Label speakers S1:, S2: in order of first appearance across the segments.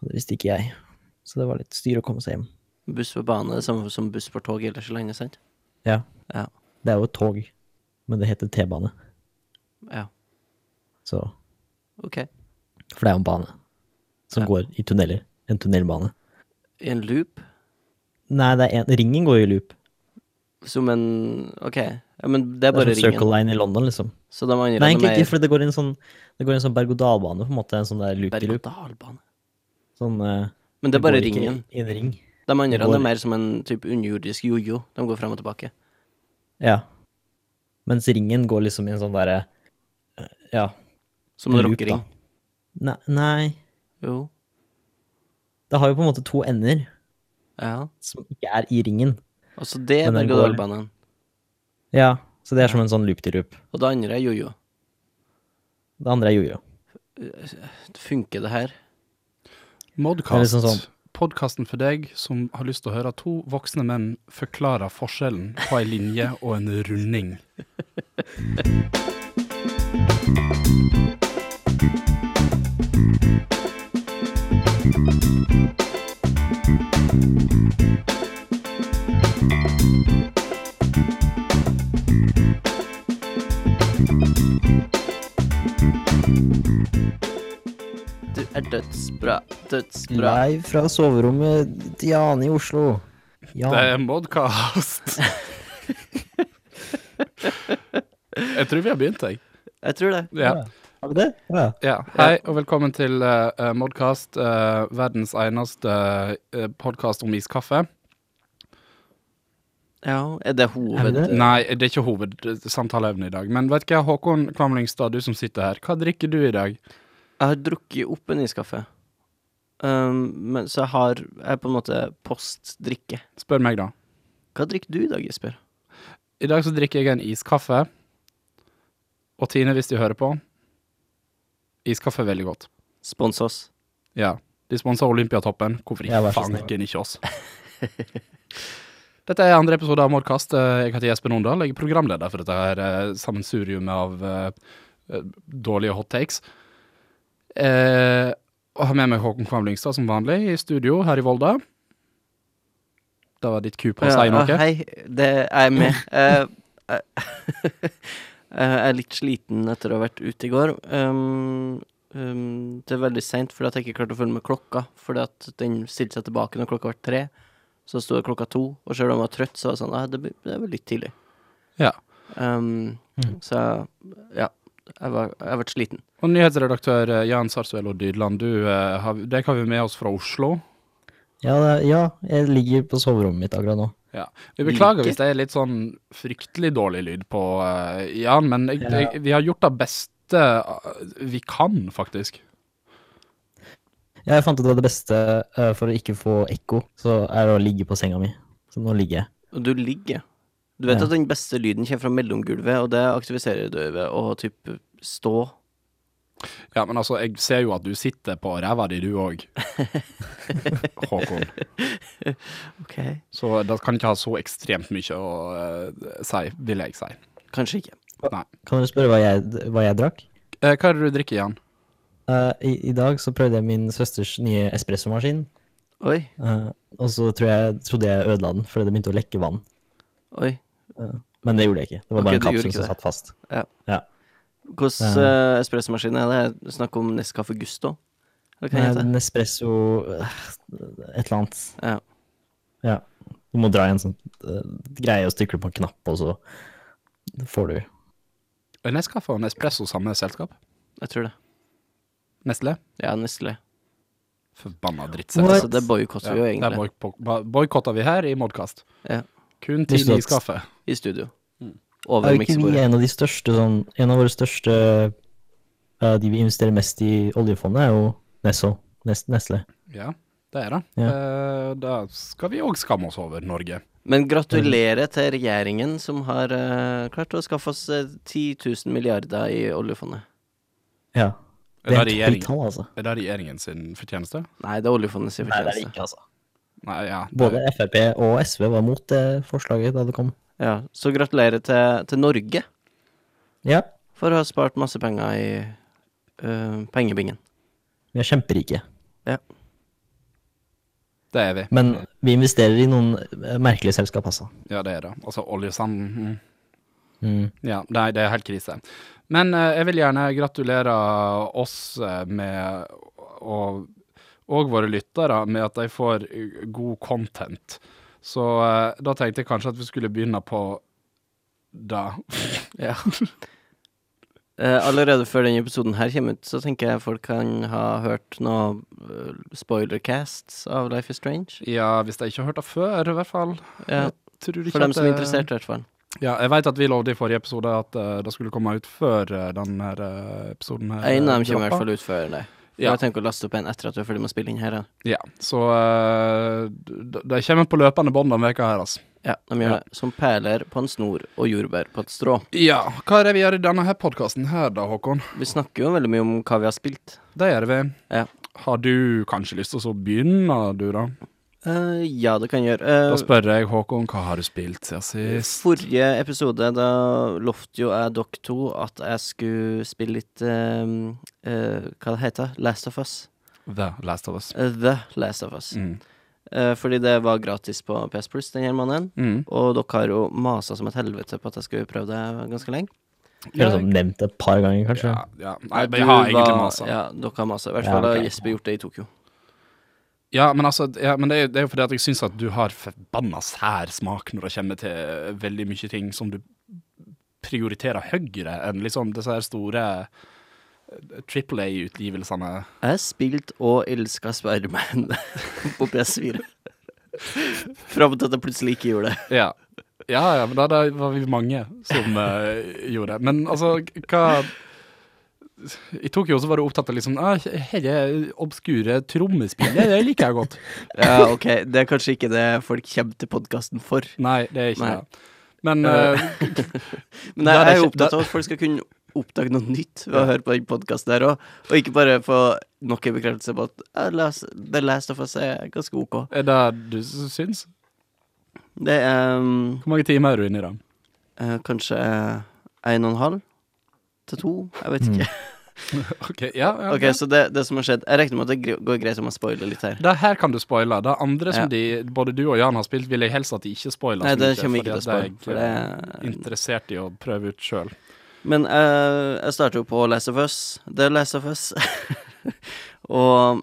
S1: Det visste ikke jeg. Så det var litt styr å komme seg hjem.
S2: Buss for bane det er samme som buss for tog ellers så lenge, sant?
S1: Ja.
S2: Ja.
S1: Det er jo et tog, men det heter T-bane.
S2: Ja.
S1: Så
S2: Ok.
S1: For det er jo en bane som
S2: Ja.
S1: går i tunneler. En tunnelbane.
S2: I en loop?
S1: Nei, det er en, ringen går jo i loop.
S2: Som en Ok. Ja, men det er
S1: Det er
S2: bare
S1: som Circle
S2: ringen.
S1: Line i London, liksom.
S2: Så de
S1: Nei,
S2: andre de
S1: egentlig
S2: er
S1: ikke, for det går i en sånn Det går i en sånn berg-og-dal-bane, på en måte. En sånn der loop i loop.
S2: berg-og-dal-bane.
S1: Sånn eh,
S2: Men det er bare
S1: går ikke
S2: ringen.
S1: I en ring.
S2: De andre
S1: går-
S2: er mer som en type underjordisk jojo. De går frem og tilbake.
S1: Ja. Mens ringen går liksom i en sånn derre eh, Ja.
S2: Som en
S1: Loop,
S2: rockering.
S1: Nei, nei.
S2: Jo.
S1: Det har jo på en måte to ender
S2: Ja.
S1: som ikke er i ringen.
S2: Altså, det er
S1: Men den går-
S2: berg-og-dal-banen.
S1: Ja. Så det er som en sånn loop-de-loop.
S2: Og det andre er jojo.
S1: Det andre er jojo.
S2: Funker det her?
S1: Det er
S3: Modcast.
S1: liksom sånn-
S3: Podkasten for deg som har lyst til å høre to voksne menn forklare forskjellen på ei linje og en runding.
S2: Du er dødsbra. Dødsbra.
S1: Live fra soverommet til Jane i Oslo. Ja.
S3: Det er modcast! jeg tror vi har begynt, jeg.
S2: Jeg tror det.
S3: Ja.
S1: Har vi det? Ja.
S3: ja. Hei, og velkommen til eh, eh, Modcast, eh, verdens eneste uh, podkast om iskaffe.
S2: Ja, er det
S1: Er
S2: hoved...
S1: det det?
S3: Nei, det er ikke hovedsamtaleevnet i dag. Men vet du hva, Håkon Kvamlingstad, du som sitter her, hva drikker du i dag?
S2: Jeg har drukket opp en iskaffe. Um, men, så jeg har Jeg er på en måte postdrikke.
S3: Spør meg, da.
S2: Hva drikker du i dag, Jesper?
S3: I dag så drikker jeg en iskaffe. Og Tine, hvis de hører på Iskaffe er veldig godt.
S2: Spons oss.
S3: Ja. De sponser Olympiatoppen. Hvorfor
S1: Ja,
S3: ikke
S1: vær så snill.
S3: fanken ikke oss? Dette er andre episode av Mordkast. Eh, Jeg heter Jespen Ondal. Jeg er programleder for dette her eh, sammensuriumet av eh, eh, dårlige hot takes. Eh, og har med meg Håkon Kvam Lyngstad som vanlig i studio her i Volda. Det var ditt ku på å si
S2: Ja,
S3: noe.
S2: hei, det er jeg med. Eh, eh, jeg er litt sliten etter å ha vært ute i går. Um, um, det er veldig seint fordi at jeg ikke klarte å følge med klokka. Fordi at den stilte seg tilbake når klokka var tre. Så sto det klokka to, og selv om jeg var trøtt, så var det sånn «Nei, det, blir- det er vel litt tidlig.
S3: Ja.
S2: Um, Så ja. Jeg var, jeg ble sliten.
S3: Og nyhetsredaktør eh, Jan Sarsuelo Dydland, du, eh, har, deg har vi med oss fra Oslo.
S1: Ja, det, ja, jeg ligger på soverommet mitt akkurat nå.
S3: Vi beklager
S2: Like.
S3: hvis det er litt sånn fryktelig dårlig lyd på eh, Jan, men jeg, jeg, vi har gjort det beste eh, vi kan, faktisk.
S1: Jeg fant ut at det beste eh, for å ikke få ekko, så er å ligge på senga mi. Så nå ligger jeg.
S2: Og du ligger. Du vet
S1: Ja.
S2: at den beste lyden kommer fra mellomgulvet, og det aktiviserer du ved å typ stå.
S3: Ja, men altså, jeg ser jo at du sitter på ræva di, du òg. Håkon.
S2: Ok.
S3: Så det kan ikke ha så ekstremt mye å eh, si, vil jeg si.
S2: Kanskje ikke.
S1: Kan dere spørre hva jeg, hva jeg drakk?
S3: Eh, hva er det du drikker, Jan?
S1: Eh, i, I dag så prøvde jeg min søsters nye espressomaskin,
S2: Oi,
S1: eh, og så tror jeg, trodde jeg ødela den fordi det begynte å lekke vann.
S2: oi.
S1: Men det gjorde jeg ikke. Det var
S2: Ok,
S1: bare
S2: du
S1: en
S2: gjorde ikke
S1: kapsel som
S2: det.
S1: satt fast.
S2: Hvordan eh, espressomaskin er det? Er det Snakk om Nescafé Gusto? Eller hva
S1: Nei,
S2: heter det?
S1: Nespresso eh, et eller annet.
S2: Ja.
S1: Ja. Du må dra i en sånn eh, greie og stikle på en knapp, og så får du
S3: Er Nescafé Eh, og Nespresso samme selskap?
S2: Jeg tror det.
S3: Nestlé?
S2: Ja, Nestlé.
S3: Forbanna drittsekk.
S1: What?
S2: Altså, det boikotter vi jo
S3: Ja,
S2: egentlig.
S3: Der boikotta vi her i Modkast.
S2: Ja.
S3: Kun
S1: Visste du
S3: Tine
S1: at-
S3: i skaffet.
S2: I studio.
S1: Er
S2: Mm.
S1: ikke
S2: Over
S1: vi
S2: miksebordet.
S1: en av de største sånn En av våre største eh, De vi investerer mest i oljefondet, er jo Nesso. Nes Nestle.
S3: Ja, det er det.
S1: Ja.
S3: Eh, da skal vi òg skamme oss over Norge.
S2: Men gratulerer til regjeringen som har eh, klart å skaffe oss eh, 10 000 milliarder i oljefondet.
S1: Ja. Det
S3: Er
S1: er et høyt
S3: det, regjering,
S1: tall, altså.
S3: er det regjeringen sin fortjeneste?
S2: Nei, det er oljefondet sin fortjeneste.
S1: ikke, altså.
S3: Nei, ja. det-
S1: Både Frp og SV var mot det forslaget da det kom.
S2: Ja, så gratulerer til, til Norge
S1: Ja,
S2: for å ha spart masse penger i eh, pengebingen.
S1: vi er kjemperike.
S2: Ja.
S3: Det er vi.
S1: Men vi investerer i noen eh, merkelige selskap, altså.
S3: Ja, det er det. Altså oljesanden. Mm.
S1: Mm.
S3: Ja, nei, det er helt krise. Men eh, jeg vil gjerne gratulere oss eh, med og, og våre lyttere med at de får eh, god content. Så eh, da tenkte jeg kanskje at vi skulle begynne på det.
S2: Ja. Eh, allerede før denne episoden her kommer ut, så tenker jeg folk kan ha hørt noe eh, spoilercasts av Life is Strange.
S3: Ja, hvis de ikke har hørt det før, i hvert fall.
S2: Ja,
S3: Tror ikke
S2: for dem
S3: at
S2: som
S3: det-
S2: er interessert, i hvert fall.
S3: Ja, jeg vet at vi lovde i forrige episode at eh, det skulle komme ut før uh, den her eh, episoden her.
S2: En av dem
S3: eh,
S2: kommer i hvert
S3: droppa.
S2: fall ut før det. For
S3: Ja.
S2: Jeg tenker å laste opp en etter at du er ferdig med å spille inn her. da.
S3: Ja, så eh, d- de kommer på løpende bånd denne veka her, altså.
S2: Ja, de gjør
S3: Ja.
S2: det. Som perler på en snor og jordbær på et strå.
S3: Ja, hva er det vi gjør i denne her podkasten her da, Håkon?
S2: Vi snakker jo veldig mye om hva vi har spilt.
S3: Det gjør vi.
S2: Ja.
S3: Har du kanskje lyst til å så begynne, du da?
S2: Eh, ja, det kan jeg gjøre. Eh,
S3: Da spør jeg Håkon, hva har du spilt siden sist?
S2: Forrige episode, da lovte jo jeg dere to at jeg skulle spille litt ehm, eh, Hva det heter det? Last of Us.
S3: The Last of Us.
S2: Eh, The Last of Us.
S3: Mm.
S2: Eh, fordi det var gratis på PS Plus denne måneden.
S3: Mm.
S2: Og dere har jo masa som et helvete på at jeg skulle prøve det ganske lenge.
S1: Jeg har liksom nevnt det et par ganger, kanskje.
S3: Ja, ja. Nei,
S2: Du
S3: jeg har egentlig
S2: var-
S3: masa. Ja.
S2: Ja, dere har masa. I hvert
S1: Ja,
S2: fall har
S1: ok.
S2: Jesper gjort det i Tokyo.
S3: men altså ja, men det, er, det er jo fordi at jeg syns at du har forbanna sær smak når det kommer til veldig mye ting som du prioriterer høyere enn liksom disse her store eh, Triple A-utgivelsene.
S2: Jeg spilte og elska Spiderman på PS4. Fram til at jeg plutselig ikke gjorde det.
S3: Ja. ja, ja, men da, da var vi mange som eh, gjorde det. Men altså, k- hva I Tokyo så var du opptatt av liksom ah, Dette obskure trommespillet, det liker jeg godt.
S2: Ja, ok, det er kanskje ikke det folk kommer til podkasten for.
S3: Nei, det er ikke
S2: Nei.
S3: det. Men eh,
S2: Men
S3: Da
S2: jeg,
S3: er det
S2: jeg er jo
S3: ikke- da-
S2: opptatt av at folk skal kunne oppdage noe nytt ved å høre på den podkasten der òg, og ikke bare få nok en bekreftelse på at «Ja, Last- The Last of Us er ganske ok.
S3: er det du s- syns?
S2: Det er um,
S3: Hvor mange timer er du inne i det?
S2: eh, kanskje en og en halv til to, jeg vet ikke.
S3: OK, ja. ja
S2: Ok, Så det, det som har skjedd Jeg regner med at det gre- går greit om jeg spoiler litt her.
S3: Det her kan du spoile. Det andre
S2: Ja.
S3: som de, både du og Jan har spilt, vil jeg helst at de ikke spoiler.
S2: Nei,
S3: så
S2: det
S3: mye,
S2: kommer jeg ikke til
S3: fordi
S2: å spoile.
S3: at
S2: For
S3: Jeg er
S2: det, eh,
S3: interessert i å prøve ut sjøl.
S2: Men eh, jeg starter jo på Last of Us. Det er Last of Us. og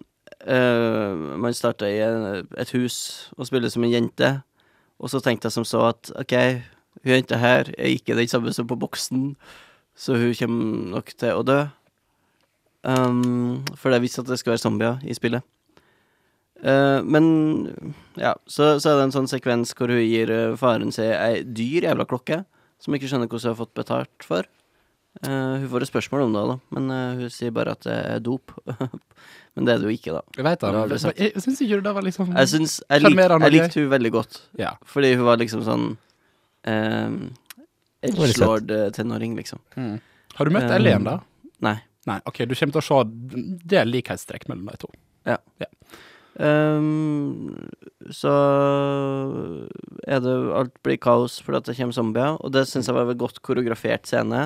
S2: eh, man starter i en- et hus og spiller som en jente. Og så tenkte jeg som så at OK, hun jenta her er ikke den samme som på boksen, så hun kommer nok til å dø. Um, for det er visst at det skal være zombier i spillet. Eh, men ja, så, så er det en sånn sekvens hvor hun gir eh, faren sin ei dyr jævla klokke som ikke skjønner hvordan hun har fått betalt for. Eh, hun får et spørsmål om det, da, men eh, hun sier bare at det er dop. men det er det jo ikke, da.
S3: Jeg veit det.
S2: Det har
S3: men
S2: vi sagt.
S3: Jeg, jeg syns ikke det var liksom
S1: Mm.
S2: Jeg, syns, jeg, lik,
S3: Sjarmerende
S2: jeg
S3: og gøy.
S2: likte hun veldig godt,
S3: Ja.
S2: fordi hun var liksom sånn um,
S1: var litt søtt.
S2: Edgelord-tenåring, liksom.
S3: Har du møtt
S2: Um,
S3: Ellie igjen, da?
S2: Nei.
S3: Nei, ok, du kommer til å se Det er likhetstrekk mellom de to.
S2: Ehm, så er det alt blir kaos fordi at det kommer zombier, og det syns jeg var en godt koreografert scene.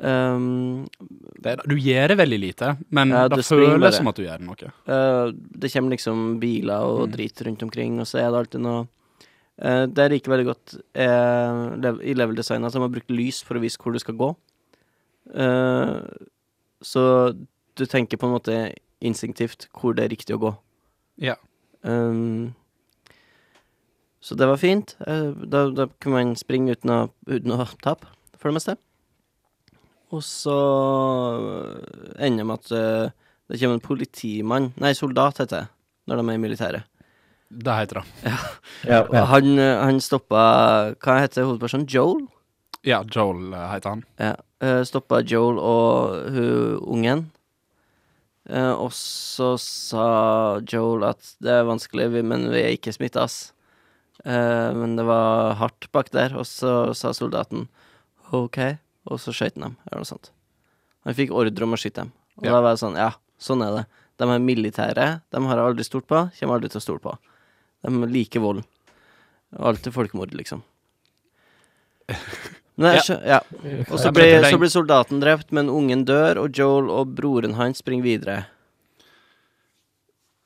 S2: Ehm,
S3: Det er, du gjør det veldig lite, men
S2: Ja,
S3: det
S2: du springer bare.
S3: føles som at du gjør noe.
S2: Eh, det kommer liksom biler og
S3: Mm.
S2: drit rundt omkring, og så er det alltid noe Eh, Det jeg liker veldig godt er lev- i level-design at de har brukt lys for å vise hvor du skal gå. Eh, så du tenker på en måte instinktivt hvor det er riktig å gå.
S3: Ja.
S2: Ehm, så det var fint. Eh, Da, da kunne man springe uten å, uten å tape, for det meste. Og så ender det med at eh, det kommer en politimann Nei, soldat heter det, når de er i militæret.
S3: Det heter det.
S1: Ja, ja.
S2: Han, eh, han stoppa Hva heter hovedpersonen? Joel?
S3: Ja, Joel eh, heter han.
S2: Ja. eh, Stoppa Joel og hun ungen. Eh, og så sa Joel at det er vanskelig, vi- men vi er ikke smitta, ass. Eh, men det var hardt bak der, og så sa soldaten OK, og så skøyt han dem, eller noe sånt. Han fikk ordre om å skyte dem. Og
S3: Ja.
S2: da var jeg sånn, ja, sånn er det. De er militære, de har jeg aldri stolt på, kommer aldri til å stole på. De liker vold. Og alltid folkemord, liksom. Men jeg skjø- ja. Og så
S3: Ja, men
S2: blir,
S3: det-
S2: så blir soldaten drept, men ungen dør, og Joel og broren hans springer videre.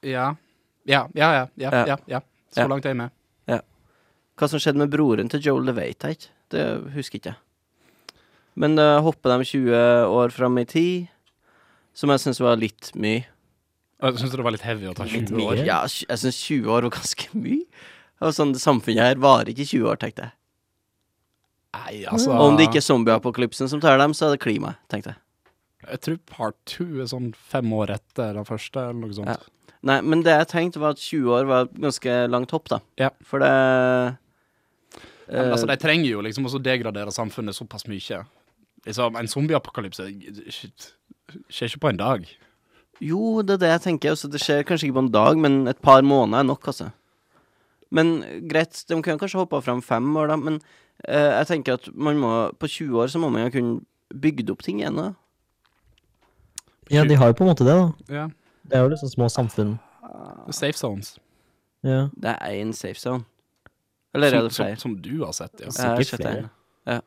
S3: Ja. Ja, ja, ja. ja,
S2: Ja.
S3: ja, ja. Så
S2: Ja.
S3: langt er jeg med.
S2: Hva som skjedde med broren til Joel, det vet jeg ikke. Det husker ikke jeg. Men uh, hopper de 20 år fram i tid, som jeg syns var litt mye.
S3: Og Jeg syns det var litt heavy å ta
S1: Litt
S3: 20 år.
S1: mye.
S2: Ja, tj- jeg syns 20 år var ganske mye. Og sånn, det samfunnet her varer ikke 20 år, tenkte jeg.
S3: Nei, altså
S2: Og om det ikke er zombieapokalypsen som tar dem, så er det klimaet, tenkte jeg.
S3: Jeg tror part two er sånn fem år etter den første, eller noe sånt.
S2: Ja. Nei, men det jeg tenkte, var at 20 år var et ganske langt hopp, da.
S3: Ja.
S2: For det
S3: Ja, men
S2: eh,
S3: altså, de trenger jo liksom også degradere samfunnet såpass mye. Liksom, en zombieapokalypse shit, skjer ikke på en dag.
S2: Jo, det er det jeg tenker. Også, det skjer kanskje ikke på en dag, men et par måneder er nok, altså. Men eh, greit, de kunne kanskje hoppa fram fem år, da, men eh, jeg tenker at man må På 20 år så må man jo kunne bygd opp ting igjen, da.
S1: Ja, de har jo på en måte det, da.
S3: Ja.
S1: Det er jo liksom små samfunn.
S3: Safe zones.
S1: Ja.
S2: Det er én safe zone. Eller er det
S3: som,
S2: flere?
S3: som, som du har sett, ja.
S2: Ja,
S1: Sikkert
S2: skjønte
S1: flere.
S2: jeg.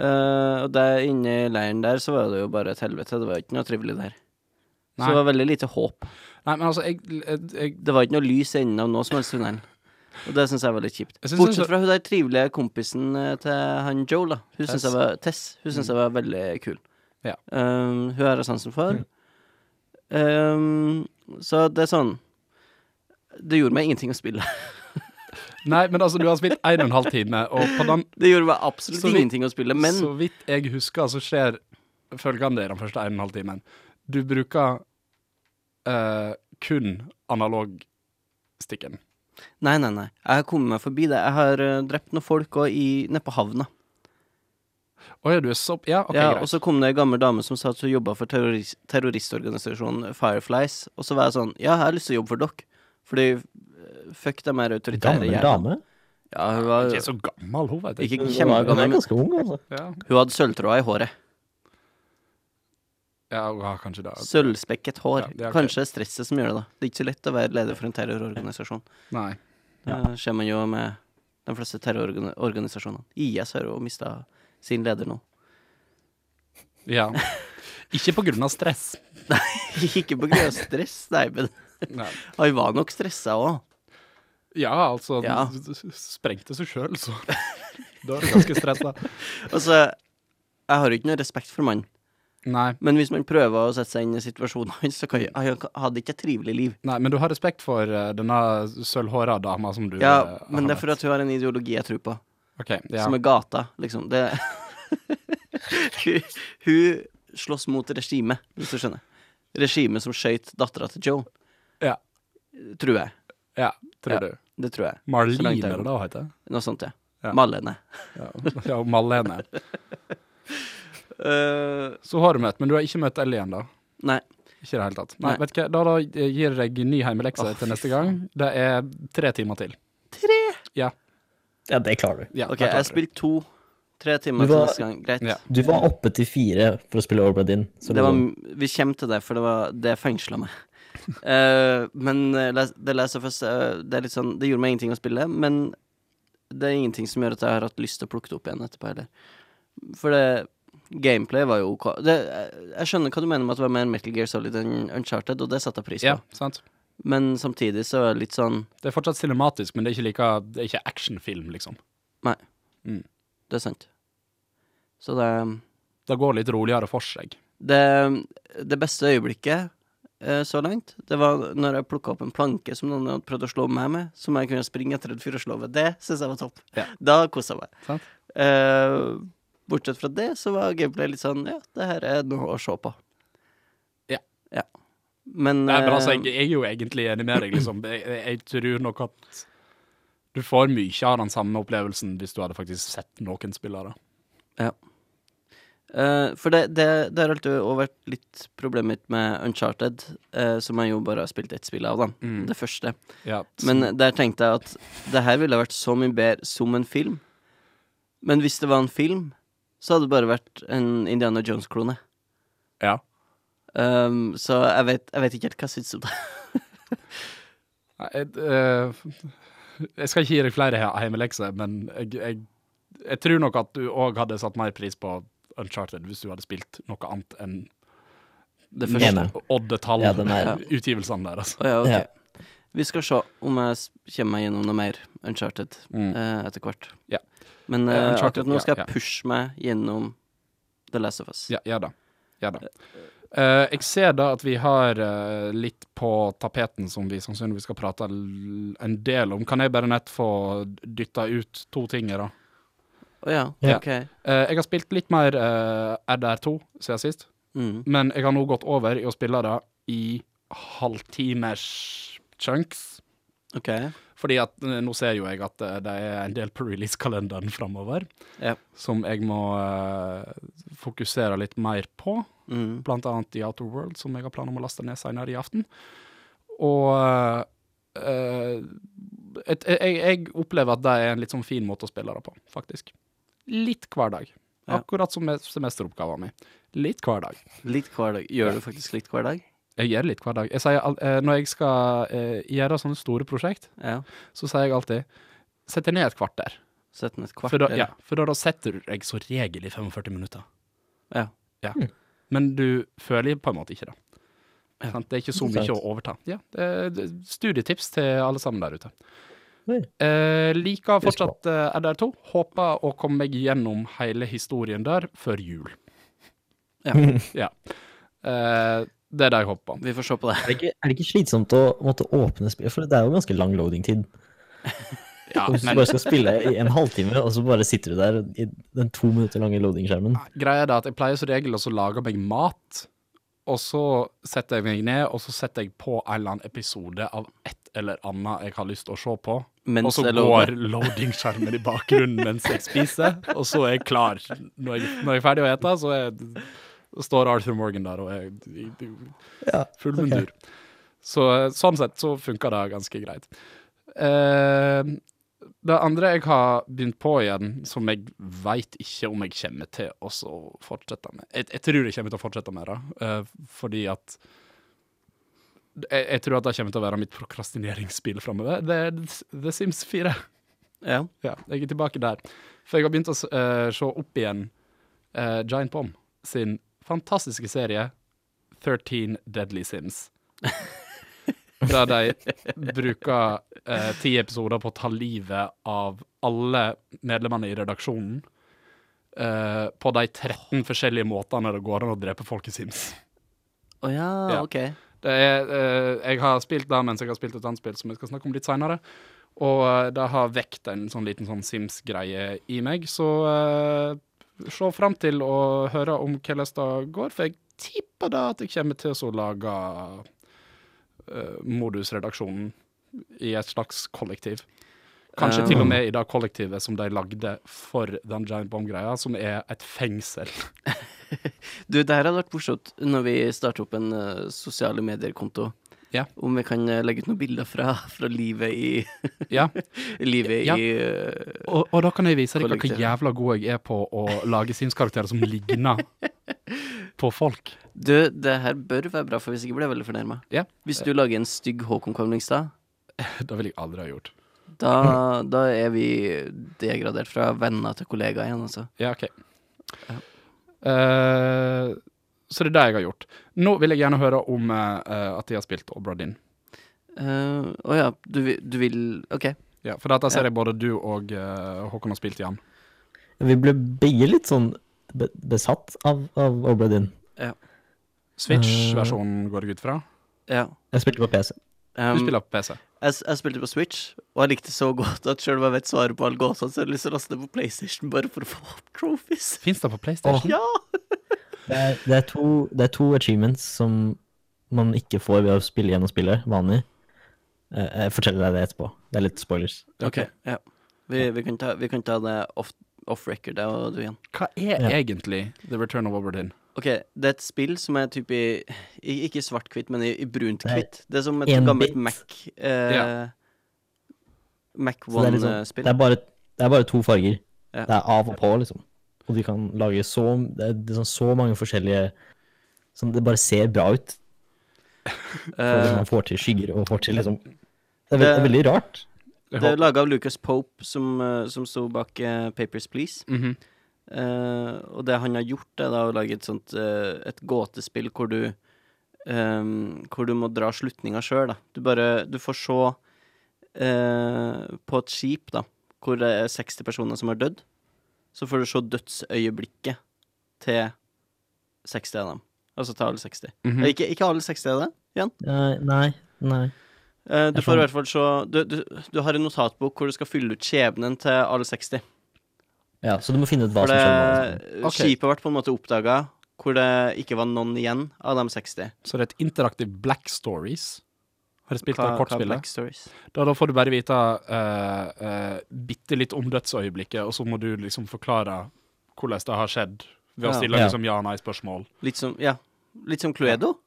S2: Eh, og der inne i leiren der, så var det jo bare et helvete. Det var jo ikke noe trivelig der. Så
S3: Nei.
S2: det var veldig lite håp.
S3: Nei, men altså, jeg, jeg, jeg
S2: Det var ikke noe lys i enden av noe som helst tunnelen. Og det syns jeg var litt kjipt.
S3: Jeg synes
S2: Bortsett
S3: også-
S2: fra hun der trivelige kompisen eh, til han Joel, da. Hun syns
S3: Tess. Mm.
S2: jeg var Tess. Hun syns jeg var veldig kul.
S3: Ja. Mm.
S2: Um, hun har jeg sansen for. Um, så det er sånn Det gjorde meg ingenting å spille.
S3: Nei, men altså, du har spilt en og en halv time, og på den,
S2: Det gjorde meg absolutt
S3: Så vi-
S2: ingenting å spille, men
S3: så vidt jeg husker, så skjer følgende i den første en og en halv timen. Du bruker eh, kun analogstikken.
S2: Nei, nei, nei. Jeg har kommet meg forbi det. Jeg har eh, drept noen folk òg nede på havna.
S3: Å ja, du er så Ja, OK,
S2: ja, og
S3: greit.
S2: så kom det ei gammel dame som sa at hun jobba for terroris- terroristorganisasjonen Fireflies. Og så var jeg sånn Ja, jeg har lyst til å jobbe for dere. Fordi eh, fuck dem her autoritære
S1: Gammel
S2: jævla
S1: dame?
S2: Ja, hun
S3: Hun
S2: var
S3: er Ikke så gammel, hun, vet jeg.
S2: Eh, ikke
S1: Hun er
S2: kjempegammel, men
S1: ganske ung, altså.
S3: Ja,
S2: hun hadde sølvtråder i håret.
S3: ja, hun har kanskje det.
S2: Sølvspekket hår.
S3: Ja, det er ok.
S2: Kanskje det er stresset som gjør det, da. Det er ikke så lett å være leder for en terrororganisasjon.
S3: Nei.
S2: Det ser man jo med de fleste terrororganisasjonene. IS har jo mista sin leder nå.
S3: Ja. Ikke på grunn av stress.
S2: ikke på grunn av stress, nei, men han var nok stressa òg.
S3: Ja, altså
S2: Ja.
S3: s- s- Sprengte seg sjøl, så Da er du ganske stressa.
S2: Altså, jeg har jo ikke noe respekt for mannen.
S3: Nei,
S2: Men hvis man prøver å sette seg inn i situasjonen hans, så kan jeg, han hadde ikke et trivelig liv.
S3: nei, men du har respekt for eh, denne sølvhåra dama som du
S2: Ja,
S3: eh,
S2: men
S3: har
S2: det er for
S3: møtt.
S2: at hun har en ideologi jeg tror på,
S3: Ok, ja.
S2: som er gata, liksom. Det Hun- Hun slåss mot regimet, hvis du skjønner. Regimet som skøyt dattera til Joe.
S3: Ja.
S2: Tror jeg.
S3: ja, tror
S2: Ja.
S3: du.
S2: Det tror jeg. Så
S3: Marlene,
S2: langt jeg
S3: er det
S2: vet.
S3: da hun heter?
S2: Noe sånt, ja.
S3: Ja.
S2: Malene.
S3: Ja, ja og Malene.
S2: Eh,
S3: Så har du møtt, men du har ikke møtt Ellie ennå.
S2: nei.
S3: Ikke i det hele tatt. Nei,
S2: Nei.
S3: vet du hva, da, da gir jeg deg ny heimelekse
S2: Åh, fy
S3: til neste gang. Det er tre timer til.
S1: Ja, det klarer du.
S3: Ja,
S2: OK, jeg
S3: det klarer
S2: har
S3: du.
S2: spilt to. Tre timer
S1: Du
S2: til
S1: var-
S2: neste gang. Greit.
S3: Ja.
S1: Du var oppe til fire for å spille Overbred In. Så
S2: Det var,
S1: liksom-
S2: vi kommer til det, for det var det fengsla meg. Eh, men eh, Les- The Last of Us eh, det, er litt sånn, det gjorde meg ingenting å spille, men det er ingenting som gjør at jeg har hatt lyst til å plukke det opp igjen etterpå heller. For det gameplay var jo OK. Det, eh, jeg- jeg skjønner hva du mener med at det var mer Metal Gear Solid enn Uncharted, og det setter jeg pris på.
S3: Ja, sant.
S2: Men samtidig så er det litt sånn
S3: Det er fortsatt cinematisk, men det er ikke, like, det er ikke actionfilm, liksom.
S2: Det er sant. Så det
S3: Det går litt roligere for seg.
S2: Det, det beste øyeblikket eh, så langt, det var når jeg plukka opp en planke som noen hadde prøvd å slå meg med, som jeg kunne springe etter en fyr og slå med. Det syns jeg var topp.
S3: Ja.
S2: Da kosa jeg meg.
S3: Sant.
S2: Eh, bortsett fra det, så var gameplay litt sånn Ja, det her er noe å se på.
S3: Ja.
S2: Men,
S3: Nei, men altså,
S2: eh,
S3: jeg jeg er jo egentlig enig med deg, liksom. Jeg, jeg- jeg tror nok at du får mye av den samme opplevelsen hvis du hadde faktisk sett noen spillere.
S2: Eh, for det, det, det har alltid også vært litt problemet mitt med Uncharted, eh, som jeg jo bare har spilt ett spill av, da.
S3: Mm.
S2: Det første.
S3: Ja,
S2: Men der tenkte jeg at det her ville vært så mye bedre som en film. Men hvis det var en film, så hadde det bare vært en Indiana Jones-klone.
S3: ja.
S2: Um, så jeg vet, jeg vet ikke helt hva jeg syns om det.
S3: Nei, Jeg, eh, jeg skal ikke gi deg flere he- heimelekser, men jeg, jeg, jeg tror nok at du òg hadde satt mer pris på Uncharted hvis du hadde spilt noe annet enn
S2: Det
S1: første.
S3: oddetall
S1: Ja, den er-
S3: utgivelsene deres.
S2: Å ja, ok.
S1: Ja.
S2: Vi skal se om jeg s- kommer meg gjennom noe mer Uncharted
S3: Mm.
S2: eh, etter hvert.
S3: Ja.
S2: Men
S3: Eh,
S2: eh,
S3: Uncharted,
S2: akkurat nå skal
S3: ja,
S2: jeg pushe meg gjennom The Last of Us.
S3: Ja, gjør det. Gjør det. Eh, jeg ser da at vi har eh, litt på tapeten som vi sannsynligvis skal prate l- en del om. Kan jeg bare nett få dytta ut to ting her, da?
S2: Å ja,
S1: Ja.
S2: ok.
S3: Eh, jeg har spilt litt mer eh, RDR2 siden sist,
S2: Mm.
S3: men jeg har nå gått over i å spille det i halvtimers chunks.
S2: Ok.
S3: Fordi at eh, nå ser jo jeg at eh, det er en del på release-kalenderen framover
S2: Ja.
S3: som jeg må eh, fokusere litt mer på.
S2: Mm.
S3: Blant annet The Outer World, som jeg har planer om å laste ned senere i aften. Og eh, et, jeg, jeg opplever at det er en litt sånn fin måte å spille det på, faktisk. Litt hver dag.
S2: Ja.
S3: Akkurat som med semesteroppgaven min. Litt hver dag.
S2: Litt hver dag. Gjør du faktisk litt hver dag?
S3: Jeg gjør litt hver dag. Jeg sier, al- eh, når jeg skal eh, gjøre sånne store prosjekt,
S2: Ja.
S3: så sier jeg alltid Sett deg ned et kvarter.
S2: Sett den et kvarter.
S3: For da, ja, for da, da setter du deg så regel i 45 minutter.
S2: Ja.
S3: Ja. Men du føler på en måte ikke det.
S2: Ja.
S3: Sant? Det er ikke så
S1: Det er
S3: mye å
S1: sant.
S3: overta. Ja, eh, d- studietips til alle sammen der ute.
S1: Oi.
S3: Eh, liker fortsatt eh, RDR2. Håper å komme meg gjennom hele historien der før jul.
S2: Ja.
S3: Ja. Eh, det er det jeg håper.
S2: Vi får se på det.
S1: Er det, ikke, er det ikke slitsomt å måtte åpne spill? For det er jo ganske lang loading-tid.
S3: Ja,
S1: Hvis du
S3: men
S1: bare skal spille i en halvtime, og så bare sitter du der i den to minutter lange loading-skjermen.
S3: Greia er det at jeg pleier som regel også å lage meg mat, og så setter jeg meg ned, og så setter jeg på en eller annen episode av et eller annet jeg har lyst til å se på, og
S2: Mens
S3: så
S2: det loader.
S3: går loading-skjermen i bakgrunnen mens jeg spiser, og så er jeg klar. Når jeg, når jeg er ferdig å ete, så er, står Arthur Morgan der og er i- i-
S1: Ja,
S3: full
S1: ok.
S3: mundur. Så sånn sett så funker det ganske greit. Eh, det andre jeg har begynt på igjen, som jeg veit ikke om jeg kommer til å så fortsette med jeg, jeg tror jeg kommer til å fortsette med det, eh, fordi at jeg, jeg tror at det kommer til å være mitt prokrastineringsspill framover. Det er The Sims 4.
S2: Ja.
S3: Ja, jeg er tilbake der. For jeg har begynt å s- eh, se opp igjen eh, Giant Bomb sin fantastiske serie 13 Deadly Sims. Der de bruker eh, ti episoder på å ta livet av alle medlemmene i redaksjonen. eh, på de 13 forskjellige måtene det går an å drepe folk i Sims.
S2: Å ja,
S3: Ja.
S2: ok.
S3: Det er, eh, jeg har spilt det mens jeg har spilt et annet spill som jeg skal snakke om litt seinere. Og eh, det har vekt en sånn liten sånn Sims-greie i meg. Så eh, se fram til å høre om hvordan det går, for jeg tipper da at jeg kommer til å så lage eh, modusredaksjonen i et slags kollektiv. Kanskje
S2: Eh.
S3: til og med i det kollektivet som de lagde for den Giant Bomb-greia, som er et fengsel.
S2: Du, det her hadde vært morsomt når vi starter opp en eh, sosiale medier-konto.
S3: Ja.
S2: Om vi kan eh, legge ut noen bilder fra, fra livet i
S3: Ja.
S2: Livet
S3: Ja.
S2: i eh,
S3: Og, og da kan jeg vise dere hvor
S2: Kollektiv.
S3: jævla god jeg er på å lage Sims-karakterer som ligner på folk.
S2: Du, det her bør være bra, for hvis ikke blir jeg veldig fornærma.
S3: Ja.
S2: Hvis du lager en stygg Håkon Kavlingstad,
S3: Det ville jeg aldri ha gjort.
S2: da,
S3: Mm.
S2: da er vi degradert fra venner til kollegaer igjen, altså.
S3: Ja, OK. Eh, så det er det jeg har gjort. Nå vil jeg gjerne høre om eh, eh, at de har spilt Obra Dinn.
S2: Eh, Å ja, du, vil- du vil OK.
S3: Ja, for dette ser jeg både du og eh, Håkon har spilt igjen.
S1: Vi ble begge litt sånn be besatt av, av Obra Dinn.
S3: Eh. Switch-versjonen går jeg ut fra.
S2: Ja.
S1: Jeg spilte på PC.
S3: Du
S2: Um, jeg,
S3: spiller på PC.
S2: s- jeg spilte på Switch, og jeg likte det så godt at sjøl om jeg vet svaret på alle gåtene, så har jeg lyst til å laste det på PlayStation bare for å få opp trophies.
S3: Fins det på PlayStation?
S2: Ja!
S1: Det er, det, er to, det er to achievements som man ikke får ved å spille gjennom spillet, vanlig. Eh, Jeg forteller deg det etterpå. Det er litt spoilers.
S2: OK. Ja. Vi, vi, kan, ta, vi kan ta det off, off record, jeg og du igjen.
S3: Hva er
S1: Ja.
S3: egentlig The Return of Obra Dinn?
S2: Ok, det er et spill som er typ i i- Ikke i svart-hvitt, men i, i brunt-hvitt. Det er som et
S1: en
S2: gammelt
S1: bit.
S2: Mac eh,
S3: Ja.
S2: Mac eh,
S1: Så det er liksom-
S2: One-spill.
S1: Det er bare, det er bare to farger.
S2: Ja.
S1: Det er av og på, liksom. Og de kan lage så, det er, det er sånn så mange forskjellige Sånn, det bare ser bra ut.
S2: Eh,
S1: man får til skygger og får til liksom Det er,
S2: Det-
S1: veld, det er veldig rart.
S2: det er laga av Lucas Pope, som, eh, som sto bak eh, Papers, Please.
S3: Mhm.
S2: Eh, og det han har gjort, er da å lage et sånt eh, Et gåtespill hvor du ehm, hvor du må dra slutninga sjøl, da. Du bare Du får se eh, på et skip, da, hvor det er 60 personer som har dødd. Så får du se dødsøyeblikket til 60 av dem. Altså til alle 60.
S1: Mhm.
S2: Eh, Ikke, ikke alle 60 av det.
S1: Eh, nei, nei.
S2: Eh,
S1: Jeg
S2: Du får i
S1: skjønner.
S2: hvert fall se du, du, du har en notatbok hvor du skal fylle ut skjebnen til alle 60.
S1: Ja, så du må finne ut hva
S2: For
S1: som skjedde. liksom.
S2: det,
S3: Ok.
S2: skipet ble på en måte oppdaga hvor det ikke var noen igjen av de 60.
S3: Så det er et interaktivt Black Stories. Har jeg spilt det kortspillet?
S2: Stories?
S3: Da, da får du bare vite eh, eh, bitte litt om dødsøyeblikket, og så må du liksom forklare hvordan det har skjedd, ved
S2: Ja.
S3: å stille
S1: Ja.
S3: liksom ja- nei-spørsmål.
S2: Litt som, ja, litt som Cluedo.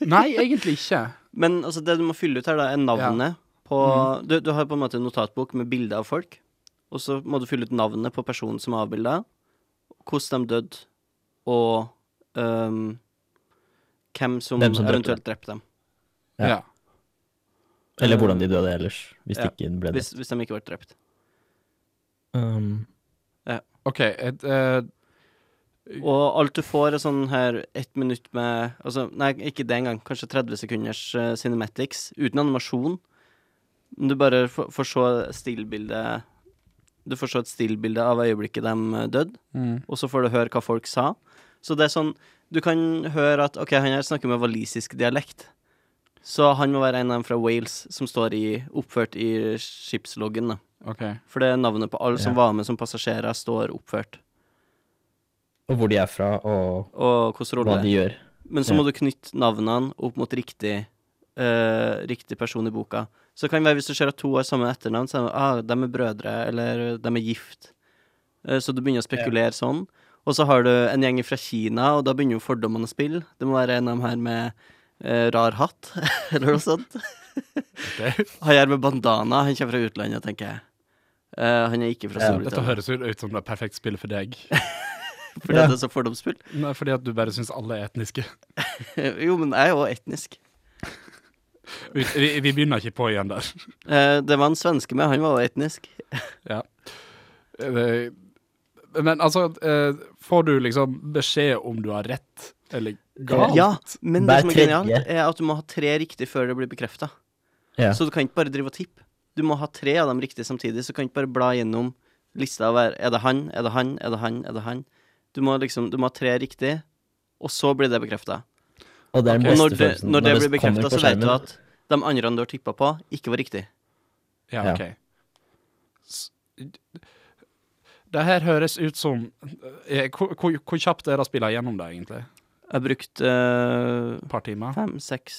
S3: Nei, egentlig ikke.
S2: Men altså, det du må fylle ut her, da, er navnet på
S1: Mhm.
S2: du, du har på en måte en notatbok med bilder av folk, og så må du fylle ut navnet på personen som er avbilda, hvordan de døde, og øhm, hvem som,
S1: Hvem som drepte
S2: eventuelt drepte dem.
S1: Ja.
S3: Ja.
S1: Eller hvordan de døde ellers, hvis
S2: Ja,
S1: det ikke ble det.
S2: Hvis, hvis de ikke ble drept.
S1: Um,
S3: OK. Et, eh,
S2: Og alt du får er sånn her ett minutt med altså, Nei, ikke det engang. Kanskje 30 sekunders eh, cinematics uten animasjon. Men du bare får, får se stillbildet Du får se et stillbilde av øyeblikket de døde, og så får du høre hva folk sa. Så det er sånn Du kan høre at OK, han her snakker med walisisk dialekt. Så han må være en av dem fra Wales som står i, oppført i skipsloggen. da.
S3: OK.
S2: For det er navnet på alle som var med som passasjerer, står oppført.
S1: og hvor de er fra, og
S2: Og hvordan rolle
S1: hva
S2: det er.
S1: de gjør.
S2: Men så må du knytte navnene opp mot riktig, eh, riktig person i boka. Så det kan være hvis du ser at to har samme etternavn, så er det, ah, de er brødre, eller de er gift. Eh, så du begynner å spekulere sånn. Og så har du en gjeng fra Kina, og da begynner jo fordommene å spille. Det må være en av dem her med eh, rar hatt, eller noe sånt.
S3: Ok.
S2: Han her med bandana, han kommer fra utlandet, tenker jeg. Eh, han er ikke fra
S1: Ja.
S3: Dette
S2: Storbritannia,
S3: høres jo ut som det er perfekt spill for deg.
S2: fordi
S1: Ja.
S2: det er så fordomsfullt.
S3: Nei, fordi at du bare syns alle er etniske.
S2: jo, men jeg er jo etnisk.
S3: Vi, vi, vi begynner ikke på igjen der.
S2: Eh, det var en svenske med, han var jo etnisk.
S3: Ja. Eh, Men altså, eh, får du liksom beskjed om du har rett eller galt?
S2: Ja, men det
S1: Hver
S2: som er
S1: tredje.
S2: genialt, er at du må ha tre riktig før det blir bekrefta.
S1: Ja.
S2: Så du kan ikke bare drive og tippe. Du må ha tre av dem riktig samtidig, så du kan ikke bare bla gjennom lista og være Er det han? Er det han? Er det han? Er det han? Du må liksom Du må ha tre riktig, og så blir det bekrefta.
S1: Og det er den beste
S2: Og når det,
S1: følelsen.
S2: når det blir
S1: kommer
S2: bekrefta,
S1: på
S2: så vet du
S1: skjermen.
S2: at de andre du har tippa på, ikke var riktig.
S3: Ja,
S1: Ja.
S3: ok. S- Det her høres ut som eh, Hvor, hvor, hvor kjapt er det å spille gjennom det, egentlig?
S2: Jeg brukte
S3: Et par timer?
S2: fem, seks,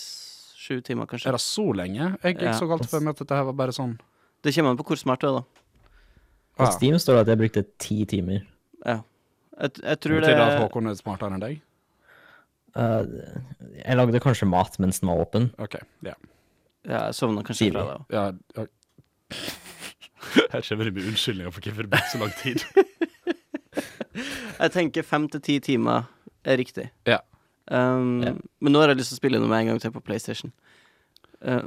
S2: sju timer, kanskje.
S3: Er det så lenge? Jeg gikk
S2: Ja.
S3: så galt for meg at dette her var bare sånn
S2: Det kommer an på hvor smart du er, da.
S1: På
S3: ah,
S1: Steam står det at jeg brukte ti timer.
S2: Ja. Jeg, jeg tror det
S3: Betyr det at Håkon er smartere enn deg?
S1: Eh, jeg lagde kanskje mat mens den var åpen.
S3: OK. Ja.
S2: Ja, jeg sovna kanskje fra
S1: Tidlig.
S2: det òg.
S3: ja, ja. Her kommer det med unnskyldninger for hvorfor det brukte så lang tid.
S2: Jeg tenker fem til ti timer er riktig.
S3: Ja.
S2: Um,
S1: Ja.
S2: Men nå har jeg lyst til å spille noe med en gang til på PlayStation. Uh,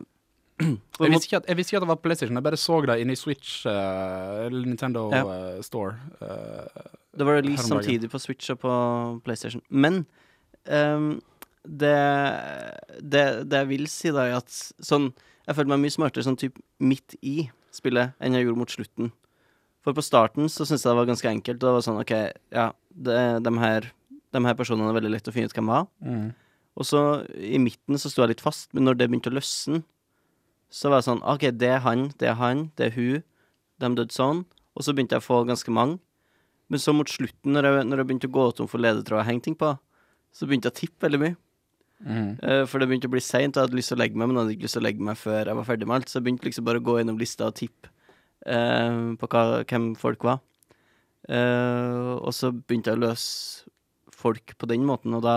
S2: på
S3: Jeg
S2: en
S3: visste, ikke at, jeg visste ikke at det var på PlayStation, jeg bare så det inne i Switch eh, eller Nintendo eh, Store. eh,
S2: måte- det var release
S3: her om dagen.
S2: samtidig på Switch og på PlayStation. Men um, det, det, det jeg vil si, da, er at sånn Jeg følte meg mye smartere sånn typ midt i spillet enn jeg gjorde mot slutten. For på starten så syntes jeg det var ganske enkelt. Og det var sånn, OK, ja, det, de, her, de her personene er veldig lett å finne ut hvem var. Og så i midten så sto jeg litt fast, men når det begynte å løsne, så var jeg sånn OK, det er han, det er han, det er hun. De døde sånn. Og så begynte jeg å få ganske mange. Men så mot slutten, når jeg, når jeg begynte å gå tom for ledetråd å henge ting på, så begynte jeg å tippe veldig mye.
S3: mm.
S2: Eh, For det begynte å bli seint, og jeg hadde lyst til å legge meg, men jeg hadde ikke lyst til å legge meg før jeg var ferdig med alt. Så jeg begynte liksom bare å gå gjennom lista og tippe eh, på hva, hvem folk var. Eh, og så begynte jeg å løse folk på den måten, og da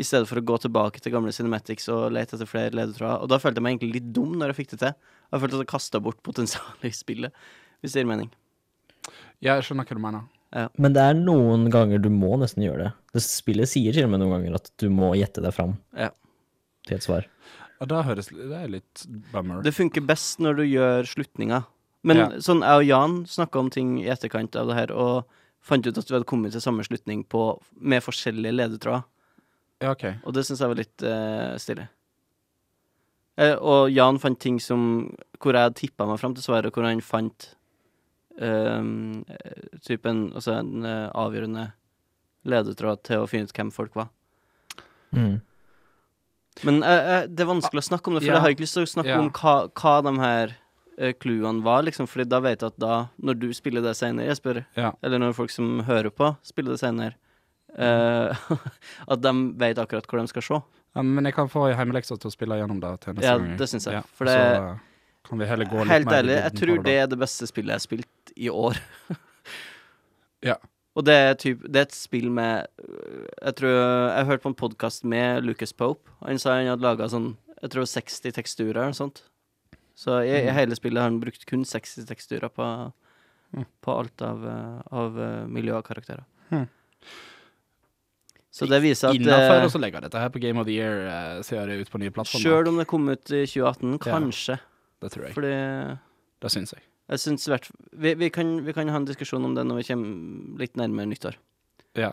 S2: i stedet for å gå tilbake til gamle Cinematics og lete etter flere ledetråder. Og da følte jeg meg egentlig litt dum når jeg fikk det til. Jeg følte at jeg kasta bort potensialet i spillet, hvis det gir mening.
S3: Ja, jeg skjønner hva du mener.
S1: Men det er noen ganger du må nesten gjøre det. Det Spillet sier til og med noen ganger at du må gjette deg fram
S2: Ja.
S1: til et svar.
S3: Ja, det, høres, det er litt bummer.
S2: Det funker best når du gjør slutninga. Men
S3: Ja.
S2: sånn, jeg og Jan snakka om ting i etterkant av det her, og fant ut at vi hadde kommet til samme slutning på, med forskjellige ledetråder.
S3: Ja, ok.
S2: Og det syns jeg var litt eh, stille. Eh, og Jan fant ting som Hvor jeg tippa meg fram til svaret, hvor han fant um, typ en, altså en eh, avgjørende ledetråd til å finne ut hvem folk var.
S1: Mm.
S2: Men eh, eh, det er vanskelig å snakke om det, for
S3: Ja.
S2: jeg har ikke lyst til å snakke
S3: Ja.
S2: om hva, hva de her eh, clouene var, liksom, Fordi da vet jeg at da, når du spiller det senere, Jesper,
S3: Ja.
S2: eller når folk som hører på, spiller det senere, eh, at de vet akkurat hvor de skal se.
S3: Ja, men jeg kan få hjemmeleksa til å spille gjennom det til neste
S2: Ja,
S3: gang.
S2: det syns jeg,
S3: Ja,
S2: for det-
S3: så, eh, kan vi heller gå litt
S2: Helt
S3: mer i
S2: ærlig, jeg
S3: dybden på
S2: tror
S3: da.
S2: det er det beste spillet jeg har spilt i år.
S3: Ja.
S2: Og det er, typ, det er et spill med øh, Jeg tror Jeg hørte på en podkast med Lucas Pope. Han sa han hadde laga sånn Jeg tror 60 teksturer eller noe sånt. Så i, i hele spillet har han brukt kun 60 teksturer på,
S3: Mm.
S2: på alt av, øh, av øh, miljø og karakterer.
S3: Mm.
S2: Så det viser at
S3: Innenfor,
S2: eh,
S3: og så legger jeg dette her på Game of the Year, eh, ser jeg det ut på nye plattformer.
S2: Sjøl om det kom ut i 2018,
S3: Ja.
S2: kanskje.
S3: Det tror jeg.
S2: Fordi
S3: Det syns jeg.
S2: Jeg synes hvert, vi, vi, kan, vi kan ha en diskusjon om det når vi kommer litt nærmere nyttår.
S3: Ja.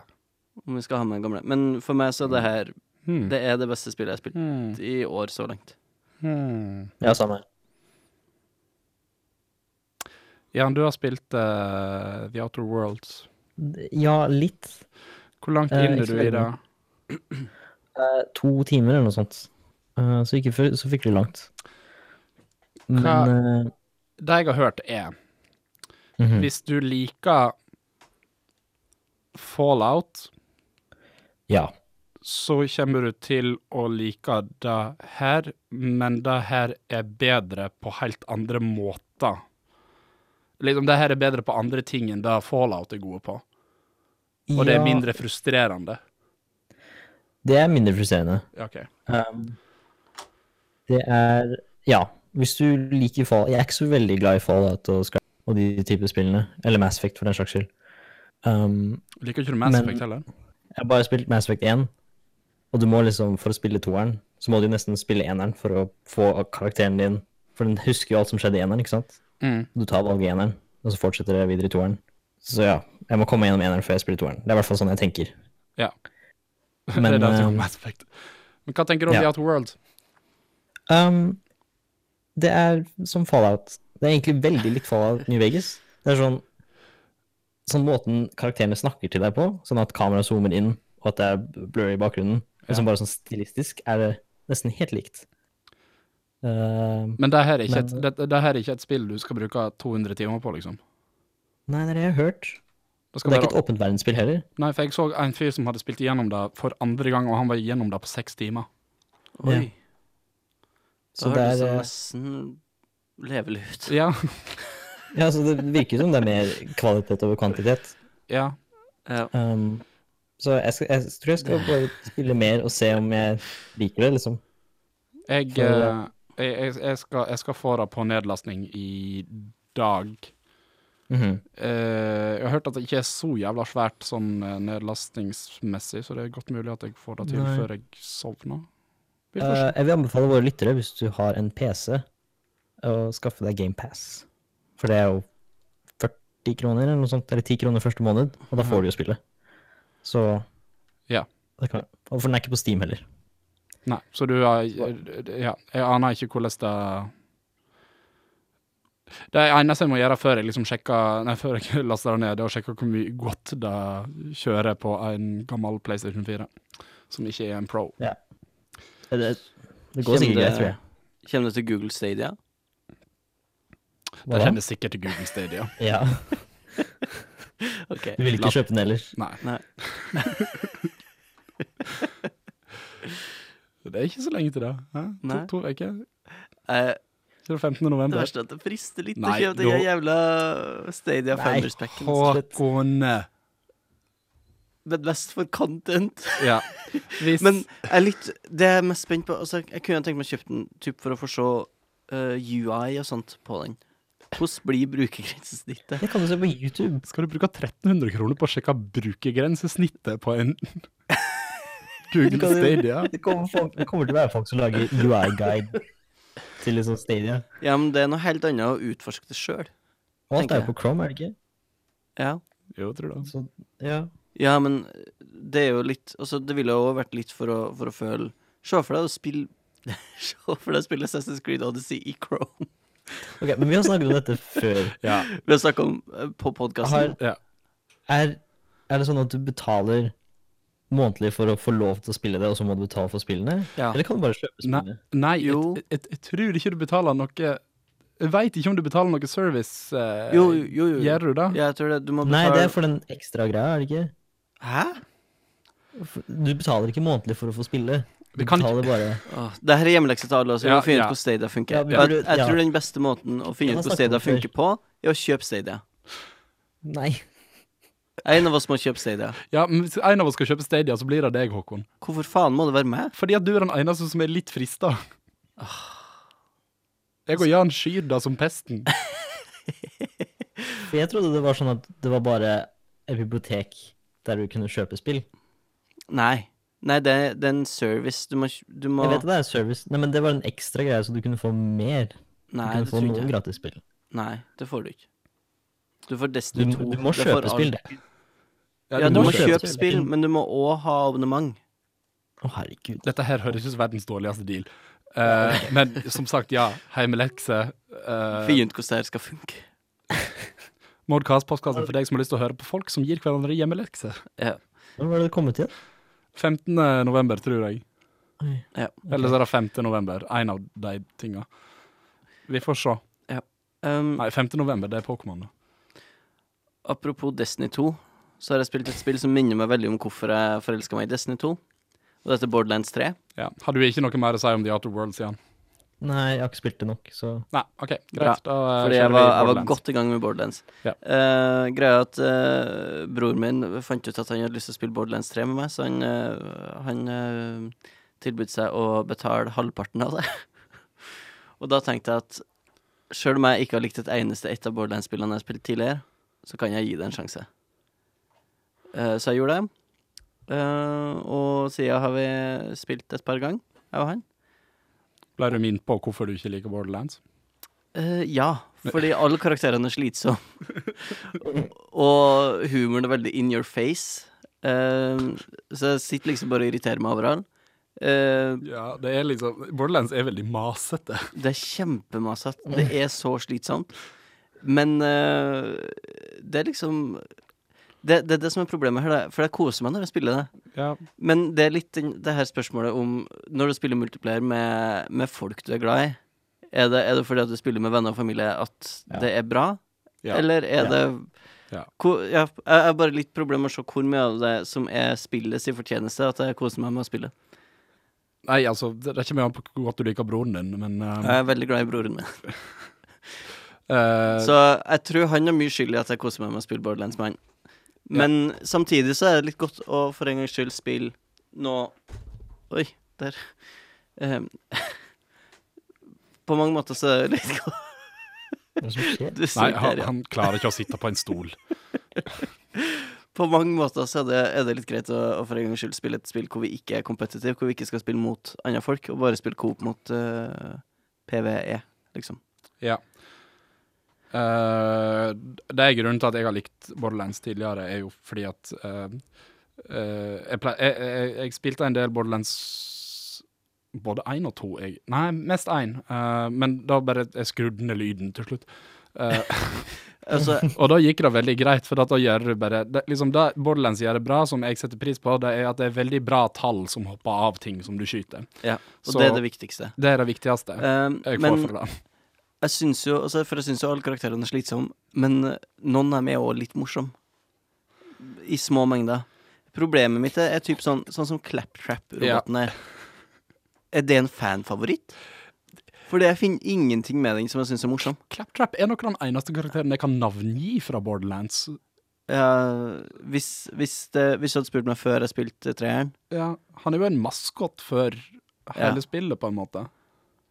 S2: Om vi skal ha med den gamle. Men for meg så er det her
S3: Hmm.
S2: Det er det beste spillet jeg har spilt
S3: Hmm.
S2: i år så langt.
S3: Hmm.
S1: Ja, samme.
S3: Jan, du har spilt eh, The Outer Worlds.
S1: Ja, litt.
S3: Hvor langt
S1: Eh,
S3: inn
S1: ikke
S3: er du i
S1: veldig.
S3: det?
S1: Eh, to timer eller noe sånt. Eh, så ikke før, så fryktelig langt. Men eh,
S3: Det jeg har hørt, er
S1: Hmm. mhm.
S3: hvis du liker Fallout,
S1: Ja.
S3: så kommer du til å like det her, men det her er bedre på helt andre måter. Liksom, det her er bedre på andre ting enn det Fallout er gode på, og det
S1: Ja,
S3: er mindre frustrerende.
S1: Det er mindre frustrerende.
S3: Ja, ok.
S1: Um, det er Ja, hvis du liker fall Jeg er ikke så veldig glad i Fallout og Sky og de type spillene. Eller Mass Effect, for den saks skyld. Um,
S3: Liker ikke du Mass
S1: Men-
S3: Effect heller?
S1: jeg har bare spilt Mass Effect 1, og du må liksom, for å spille toeren, så må du nesten spille eneren for å få karakteren din For den husker jo alt som skjedde i eneren, ikke sant? Du tar valget i eneren, og så fortsetter det videre i toeren. Så ja, jeg må komme gjennom eneren før jeg spiller toeren. Det er i hvert fall sånn jeg tenker.
S3: Ja. det
S1: Men,
S3: er det som
S1: eh,
S3: er Mass Effect. Men hva tenker du om
S1: ja.
S3: The Outer World?
S1: Um, det er som Fallout. Det er egentlig veldig likt Fallout New Vegas. Det er sånn, sånn måten karakterene snakker til deg på, sånn at kameraet zoomer inn, og at det er blurry i bakgrunnen. Liksom bare sånn stilistisk er det nesten helt likt. Um,
S3: Men det her er ikke,
S1: Men-
S3: et, det, det her er ikke et spill du skal bruke 200 timer på, liksom.
S1: nei, det er det jeg har hørt.
S3: Det skal
S1: Det er
S3: være,
S1: ikke et åpent verdensspill heller.
S3: nei, for jeg så en fyr som hadde spilt igjennom det for andre gang, og han var igjennom det på seks timer.
S2: Oi.
S1: Ja.
S2: Da
S1: Så det
S2: høres det
S1: er, eh,
S2: nesten levelig ut.
S3: Ja,
S1: ja, så det virker som det er mer kvalitet over kvantitet.
S3: ja.
S2: Ja.
S1: Um, så jeg, skal, jeg tror jeg skal bare spille mer og se om jeg liker det, liksom.
S3: Jeg,
S1: For-
S3: eh, jeg, jeg, jeg, skal, jeg skal få det på nedlastning i dag.
S1: Mhm.
S3: Eh, jeg har hørt at det ikke er så jævla svært sånn eh, nedlastningsmessig, så det er godt mulig at jeg får det til
S1: Nei.
S3: før jeg sovner. Vi får se.
S1: Eh, jeg vil anbefale våre lyttere, hvis du har en PC, å skaffe deg GamePass. For det er jo 40 kroner eller noe sånt, eller 10 kroner første måned, og da får du jo spillet. Så
S3: Mhm. Ja.
S1: det kan, Og for den er ikke på Steam heller.
S3: Nei, så du har eh, Ja, jeg aner ikke hvordan det Det eneste jeg må gjøre før jeg liksom sjekker Nei, før jeg laster det ned, det er å sjekke hvor mye godt det kjører på en gammel PlayStation 4, som ikke er en Pro.
S1: Det, det, det går sikkert greit, tror jeg.
S2: Kommer det til Google Stadia?
S1: Hva
S3: Det
S1: da?
S3: kjennes sikkert til Google Stadia.
S1: Ja,
S2: Ok.
S1: Du vil ikke kjøpe den ellers.
S3: Nei.
S2: Nei.
S3: det er ikke så lenge til det. Hæ?
S2: Nei.
S3: To, to uker?
S2: Eh,
S3: Til det 15.
S2: det
S3: november.
S2: verste er at det frister litt
S3: Nei,
S2: å kjøpe den
S3: nå-
S2: jævla Stadia
S1: Nei,
S2: Founders-packen. Men mest for content.
S3: Ja. Hvis
S2: Men jeg er litt Det jeg er mest spent på altså, Jeg kunne tenkt meg å kjøpe den typ, for å få se eh, UI og sånt på den. Hvordan blir brukergrensesnittet?
S1: Det kan du se på YouTube.
S3: Skal du bruke 1300 kroner på å sjekke brukergrensesnittet på en
S1: Kan
S3: Google
S1: du-
S3: Stadia?
S1: Det kommer, folk, det kommer til å være folk som lager UI-guide til liksom Stadia.
S2: Ja, men det er noe helt annet å utforske det sjøl.
S1: Og alt
S2: Tenker
S1: er jo på Chrome, er det ikke?
S2: Ja.
S3: Jo, tror det.
S1: Så, ja.
S2: Ja, men det er jo litt Altså, det ville jo vært litt for å, for å føle Se for deg å spille Se for deg å spille Assassin's Creed Odyssey i Chrome.
S1: Ok, Men vi har snakket om dette før.
S3: Ja.
S2: Vi har snakket om eh, på podkasten.
S1: Har,
S3: ja.
S1: er, er det sånn at du betaler månedlig for å få lov til å spille det, og så må du betale for spillene?
S2: Ja.
S1: Eller kan du bare kjøpe
S3: Nei,
S1: spillene?
S3: nei jeg,
S2: Jo.
S3: jeg, jeg tror ikke du betaler noe Jeg veit ikke om du betaler noe service. eh,
S2: Jo, jo, jo. jo.
S3: Gjør du det?
S2: Ja, jeg tror det. Du må
S1: Nei,
S2: betale
S1: det er for den ekstra greia, er det ikke?
S2: Hæ?
S1: For- Du betaler ikke månedlig for å få spille. Du
S3: Vi kan ikke-
S1: betaler bare
S2: Åh, Ah, det her er hjemmelekse til alle, så vi
S3: Ja,
S2: må finne
S3: ja.
S2: ut hvordan Stadia funker.
S1: Ja, vi
S2: Og jeg,
S1: burde-
S2: jeg
S1: ja.
S2: tror den beste måten å finne
S1: Ja, da
S2: ut
S1: snakker vi
S2: hvordan Stadia
S1: om før.
S2: funker på, er å kjøpe Stadia.
S1: Nei.
S2: En av oss må kjøpe Stadia.
S3: Ja, men Hvis en av oss skal kjøpe Stadia, så blir det deg, Håkon.
S2: Hvorfor faen må det være meg?
S3: Fordi at du er den eneste som er litt frista.
S2: Ah.
S3: Jeg og Jan skyr det som pesten.
S1: For jeg trodde det var sånn at det var bare et bibliotek der du kunne kjøpe spill.
S2: Nei. Nei, det, det er en service. Du må, kj- du må
S1: Jeg vet at det er service, nei, men det var en ekstra greie, så du kunne få mer. Du
S2: Nei,
S1: kunne
S2: det
S1: få
S2: tror jeg
S1: noen
S2: ikke.
S1: gratisspill.
S2: Nei, det får du ikke. Du får
S1: Du,
S2: Destiny 2.
S1: du må
S2: det får
S1: kjøpe
S2: alt.
S1: spill, det.
S2: Ja, du må
S1: må kjøpe
S2: kjøpe spill, men du må òg ha abonnement.
S1: Å, herregud.
S3: Dette her høres ut som verdens dårligste deal. Eh, men som sagt, ja. Heimelekse. Uh,
S2: Fint hvordan det her skal funke.
S3: Modcast-postkassen for deg som har lyst til å høre på folk som gir hverandre hjemmelekse.
S2: Ja.
S1: Når var det det kom ut igjen?
S3: 15. november, tror jeg.
S1: Oi.
S2: Ja.
S3: Eller så er det 5. november. En av de tinga. Vi får se.
S2: Um,
S3: Nei, 5. november, det er Pokémon. da.
S2: apropos Destiny 2, så har jeg spilt et spill som minner meg veldig om hvorfor jeg forelska meg i Destiny 2. Og dette er Borderlands 3.
S3: Ja. Har du ikke noe mer å si om The Outer Worlds igjen?
S1: Nei, jeg har ikke spilt det nok, så
S3: Nei, OK,
S2: Bra.
S3: greit. Da eh,
S2: Fordi
S3: kjører
S2: jeg
S3: vi
S2: var, jeg var
S3: Borderlands.
S2: godt i gang med Borderlands.
S3: Ja.
S2: Eh, greia er at eh, broren min fant ut at han hadde lyst til å spille Borderlands 3 med meg, så han, eh, han eh, tilbød seg å betale halvparten av det. Og da tenkte jeg at sjøl om jeg ikke har likt et eneste ett av Borderlands-spillene jeg har spilt tidligere, så kan jeg gi det en sjanse. Eh, så jeg gjorde det. Eh, og siden har vi spilt et par ganger, jeg og han.
S3: Ble du minnet på hvorfor du ikke liker Borderlands?
S2: Eh, ja, fordi alle karakterene er slitsomme. og humoren er veldig in your face. Eh, så jeg sitter liksom bare og irriterer meg over han. Eh,
S3: Ja, det er liksom Borderlands er veldig masete.
S2: det er kjempemasete. Det er så slitsomt. Men eh, det er liksom det, det er det som er problemet her, da, for jeg koser meg når jeg spiller det.
S3: Ja.
S2: Men det er litt den- det her spørsmålet om Når du spiller multiplayer med, med folk du er glad i, er det, er det fordi at du spiller med venner og familie at
S1: Ja.
S2: det er bra?
S3: Ja.
S2: Eller
S1: Ja.
S2: er det
S3: Ja.
S2: Hvor, ja, Jeg har bare litt problemer med å se hvor mye av det som er spillet sin fortjeneste, at jeg koser meg med å spille.
S3: Nei, altså, det er ikke mye an på hvor godt du liker broren din, men eh,
S2: Jeg er veldig glad i broren min.
S3: eh,
S2: Så jeg tror han har mye skyld i at jeg koser meg med å spille Borderlands med han. Men samtidig så er det litt godt å for en gangs skyld spille noe Oi, der. Ehm, på mange måter så er det litt godt
S1: hva som skjer?
S2: du
S3: Nei,
S2: sitter
S3: han,
S2: her, ja.
S3: han klarer ikke å sitte på en stol.
S2: På mange måter så er det, er det litt greit å, å for en gangs skyld spille et spill hvor vi ikke er kompetitive, hvor vi ikke skal spille mot andre folk, og bare spille coop mot eh, PVE, liksom.
S3: Ja. Eh, det er grunnen til at jeg har likt Borderlands tidligere, er jo fordi at eh, eh, jeg, ple- jeg, jeg, jeg spilte en del Borderlands både én og to, jeg. Nei, mest én. eh, men da bare jeg skrudde ned lyden til slutt. Eh,
S2: Altså,
S3: og da gikk det veldig greit, for at da gjør du bare det, liksom det Borderlands gjør det bra, som jeg setter pris på, det er at det er veldig bra tall som hopper av ting som du skyter.
S2: ja, og
S3: Så-
S2: det er det viktigste.
S3: Det er det viktigste
S2: Ehm,
S3: jeg får
S2: men
S3: for det.
S2: jeg syns jo altså, For jeg syns jo alle karakterene er slitsomme, men eh, noen av dem er òg litt morsomme. I små mengder. Problemet mitt er, er typ sånn, sånn som Claptrap-roboten er. Er det en fanfavoritt? Fordi jeg finner ingenting med den som jeg syns er morsom.
S3: Claptrap er nok den eneste karakteren jeg kan navngi fra Borderlands.
S2: Ja, Eh, hvis, hvis, det, hvis du hadde spurt meg før jeg spilte treeren
S3: Ja, han er jo en maskot for hele
S2: Ja.
S3: spillet, på en måte.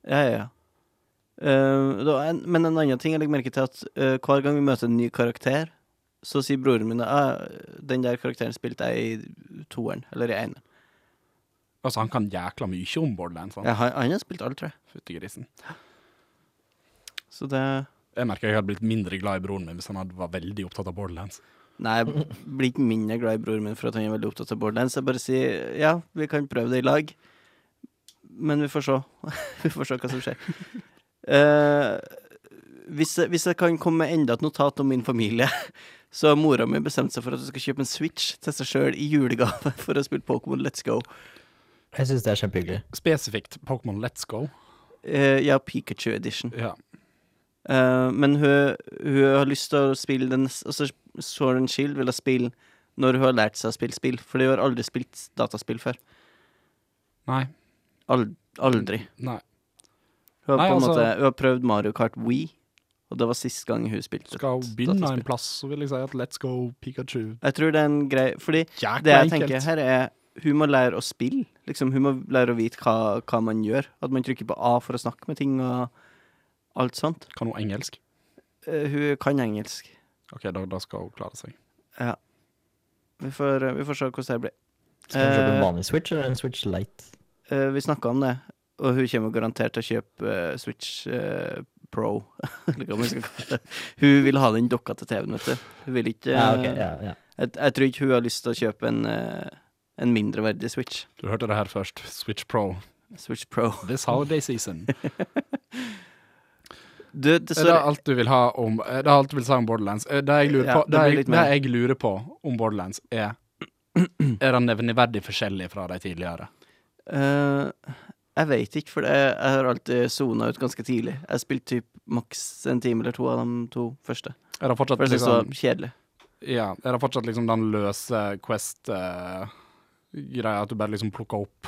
S2: Ja, ja, ja. Eh, da, en, men en annen ting jeg legger merke til, at eh, hver gang vi møter en ny karakter, så sier broren min at den der karakteren spilte jeg i toeren, eller i eneren.
S3: Altså, han kan jækla mye om Borderlands, han.
S2: Ja, han, han har spilt alt, tror jeg.
S3: Fytti grisen.
S2: Så det
S3: Jeg merker jeg hadde blitt mindre glad i broren min hvis han hadde var veldig opptatt av Borderlands.
S2: Nei, jeg blir ikke mindre glad i broren min for at han er veldig opptatt av borderlands. Jeg bare sier ja, vi kan prøve det i lag, men vi får se. vi får se hva som skjer. Eh, hvis, jeg, hvis jeg kan komme med enda et notat om min familie, så har mora mi bestemt seg for at hun skal kjøpe en Switch til seg sjøl i julegave for å spille Pokémon Let's Go.
S1: Jeg syns det er kjempehyggelig.
S3: Spesifikt Pokémon Let's Go.
S2: Eh, ja, Pikachu Edition.
S3: Ja.
S2: Eh, men hun, hun har lyst til å spille den altså Sword and Shield vil hun spille når hun har lært seg å spille spill, for hun har aldri spilt dataspill før.
S3: Nei.
S2: Ald aldri.
S3: Nei.
S2: Hun har,
S3: Nei,
S2: på en
S3: altså-
S2: måte, hun har prøvd Mario Kart Wii, og det var sist gang hun spilte. et
S3: Skal begynne
S2: dataspill.
S3: en plass, så vil jeg si at Let's Go Pikachu
S2: Jeg tror det er en grei Fordi
S3: Jækla
S2: det jeg
S3: enkelt.
S2: tenker her, er hun må lære å spille. Liksom, hun må lære å vite hva, hva man gjør. At man trykker på A for å snakke med ting og alt sånt.
S3: Kan hun engelsk?
S2: Eh, hun kan engelsk.
S3: OK, da, da skal hun klare seg.
S2: Vi får, eh, vi får se hvordan det blir.
S1: Skal vi kjøpe
S2: Eh,
S1: en vanlig Switch eller en Switch Lite?
S2: Eh, vi snakka om det, og hun kommer garantert til å kjøpe eh, Switch eh, Pro. Eller hva man skal kalle det. Hun vil ha den dokka til TV-en, vet du. Hun vil ikke
S1: Ja, Ah, ok,
S2: eh,
S1: ja, ja.
S2: jeg, jeg tror ikke hun har lyst til å kjøpe en, eh, en mindreverdig Switch.
S3: Du hørte det her først. Switch Pro
S2: Switch Pro.
S3: this holiday season.
S2: Du,
S3: Er det
S2: dessverre.
S3: alt du vil ha om er Det er alt du vil si om Borderlands. Er Det jeg lurer
S2: Ja,
S3: på,
S2: det
S3: det
S2: blir
S3: jeg,
S2: litt
S3: det
S2: mer.
S3: jeg lurer på om Borderlands, er Er den nevneverdig forskjellig fra de tidligere?
S2: Eh, jeg veit ikke, for jeg, jeg har alltid sona ut ganske tidlig. Jeg spilte typ maks en time eller to av de to første.
S3: Er det fortsatt,
S2: For jeg syntes det
S3: liksom,
S2: var kjedelig.
S3: ja, er det fortsatt liksom den løse Quest-greia, at du bare liksom plukker opp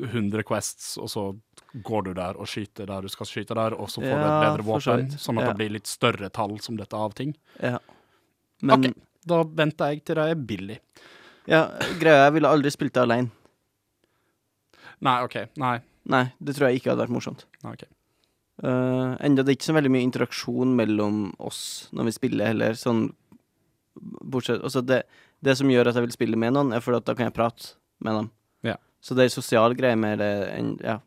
S3: 100 Quests, og så går du der og skyter der du skal skyte der, og så får du
S2: Ja,
S3: et bedre
S2: for så
S3: våpen,
S2: vidt.
S3: sånn at
S2: Ja.
S3: det blir litt større tall som dette av ting?
S2: Ja. Men
S3: Ok. Da venter jeg til det er billig.
S2: ja, greia er, jeg ville aldri spilt det aleine.
S3: Nei, OK. Nei.
S2: Nei, det tror jeg ikke hadde vært morsomt.
S3: Nei, ok.
S2: Eh, enda det er ikke så veldig mye interaksjon mellom oss når vi spiller, heller. Sånn bortsett Altså, det, det som gjør at jeg vil spille med noen, er fordi at da kan jeg prate med dem.
S3: Ja.
S2: Så det er en sosial greie mer det enn Ja.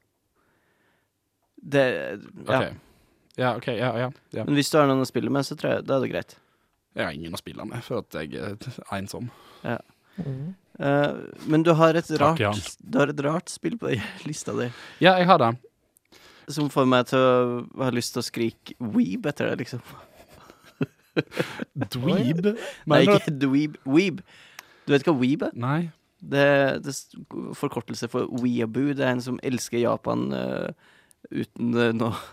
S2: Det Ja.
S3: Ok. Ja, OK. Ja, ja. ja.
S2: Men hvis du har noen å spille med, så tror jeg da er det greit.
S3: Jeg har ingen å spille med, for at jeg er ensom.
S2: Eh, men du har, et rart,
S3: Jan.
S2: du har et rart spill på lista di
S3: Ja, jeg har det.
S2: som får meg til å ha lyst til å skrike weeb etter deg, liksom.
S3: Dweeb?
S2: Nei,
S3: Mener du at-
S2: ikke dweeb. Weeb. Du vet hva weeb er?
S3: Nei.
S2: Det, det s- forkortelse for weeaboo. Det er en som elsker Japan eh, uten eh, noe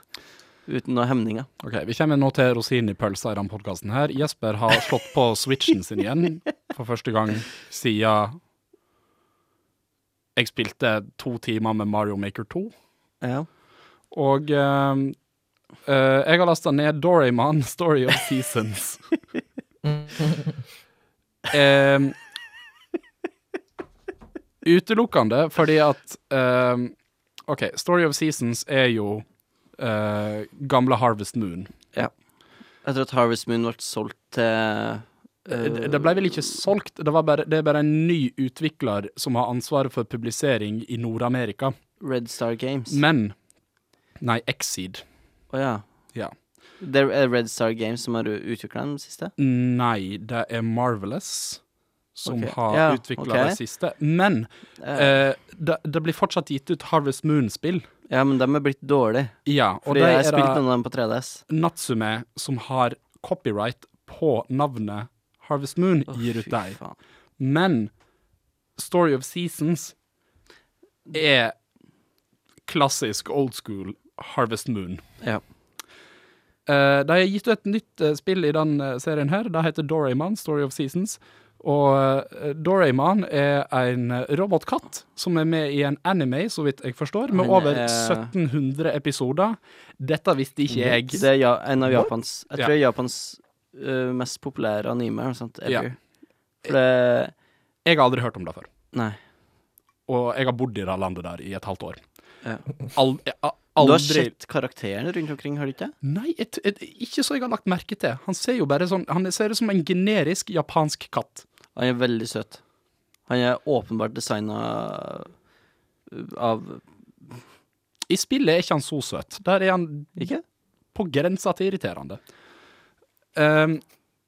S2: Uten noe hemninger.
S3: Ok, Vi kommer nå til rosinen i pølsa i denne podkasten. Jesper har slått på switchen sin igjen for første gang siden jeg spilte to timer med Mario Maker 2.
S2: Ja.
S3: Og ehm, eh, jeg har lasta ned Doraemon Story of Seasons. Ehm, utelukkende fordi at ehm, OK, Story of Seasons er jo eh, gamle Harvest Moon.
S2: Etter at Harvest Moon ble solgt til Eh,
S3: Det det ble vel ikke solgt, det, var bare, det er bare en ny utvikler som har ansvaret for publisering i Nord-Amerika.
S2: Red Star Games. Å
S3: Men Nei, Exceed.
S2: ja.
S3: Ja.
S2: Det er Red Star Games som har utvikla den siste?
S3: Nei, det er Marvelous som
S2: Ok,
S3: har
S2: ja,
S3: utvikla
S2: ok.
S3: det siste. Men
S2: Eh,
S3: eh, det, det blir fortsatt gitt ut Harvest Moon-spill.
S2: ja, men de er blitt dårlige.
S3: Ja, og
S2: Fordi
S3: det
S2: jeg har
S3: er
S2: spilt
S3: det
S2: noen av dem på 3DS.
S3: Natsume som har copyright på navnet Harvest Moon,
S2: Å,
S3: gir
S2: fy
S3: ut deg.
S2: faen.
S3: Men Story of Seasons er klassisk old school Harvest Moon.
S2: Ja.
S3: Eh, de har gitt ut et nytt eh, spill i den eh, serien her. Det heter Doraemon, Story of Seasons. Og eh, Doraemon er en eh, robotkatt som er med i en anime, så vidt jeg forstår, med
S2: Han
S3: over
S2: er-
S3: 1700 episoder. Dette visste ikke jeg.
S2: Det er ja, en av Japans Jeg
S3: Ja.
S2: tror det er Japans eh, mest populære anime. eller noe sånt,
S3: Ja.
S2: ever. For det
S3: Jeg har aldri hørt om det før.
S2: Nei.
S3: Og jeg har bodd i det landet der i et halvt år.
S2: Ja.
S3: Al- jeg har
S2: Du har
S3: aldri
S2: sett karakterene rundt omkring, har du ikke?
S3: Nei, et, et, ikke så jeg har lagt merke til. Han ser jo bare sånn Han ser ut som en generisk japansk katt.
S2: Han er veldig søt. Han er åpenbart designa av
S3: I spillet er ikke han så søt. Der er han
S2: Ikke?
S3: på grensa til irriterende. Ehm,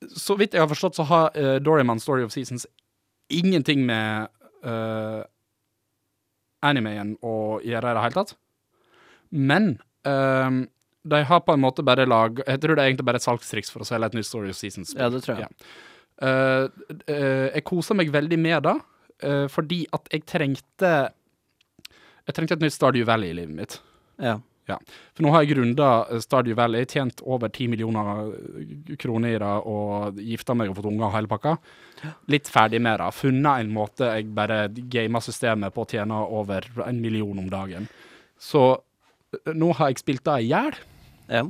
S3: så vidt jeg har forstått, så har uh, Doryman Story of Seasons ingenting med eh, animeen å gjøre i det hele tatt. Men eh, de har på en måte bare lag Jeg tror det er egentlig bare et salgstriks for å selge et nytt Story of Seasons.
S2: Ja, det tror jeg.
S3: Eh, eh, jeg koser meg veldig med det, eh, fordi at jeg trengte Jeg trengte et nytt Stardew Valley i livet mitt.
S2: Ja.
S3: For nå har jeg grunda eh, Stardew Valley, tjent over 10 millioner eh, kroner i det og gifta meg og fått unger og hele pakka. Litt ferdig med det. Funnet en måte jeg bare gamer systemet på å tjene over en million om dagen. Så eh, nå har jeg spilt det i hjel,
S2: ja.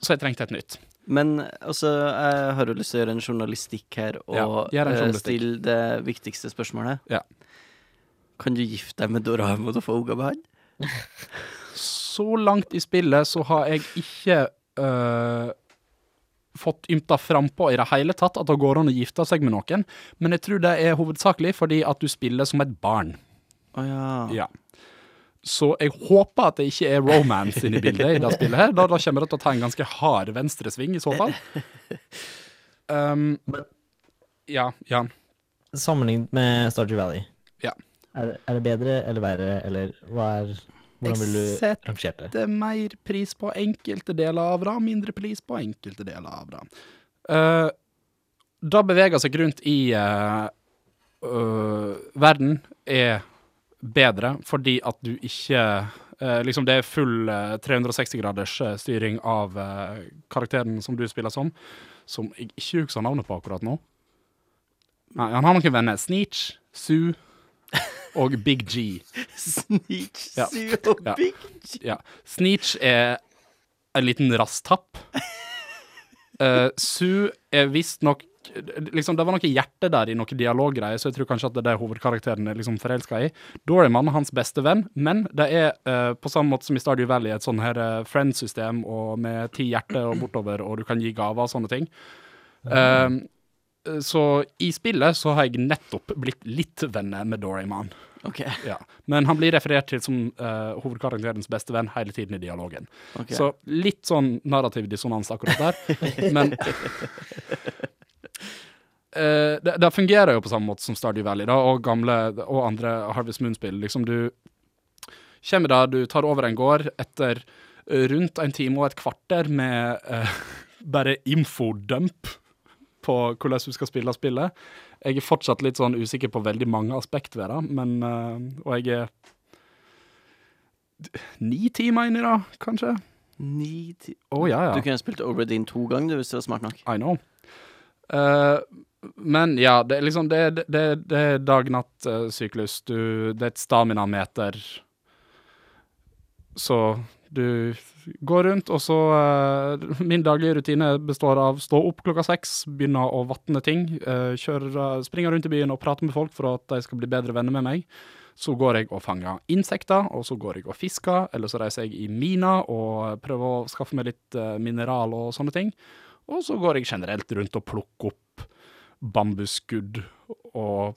S3: så jeg trengte et nytt.
S2: Men altså, jeg har jo lyst til å gjøre en journalistikk her og
S3: Ja, gjør en
S2: eh,
S3: journalistikk.
S2: stille det viktigste spørsmålet.
S3: Ja.
S2: Kan du gifte deg med Doramo og få unger med han?
S3: Så langt i spillet så har jeg ikke øh, fått ymta frampå i det hele tatt at det går an å gifte seg med noen, men jeg tror det er hovedsakelig fordi at du spiller som et barn.
S2: Å ja.
S3: Ja. Så jeg håper at det ikke er romance inne i bildet i det spillet her. Da, da kommer det til å ta en ganske hard venstresving i så fall. Um, ja, ja.
S1: Sammenlignet med Stardew Valley,
S3: Ja.
S1: er, det- er det bedre eller verre, eller hva er Hvordan vil du
S3: Except-
S1: rangere det?
S3: Det er mer pris på enkelte deler av det, mindre pris på enkelte deler av det. Eh, det beveger seg rundt i eh, øh, Verden er bedre fordi at du ikke eh, Liksom, det er full 360-graders styring av eh, karakteren som du spiller som, som jeg ikke husker navnet på akkurat nå. Nei, han har noen venner. Sneech, Sue og Big G.
S2: Sneech,
S3: Ja.
S2: Sue og
S3: Ja.
S2: Big G.
S3: Ja. Sneech er en liten rasstapp. Uh, Sue er visstnok liksom, Det var noe hjerte der i noe dialoggreier, så jeg tror kanskje at det er det hovedkarakteren er liksom forelska i. Doryman er hans beste venn, men det er eh, på samme måte som i Stardew Valley et sånn her eh, friend-system og med ti hjerter og bortover, og du kan gi gaver og sånne ting. Eh, så i spillet så har jeg nettopp blitt litt venner med Doryman.
S2: Ok.
S3: Ja. Men han blir referert til som eh, hovedkarakterens beste venn hele tiden i dialogen.
S2: ok.
S3: Så litt sånn narrativ dissonans akkurat der, men Eh, det, det fungerer jo på samme måte som Stardew Valley da, og gamle og andre Harvest Moon-spill. Liksom du kommer da, du tar over en gård etter eh, rundt en time og et kvarter med eh, bare infodump på hvordan du skal spille spillet. Jeg er fortsatt litt sånn usikker på veldig mange aspekt ved det, men eh, Og jeg er d- ni timer inn i det, kanskje?
S2: Ni ti...
S3: Å ja, ja.
S2: Du kunne ha spilt Obradin to ganger du, hvis du var smart nok.
S3: I know. Eh, men ja, det er liksom Det, det- det, det er dag-natt-syklus. Du Det er et staminameter. Så du går rundt, og så eh, Min daglige rutine består av stå opp klokka seks, begynne å vatne ting, eh, kjøre, springe rundt i byen og prate med folk for at de skal bli bedre venner med meg. Så går jeg og fanger insekter, og så går jeg og fisker, eller så reiser jeg i mina og prøver å skaffe meg litt eh, mineral og sånne ting. Og så går jeg generelt rundt og plukker opp bambusskudd og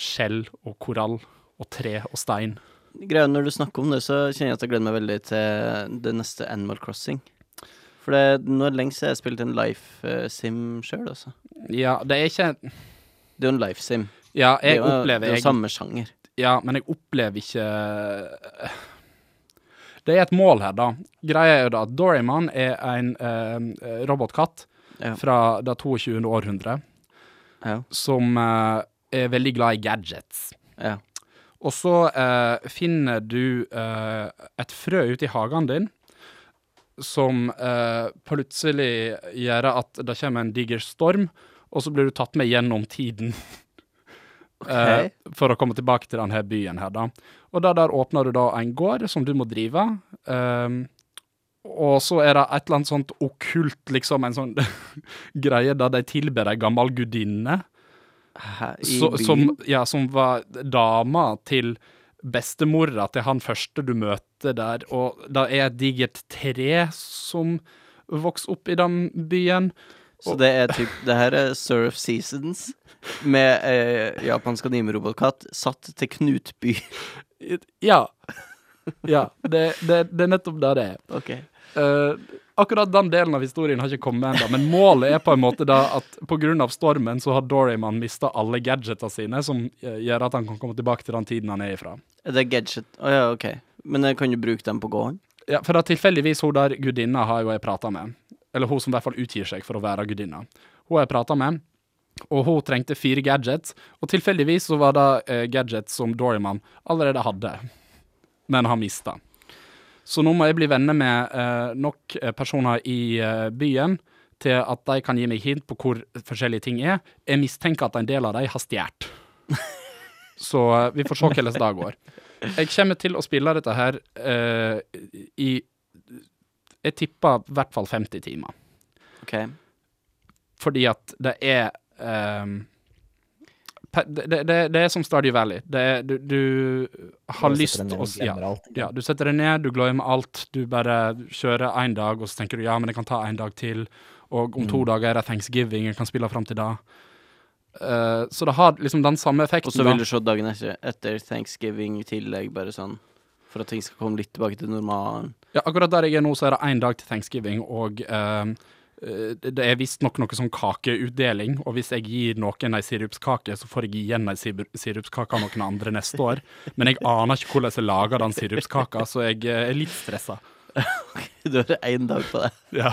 S3: skjell og korall og tre og stein.
S2: Greia, når du snakker om det, så kjenner jeg at jeg gleder meg veldig til det neste Animal Crossing. For det, nå er det lenge siden jeg har spilt en life eh, sim sjøl, altså.
S3: Ja, det er ikke
S2: Det er jo en life sim.
S3: Ja, jeg
S2: det er jo, det
S3: opplever
S2: er jo
S3: jeg,
S2: samme sjanger.
S3: Ja, men jeg opplever ikke eh, Det er et mål her, da. Greia er jo da at Doryman er en eh, robotkatt
S2: Ja.
S3: fra det 22. århundret
S2: Ja.
S3: som eh, er veldig glad i gadgets.
S2: ja.
S3: Og så eh, finner du eh, et frø ute i hagen din som eh, plutselig gjør at det kommer en diger storm, og så blir du tatt med gjennom tiden. eh, for å komme tilbake til denne byen her, da. Og da der åpner du da en gård som du må drive. ehm, og så er det et eller annet sånt okkult, liksom, en sånn greie der de tilber ei gammel gudinne.
S2: Hæ? I
S3: Så,
S2: byen?
S3: som, ja, som var dama til bestemora til han første du møter der, og det er et digert tre som vokser opp i den byen.
S2: Så det er typ Det her er Surf Seasons med eh, japansk anime-robotkatt satt til Knutby.
S3: Ja. Ja, det, det, det er nettopp det det er.
S2: OK.
S3: Eh, akkurat den delen av historien har ikke kommet ennå, men målet er på en måte da at pga. stormen så har Doryman mista alle gadgetene sine, som eh, gjør at han kan komme tilbake til den tiden han er ifra.
S2: Er det gadget Å ja, OK. Men jeg kan jo bruke dem på gården?
S3: Ja, for da tilfeldigvis hun der gudinna har jo jeg prata med. Eller hun som i hvert fall utgir seg for å være gudinna. Hun har jeg prata med, og hun trengte fire gadgets. Og tilfeldigvis så var det eh, gadgets som Doryman allerede hadde, men har mista. Så nå må jeg bli venner med eh, nok eh, personer i eh, byen til at de kan gi meg hint på hvor forskjellige ting er. Jeg mistenker at en del av dem har stjålet. Så eh, vi får se hvordan det går. Jeg kommer til å spille dette her eh, i Jeg tipper i hvert fall 50 timer.
S2: OK.
S3: Fordi at det er ehm, pe- det, det, det er som Stardew Valley. Det er, du, du har
S1: Bare
S3: lyst
S1: setter
S3: til
S1: den ned og
S3: å ja,
S1: glemmer alt, ikke
S3: ja, du setter deg ned, du glemmer alt. Du bare kjører én dag, og så tenker du ja, men jeg kan ta en dag til. Og om to dager er det thanksgiving, jeg kan spille fram til da. Eh, så det har liksom den samme effekten.
S2: Og så
S3: da.
S2: vil du se dagen etter, etter thanksgiving i tillegg, bare sånn for at ting skal komme litt tilbake til normalen.
S3: Ja, akkurat der jeg er nå, så er det én dag til thanksgiving, og eh, eh, det er visstnok noe sånn kakeutdeling. Og hvis jeg gir noen ei sirupskake, så får jeg igjen ei sir- sirupskake av noen andre neste år. Men jeg aner ikke hvordan jeg lager den sirupskaka, så jeg eh, er litt stressa.
S2: Du har én dag på deg.
S3: Ja.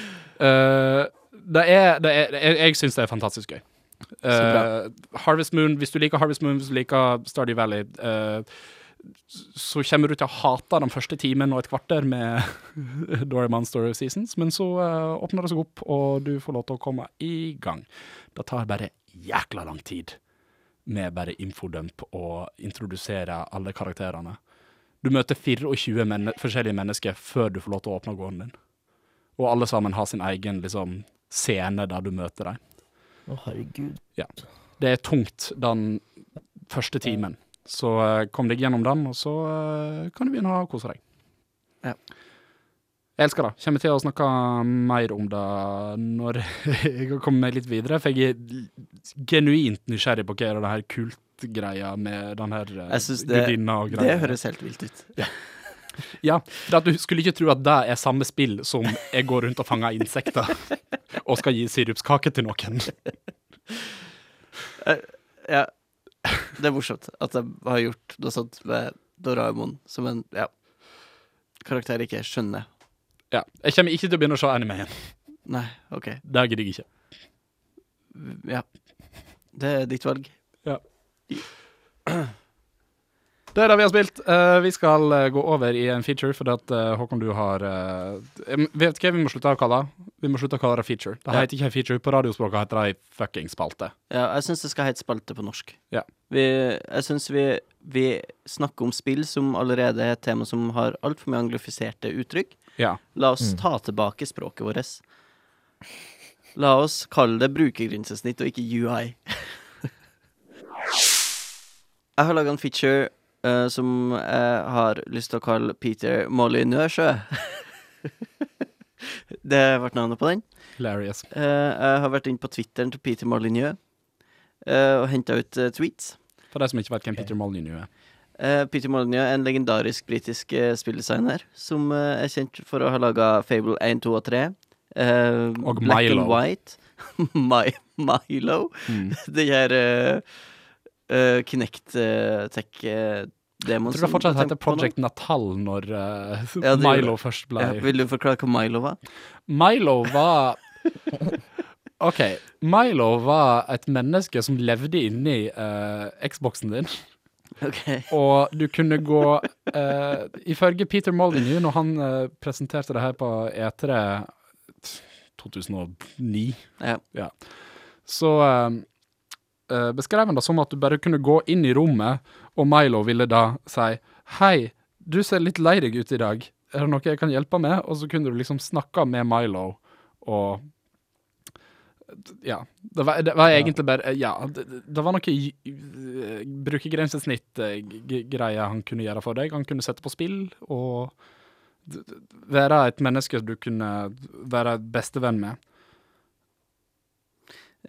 S3: Eh, det er, det er, jeg jeg syns det er fantastisk gøy.
S2: bra.
S3: Eh, Harvest Moon, Hvis du liker Harvest Moon, hvis du liker Stardew Valley, eh, så kommer du til å hate den første timen og et kvarter med Doryman Story of Seasons, men så eh, åpner det seg opp, og du får lov til å komme i gang. Det tar bare jækla lang tid med bare infodump og introdusere alle karakterene. Du møter 24 menne forskjellige mennesker før du får lov til å åpne gården din. Og alle sammen har sin egen liksom, scene der du møter dem.
S1: Å, herregud.
S3: Det er tungt den første timen. Så eh, kom deg gjennom den, og så eh, kan du begynne å kose deg.
S2: Ja.
S3: Jeg elsker det. Kommer til å snakke mer om det når jeg har kommet meg litt videre, for jeg er genuint nysgjerrig på hva er det her kultgreia med den her eh,
S2: Jeg synes det-
S3: gudinna og
S2: Det
S3: greia.
S2: høres helt vilt ut.
S3: Ja, for at du skulle ikke tro at det er samme spill som jeg går rundt og fanger insekter og skal gi sirupskake til noen.
S2: Ja. Det er morsomt at jeg har gjort noe sånt med Doraemon som en ja, karakter jeg ikke skjønner.
S3: Ja, Jeg kommer ikke til å begynne å se anime igjen.
S2: Nei, OK.
S3: Det gidder jeg ikke.
S2: Ja. Det er ditt valg.
S3: Det er det vi har spilt. Eh, vi skal eh, gå over i en feature, fordi at eh, Håkon, du har eh, em, Vet du hva vi må slutte å kalle det? Vi må slutte å kalle det feature. Det
S2: Ja.
S3: heter ikke feature. På radiospråket heter det ei fucking spalte.
S2: Ja, jeg syns det skal hete spalte på norsk.
S3: Ja.
S2: Vi, jeg syns vi, vi snakker om spill som allerede er et tema som har altfor mye anglifiserte uttrykk.
S3: Ja.
S2: La oss ta tilbake språket vårt. La oss kalle det brukergrensesnitt og ikke UI. Jeg har laga en feature eh, som jeg har lyst til å kalle Peter Molly Nøsjø. det ble navnet på den.
S3: Hilarious.
S2: Eh, jeg har vært inne på Twitteren til Peter Molyneux eh, og henta ut eh, tweets.
S3: For de som ikke vet hvem Peter Molyneux er.
S2: Eh, Peter Molyneux er en legendarisk britisk eh, spilldesigner som eh, er kjent for å ha laga Fable 1, 2 og 3. eh,
S3: Og
S2: Black
S3: Milo.
S2: and White. My, Milo.
S3: Mm.
S2: Det her eh, uh, Kinect-tech-demoen
S3: Jeg tror det fortsatt heter Project Natal når eh,
S2: Ja, det gjør
S3: Milo først ble
S2: ja, Vil du forklare hva Milo var?
S3: Milo var OK. Milo var et menneske som levde inni eh, Xboxen din,
S2: Ok
S3: og du kunne gå eh, Ifølge Peter Molyneux, når han eh, presenterte det her på E E3 2009
S2: Ja.
S3: så eh, eh, beskrev han det som at du bare kunne gå inn i rommet, og Milo ville da si Hei, du ser litt lei deg ut i dag. Er det noe jeg kan hjelpe med? Og så kunne du liksom snakke med Milo og Ja. Det var, det var egentlig bare Ja, det, det var noe i- i- brukergrensesnitt-greia han kunne gjøre for deg. Han kunne sette på spill og d- d- være et menneske du kunne være bestevenn med.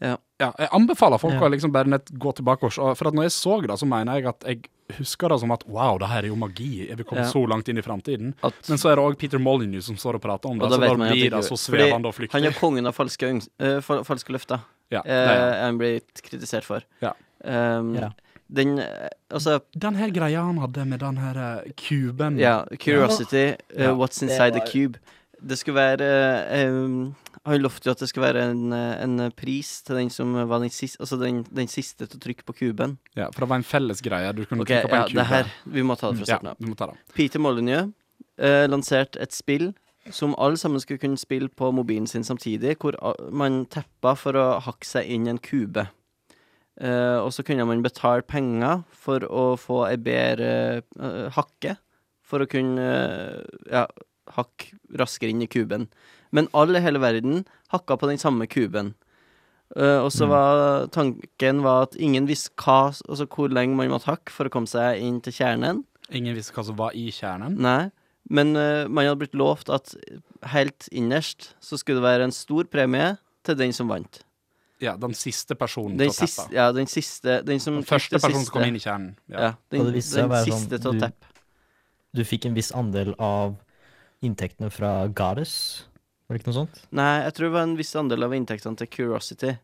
S2: Ja.
S3: Ja, jeg anbefaler folk
S1: Ja.
S3: å liksom bare nett gå tilbake og se. For at når jeg så det, så mener jeg at jeg husker det som at wow, det her er jo magi. Jeg vil komme
S2: Ja.
S3: så langt inn i framtiden.
S2: At,
S3: Men så er det òg Peter Molyneux som står og prater om
S2: Og
S3: det,
S2: da
S3: så
S2: vet
S3: da
S2: man at det
S3: blir
S2: ikke-
S3: det så
S2: fordi
S3: svevende og flyktig.
S2: han er kongen av falske, øns- eh, fal falske løfter.
S3: Ja, det er han.
S2: Eh, han blir kritisert for.
S3: Ja.
S2: Ehm,
S1: Ja.
S2: Den eh, Altså,
S3: den her greia han hadde med den her eh, kuben
S2: ja, Curiosity, eh,
S3: Ja,
S2: What's
S1: det
S2: Inside
S1: var-
S2: the Cube. Det skulle være eh, em, Han lovte jo at det skulle være en, eh, en pris til den som var den siste, altså den, den siste til å trykke på kuben.
S3: Ja, for det var en felles greie. Du kunne
S2: Ok,
S3: trykke på
S2: ja,
S3: en kube.
S2: det her Vi må ta det fra
S3: ja, Mm.
S2: starten av.
S3: du må ta det.
S2: Peter Molyneux eh, lanserte et spill som alle sammen skulle kunne spille på mobilen sin samtidig, hvor a- man teppa for å hakke seg inn i en kube. Eh, og så kunne man betale penger for å få ei bedre eh, hakke, for å kunne eh, ja, hakke raskere inn i kuben. Men alle i hele verden hakka på den samme kuben. Eh, og så
S1: Mm.
S2: var tanken var at ingen visste hva, altså hvor lenge man måtte hakke for å komme seg inn til kjernen.
S3: Ingen visste hva som var i kjernen.
S2: Nei, men eh, man hadde blitt lovt at helt innerst så skulle det være en stor premie til den som vant.
S3: Ja, den siste personen
S2: Den
S3: til å teppe.
S2: siste, ja, den siste Den som
S3: Den første personen som kom inn i kjernen.
S2: Ja,
S3: Ja.
S2: den,
S1: Og det
S2: den
S1: viste seg å være sånn,
S2: siste til å
S1: du-
S2: teppe.
S1: Du fikk en viss andel av inntektene fra Gares, var det ikke noe sånt?
S2: Nei, jeg tror det var en viss andel av inntektene til Curiosity.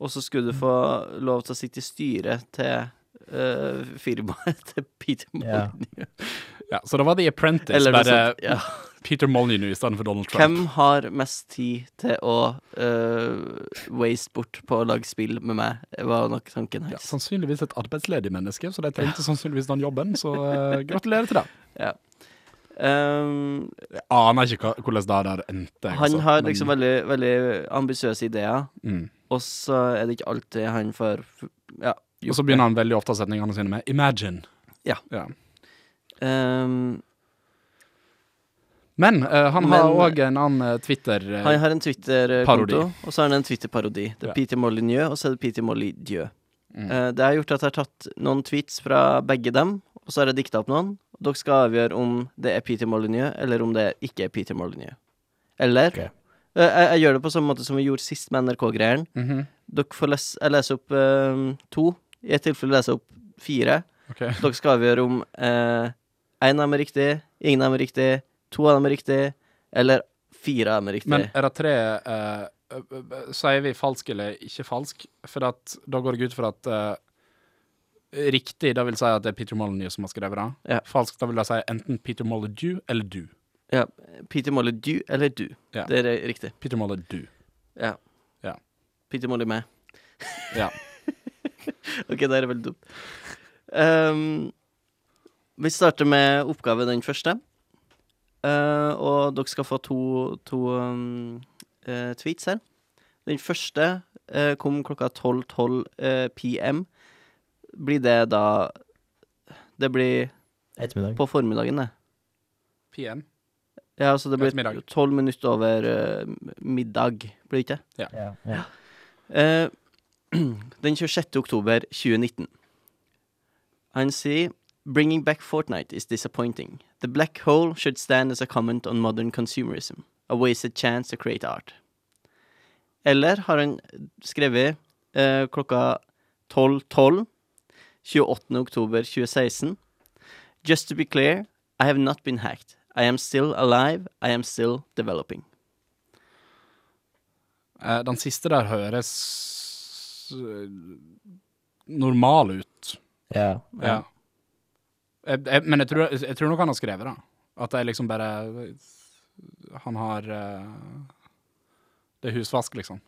S2: Og så skulle du få lov til å sitte i styret til eh, firmaet til Peter
S1: Ja.
S2: Molyneux.
S3: Ja, så det var The Apprentice,
S2: Eller noe
S3: bare
S2: sånt. Ja.
S3: Peter Molyneux istedenfor Donald Trump.
S2: Hvem har mest tid til å eh, waste bort på å lage spill med meg, var nok tanken
S3: Ja,
S2: hans.
S3: sannsynligvis et arbeidsledig menneske, så de trengte sannsynligvis den jobben. Så eh, gratulerer til det.
S2: Ehm,
S3: Jeg aner ikke hva, hvordan det der endte. jeg,
S2: Han
S3: altså,
S2: har
S3: men-
S2: liksom veldig, veldig ambisiøse ideer,
S3: mm.
S2: og så er det ikke alltid han får Ja.
S3: Og så begynner han veldig ofte setningene sine med 'imagine'.
S2: Ja.
S3: ja.
S2: Ehm,
S3: Men eh, han har
S2: Men-
S3: òg en annen eh, Twitter eh,
S2: han har en
S3: Parodi.
S2: Twitter-konto, og så har han en Twitter-parodi. Det er
S3: Ja.
S2: Peter Molyneux, og så er det Peter Molyneux.
S3: Mm.
S2: Eh, det har gjort at jeg har tatt noen tweets fra begge dem, og så har jeg dikta opp noen. Og dere skal avgjøre om det er Peter Molyneux, eller om det ikke er Peter Molyneux. Eller
S1: Ok.
S2: Eh, jeg, jeg gjør det på samme måte som vi gjorde sist med NRK-greieren.
S3: mhm.
S2: Dere får lese, jeg leser opp eh, to. I et tilfelle leser jeg opp fire.
S3: Ok.
S2: Dere skal avgjøre om én av dem er riktig, ingen av dem er riktig, to av dem er riktig, eller fire av dem er riktig.
S3: Men er det tre eh, eh, eh, Sier vi falsk eller ikke falsk? For at, da går jeg ut fra at eh, riktig, det vil si at det er Peter Molyneux som har skrevet det.
S2: Ja.
S3: Falsk, da vil jeg si enten Peter Molyneux eller du.
S2: ja, Peter Molly, du eller du.
S3: Ja.
S2: Det er riktig.
S3: Peter Molyneux.
S2: Ja.
S3: Ja.
S2: Peter Molly meg.
S3: Ja.
S2: OK, det er veldig dumt. Ehm, vi starter med oppgave den første. Eh, og dere skal få to, to um, eh, tweets her. Den første eh, kom klokka 12.12 eh, pm. Blir det da Det blir
S1: Ettermiddag.
S2: på formiddagen, det.
S3: PM.
S2: Ja, altså det blir
S3: Ettermiddag.
S2: tolv minutter over eh, middag, blir det ikke?
S1: Ja, ja.
S2: Eh, den 26. oktober 2019. Han sier Bringing back Fortnite is disappointing. The black hole should stand as a comment on modern consumerism. A wasted chance to create art. Eller har han skrevet eh, klokka 12.12 28. oktober 2016 Just to be clear, I have not been hacked. I am still alive. I am still developing.
S3: Eh, den siste der høres eh, normal ut.
S1: ja.
S3: Ja. Jeg, jeg, men jeg tror, jeg tror nok han har skrevet det. At det er liksom bare Han har eh, Det er husvask, liksom.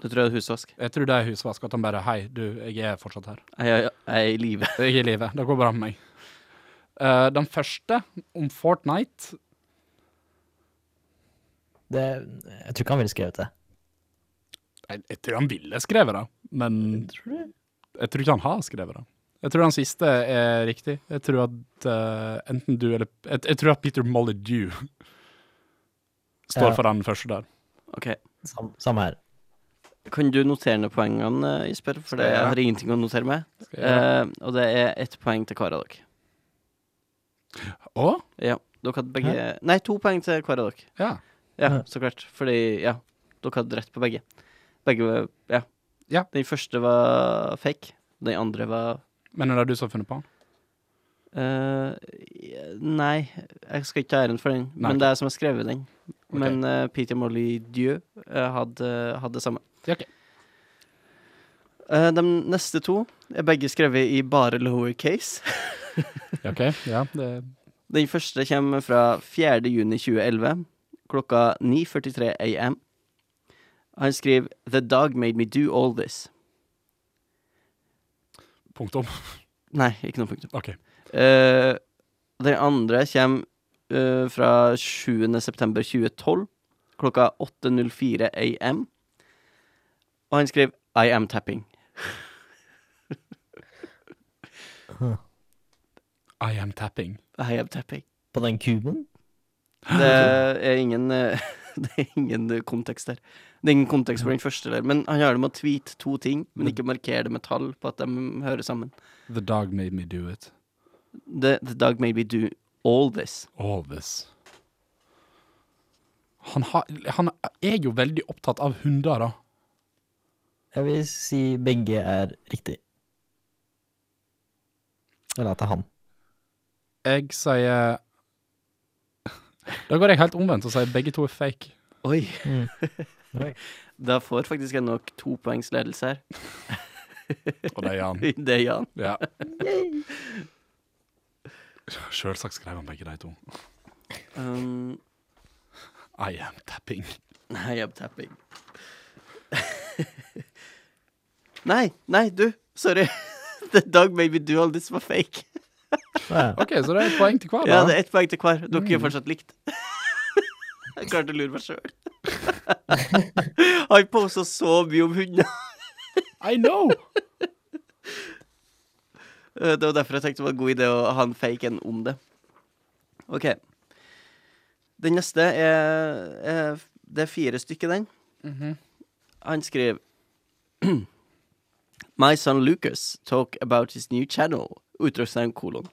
S2: Du tror jeg det er husvask?
S3: Jeg tror det er husvask. At han bare Hei, du, jeg er fortsatt her.
S2: Jeg, jeg, jeg er i live.
S3: Jeg er i live. Det går bra med meg. Eh, den første, om Fortnite
S1: Det, jeg tror ikke han ville skrevet det.
S3: Jeg, jeg tror han ville skrevet det, men
S1: Tror du?
S3: jeg tror ikke han har skrevet det. Jeg tror den siste er riktig. Jeg tror at eh, enten du eller Jeg, jeg tror at Peter Molyneux står
S1: Ja.
S3: for den første der.
S2: Ok.
S1: Sam, samme her.
S2: Kan du notere ned poengene, eh, Isper? For
S3: Skal jeg
S2: det, jeg
S3: gjøre.
S2: har ingenting å notere meg.
S3: Skal jeg gjøre det?
S2: Eh, og det er ett poeng til hver av dere.
S3: Å?
S2: Ja, dere hadde begge Nei, to poeng til hver av dere.
S3: Ja.
S2: Ja,
S1: Ja.
S2: så klart. Fordi, ja, dere hadde rett på begge. Begge, ja.
S3: Ja.
S2: Den første var fake. Den andre var
S3: Men er det du som har funnet på den?
S2: eh, Nei, jeg skal ikke ta æren for den,
S3: Nei,
S2: men
S3: ok.
S2: det er jeg som har skrevet den.
S3: Ok.
S2: Men eh, Peter Molly Dieu eh, hadde, hadde det samme.
S3: Ja, ok.
S2: Eh, de neste to er begge skrevet i bare lowercase.
S3: Ja, ok. Ja, det,
S2: Den første kommer fra 4. juni 2011, klokka 9.43 am. Han skriver The dog made me do all this.
S3: punktum.
S2: Nei, ikke noe punktum.
S3: Ok.
S2: Eh, den andre kommer eh, fra 7. september 2012, klokka 8.04 am. Og han skriver I am tapping.
S3: I am tapping.
S2: I am tapping.
S1: På den kuben?
S2: Det er ingen eh, Det er ingen eh, kontekst der. Det er ingen kontekst for den første der. Men han har det med å tweete to ting, men ikke markere det med tall på at de hører sammen.
S3: The dog made me do it.
S2: The, the dog made me do all this.
S3: All this. Han, har, han er jo veldig opptatt av hunder, da.
S1: Jeg vil si begge er riktig. Eller at det er han.
S3: Jeg sier Da går jeg helt omvendt og sier begge to er fake.
S2: Oi.
S1: Oi.
S2: da får faktisk jeg nok to poengs ledelse her.
S3: Og det er han.
S2: Det er Jan.
S3: Ja. Sjølsagt skrev han begge de to.
S2: Um,
S3: I am tapping.
S2: nei, I'm tapping. nei, nei, du. Sorry. The dog made me do all this var fake.
S1: Ja.
S3: OK, så det er et poeng til hver,
S2: Ja,
S3: da.
S2: det er ett poeng til hver. Dere er fortsatt likt. Jeg klarte å lure meg sjøl. Han posta så mye om hunder.
S3: I know!
S2: Eh, Det var derfor jeg tenkte det var en god idé å ha en fake en om det. OK. Den neste er, er Det er fire stykker, den. Han skriver My son Lucas talk about his new channel. Utropstegn kolon.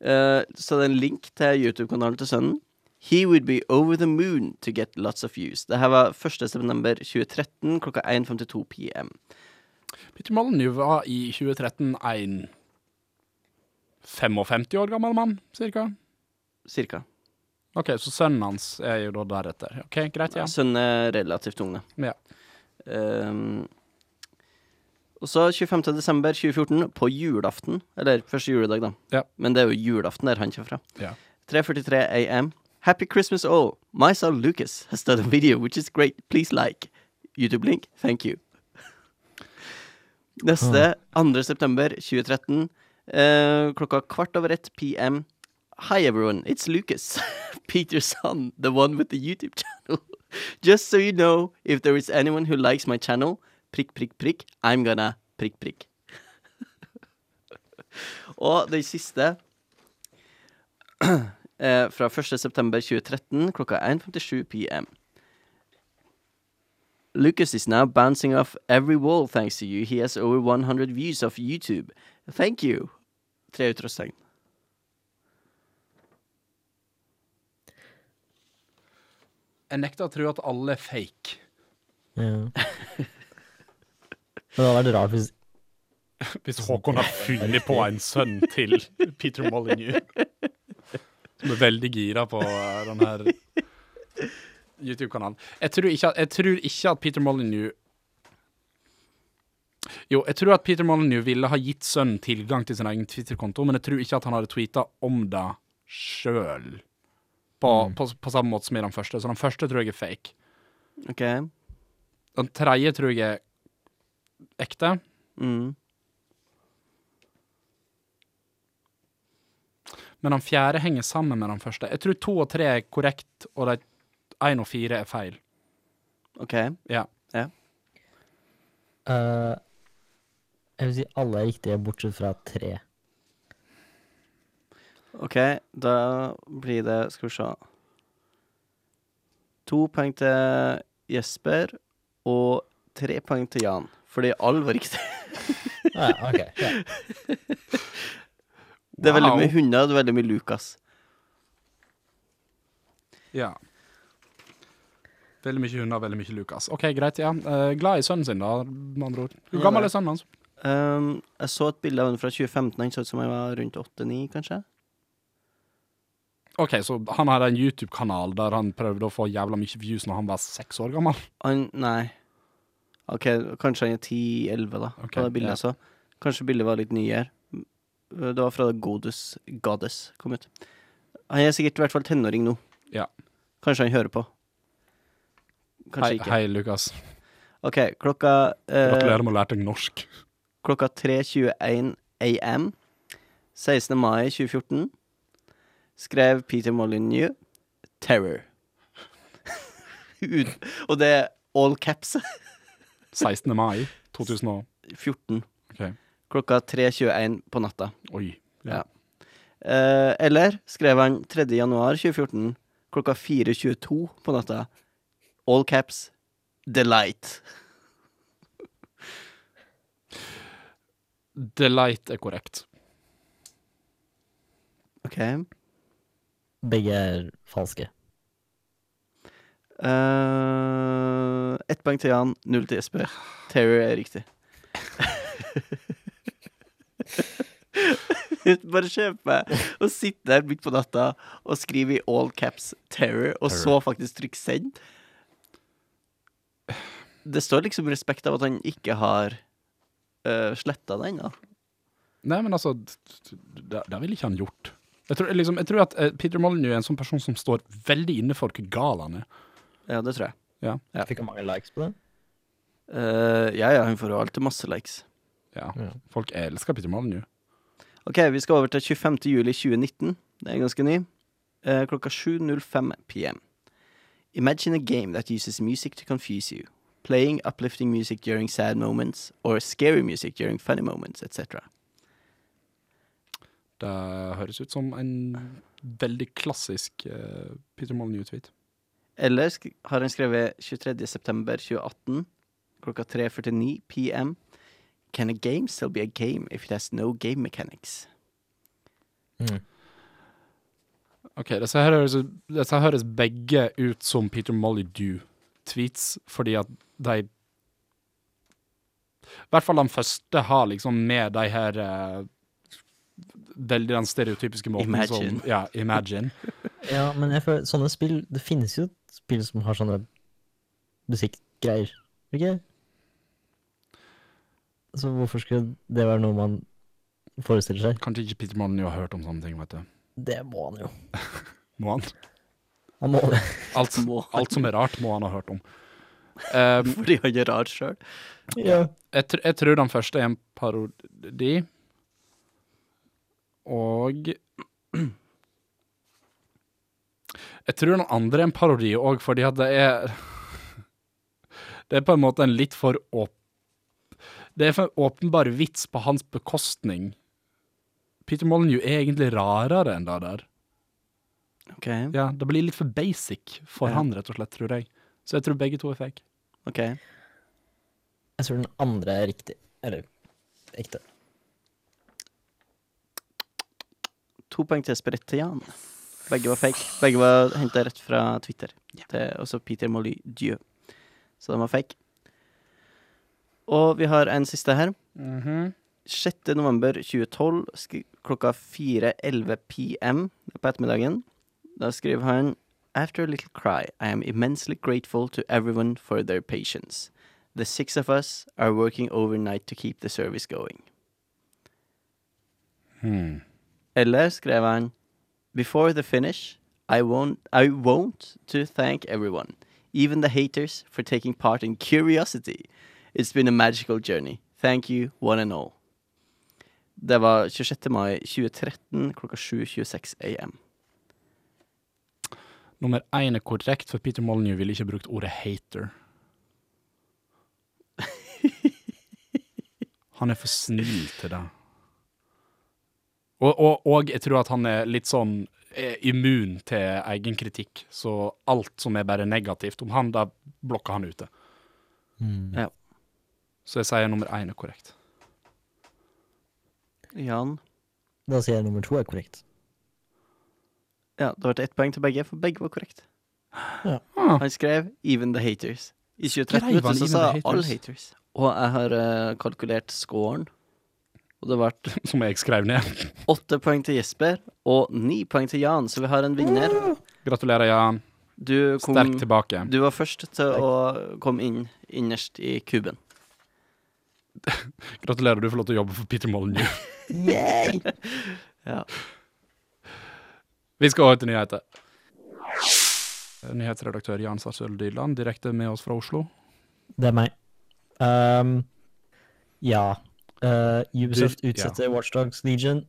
S2: Eh, så det er en link til YouTube-kanalen til sønnen. He would be over the moon to get lots of views. Det her var 1. september 2013 klokka 1.52 pm.
S3: Peter Molyneux var i 2013 en 55 år gammel mann, cirka.
S2: Cirka.
S3: OK, så sønnen hans er jo da deretter. OK, greit, ja.
S2: Sønnen er relativt ung, da.
S3: ja.
S2: Ehm, og så 25. desember 2014, på julaften, eller første juledag, da.
S3: Ja.
S2: Men det er jo julaften der han kommer fra.
S3: Ja.
S2: 3.43 am. Happy Christmas all. My son Lucas has done a video which is great. Please like. YouTube link. Thank you. Neste 2. september 2013, eh, klokka kvart over ett pm. Hi everyone, it's Lucas, Peter's son, the one with the YouTube channel. Just so you know, if there is anyone who likes my channel, prikk, prikk, prikk, I'm gonna prikk, prikk. Og den siste eh, fra 1.9.2013 klokka 1.57 pm. Lucas is now bouncing off every wall thanks to you. He has over 100 views of YouTube. Thank you. Tre utropstegn.
S3: Jeg nekter å tro at alle er fake.
S1: Ja. Men det hadde vært rart hvis
S3: Hvis Håkon har funnet på en sønn til Peter Molyneux. Som er veldig gira på eh, den her YouTube-kanalen. Jeg, tror ikke at- jeg tror ikke at Peter Molyneux Jo, jeg tror at Peter Molyneux ville ha gitt sønnen tilgang til sin egen Twitter-konto, men jeg tror ikke at han hadde tweeta om det sjøl. På, på, på samme måte som i den første. Så den første tror jeg er fake.
S2: Ok.
S3: Den tredje tror jeg er ekte.
S2: Mm.
S3: Men den fjerde henger sammen med den første. Jeg tror to og tre er korrekt, og de én og fire er feil.
S2: Ok.
S3: Ja.
S1: eh, Jeg vil si alle er riktige, bortsett fra tre.
S2: Ok, da blir det Skal vi se. To poeng til Jesper og tre poeng til Jan. Fordi all var riktig.
S1: Ah, ja, ok. Ja.
S2: Det er veldig
S3: Wow.
S2: mye hunder, det er veldig mye Lucas.
S3: Ja. Veldig mye hunder, veldig mye Lukas. Ok, greit, ja. Eh, glad i sønnen sin, da, med andre ord. Hvor gammel er sønnen hans?
S2: Ehm, jeg så et bilde av den fra 2015. Han så ut som han var rundt 8-9, kanskje.
S3: Ok, så han hadde en YouTube-kanal der han prøvde å få jævla mye views når han var seks år gammel.
S2: Han Nei. OK, kanskje han er 10-11, da,
S3: Ok,
S2: på det bildet
S3: ja.
S2: jeg så. Kanskje bildet var litt nyere. Det var fra da Godus Goddess kom ut. Han er sikkert i hvert fall tenåring nå.
S3: Ja.
S2: Kanskje han hører på. Kanskje
S3: Hei,
S2: ikke.
S3: hei, Lukas.
S2: OK, klokka eh,
S3: Gratulerer med å ha lært deg norsk.
S2: klokka 3.21 am 16. mai 2014 skrev Peter Molyneux 'Terror'. Ut- Og det er all caps.
S3: 16. mai 2000 og...
S2: 14.
S3: Ok,
S2: Klokka 3.21 på natta.
S3: oi.
S2: Ja. Eh, eller skrev han 3. januar 2014 klokka 4.22 på natta. All caps. Delight.
S3: Delight er korrekt.
S2: OK.
S1: Begge er falske.
S2: Eh, Ett poeng til Jan, null til Jesper. Terror er riktig. Bare se på meg å sitte der midt på natta og skrive i all caps 'terror', og så faktisk trykke 'send'. Det står liksom respekt av at han ikke har uh, sletta det ennå.
S3: Nei, men altså, d- d- det, det ville ikke han gjort. Jeg tror, liksom, jeg tror at eh, Peter Molyneux er en sånn person som står veldig inne for hva gal han er.
S2: Ja, det tror jeg. Ja.
S1: Fikk han mange likes på det?
S2: Eh, ja, ja, han får jo alltid masse likes.
S3: Ja.
S1: Ja.
S3: Folk elsker Peter Molyneux.
S2: Ok, vi skal over til 25. juli 2019. Det er ganske ny. Eh, klokka 7.05 pm. Imagine a game that uses music to confuse you. Playing uplifting music during sad moments, or scary music during funny moments, etc.
S3: Det høres ut som en veldig klassisk eh, Peter Molyneux-tweet.
S2: Eller sk har han skrevet 23. september 2018, klokka 3.49 pm. Can a game still be a game if it has no game mechanics?
S1: Mm.
S3: Ok, disse her høres, disse høres begge ut som Peter Molyneux-tweets, fordi at de I hvert fall den første har liksom med de her eh, Veldig den stereotypiske måten
S2: Imagine.
S3: som Ja, imagine.
S1: Ja, men jeg føler, sånne spill Det finnes jo spill som har sånne musikkgreier, ikke? Så hvorfor skulle det være noe man forestiller seg?
S3: Kanskje ikke Peter Molyneux har hørt om sånne ting, vet du.
S1: Det må han jo.
S3: Må han?
S1: Han må det.
S3: Alt,
S2: Må han?
S3: alt som er rart, må han ha hørt om. Um,
S2: Fordi han er rar sjøl.
S1: Ja.
S3: jeg, tr jeg tror den første er en parodi. Og Jeg tror den andre er en parodi òg, fordi at det er Det er på en måte en litt for åp... Det er for åpenbar vits på hans bekostning. Peter Molyneux er egentlig rarere enn det der.
S2: Ok,
S3: Ja, Det blir litt for basic for
S2: Mm. Ja.
S3: han, rett og slett, tror jeg. Så jeg tror begge to er fake.
S2: ok.
S1: Jeg tror den andre er riktig. Eller ekte.
S2: To poeng til Jesper, ett til Jan. Begge var fake. Begge var henta rett fra Twitter. Det er også Peter Molly Dieu. Så de var fake. Og vi har en siste her. Mhm. 6. november 2012 skri- klokka 4.11 pm på ettermiddagen. Da skriver han After a little cry, I am immensely grateful to everyone for their patience. The six of us are working overnight to keep the service going.
S3: Hmm.
S2: Eller skrev han Before the finish, I won't, I won't to thank everyone, even the haters, for taking part in curiosity. It's been a magical journey. Thank you, one and all. Det var 26. mai 2013 klokka 7.26 am.
S3: Nummer én er korrekt, for Peter Molyneux ville ikke brukt ordet hater. Han er for snill til det. Og, og, og jeg tror at han er litt sånn eh, immun til egen kritikk, så alt som er bare negativt om han, da blokker han ute.
S1: Mm.
S2: Ja.
S3: Så jeg sier nummer én er korrekt.
S2: Jan
S1: Da sier jeg nummer to er korrekt.
S2: Ja, det ble ett poeng til begge, for begge var korrekt.
S3: Ah,
S2: Han skrev 'Even the haters'. I 2013
S3: Skrev
S2: vet du,
S3: han
S2: så
S3: Even
S2: sa
S3: the
S2: jeg 'all
S3: haters?
S2: haters'. Og jeg har eh, kalkulert scoren. Og det ble
S3: som jeg skrev ned.
S2: åtte poeng til Jesper og ni poeng til Jan, så vi har en vinner.
S3: Gratulerer, Jan.
S2: Du, kom,
S3: Sterkt tilbake.
S2: du var først til å komme inn innerst i kuben.
S3: Gratulerer, du får lov til å jobbe for Peter Molyneux.
S1: Yay!
S2: Ja.
S3: Vi skal over til nyheter. Nyhetsredaktør Jan Sarsøl Dyland, direkte med oss fra Oslo.
S1: Det er meg. Ehm, ja. Eh, Ubisoft
S3: Du- ja.
S1: utsetter Watchdogs Legion,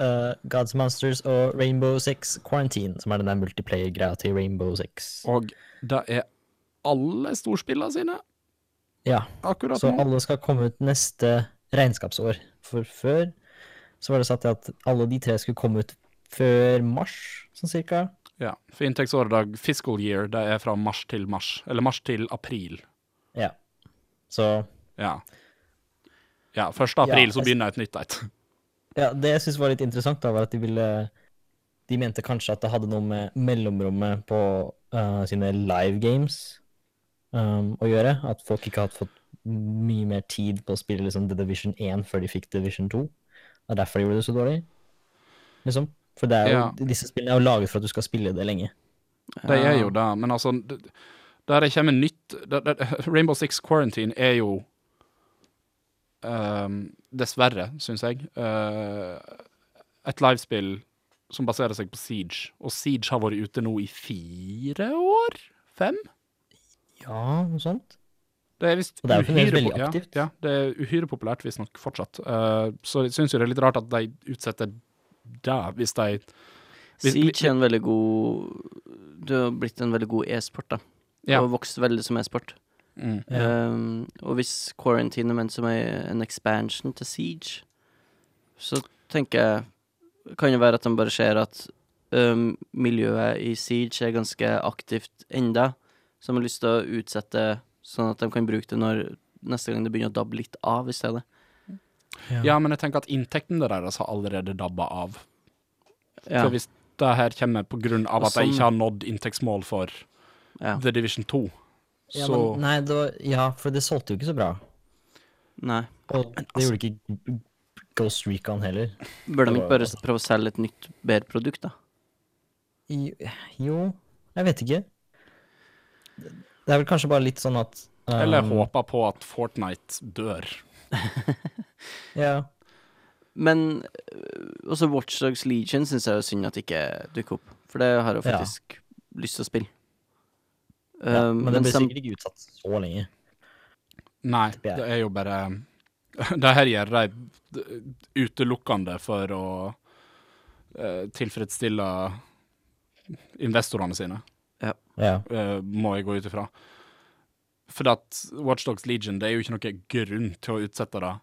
S1: eh, Gods and Monsters og Rainbow Six Quarantine, som er den der multiplayer-greia til Rainbow Six.
S3: Og det er alle storspillene sine
S1: Ja,
S3: akkurat
S1: så
S3: nå.
S1: alle skal komme ut neste regnskapsår. For før så var det satt til at alle de tre skulle komme ut før mars, sånn cirka.
S3: Ja, for inntektsåret dag, fiscal year, det er fra mars til mars. Eller mars til april.
S1: Ja. Så
S3: Ja. Ja, 1. april
S1: Ja,
S3: så
S1: jeg-
S3: begynner et nytt et.
S1: Ja, det jeg syns var litt interessant, da, var at de ville De mente kanskje at det hadde noe med mellomrommet på eh, sine live games um, å gjøre. At folk ikke hadde fått mye mer tid på å spille liksom, The Division 1 før de fikk Division 2. Det er derfor de gjorde det så dårlig. Liksom. For det er jo,
S3: Ja.
S1: disse spillene er jo laget for at du skal spille det lenge.
S3: De er jo det, men altså d- Der det kommer nytt der, der, Rainbow Six Quarantine er jo ehm, Dessverre, syns jeg, eh, et livespill som baserer seg på Siege. Og Siege har vært ute nå i fire år? Fem?
S1: Ja, noe sånt.
S3: Det er visst
S1: Og det er jo fremdeles
S3: uhyre
S1: veldig
S3: po- ja,
S1: aktivt.
S3: Ja, det er uhyre populært, visstnok fortsatt. Eh, så jeg syns jo det er litt rart at de utsetter det, hvis de vi- vi-
S2: Siege er en veldig god Du har blitt en veldig god e-sport, da.
S3: Ja.
S2: Og vokst veldig som e-sport.
S3: mm.
S2: Um, og hvis Quarantine er ment som ei- en expansion til Siege, så tenker jeg Kan det være at de bare ser at um, miljøet i Siege er ganske aktivt enda så de har lyst til å utsette sånn at de kan bruke det når neste gang det begynner å dabbe litt av i stedet.
S3: Ja, men jeg tenker at inntektene deres har allerede dabba av.
S2: Ja.
S3: Så hvis det her kommer på grunn av
S2: Og
S3: at de
S2: sånn-
S3: ikke har nådd inntektsmål for
S2: Ja.
S3: The Division 2,
S1: Ja,
S3: så
S1: men, nei, det var, ja, for det solgte jo ikke så bra.
S2: Nei.
S1: Og det gjorde ikke Ghost Recon heller.
S2: Bør de
S1: Det
S2: ikke
S1: var-
S2: bare s- prøve å selge et nytt, bedre produkt, da?
S1: Jo, jo jeg vet ikke. Det er vel kanskje bare litt sånn at um,
S3: Eller håper på at Fortnite dør.
S1: Ja.
S2: Men øh, også Watchdogs Legion syns jeg er synd at ikke dukker opp. For det har jeg
S1: Ja.
S2: faktisk lyst til å spille.
S1: ja
S2: Um,
S1: men det
S2: mens
S1: blir
S2: de-
S1: sikkert ikke utsatt så lenge.
S3: Nei,
S1: Ja.
S3: det er jo bare Det her gjør de utelukkende for å eh, tilfredsstille investorene sine,
S1: Ja.
S3: eh, må jeg gå ut ifra. For at Watchdogs Legion, det er jo ikke noe grunn til å utsette det.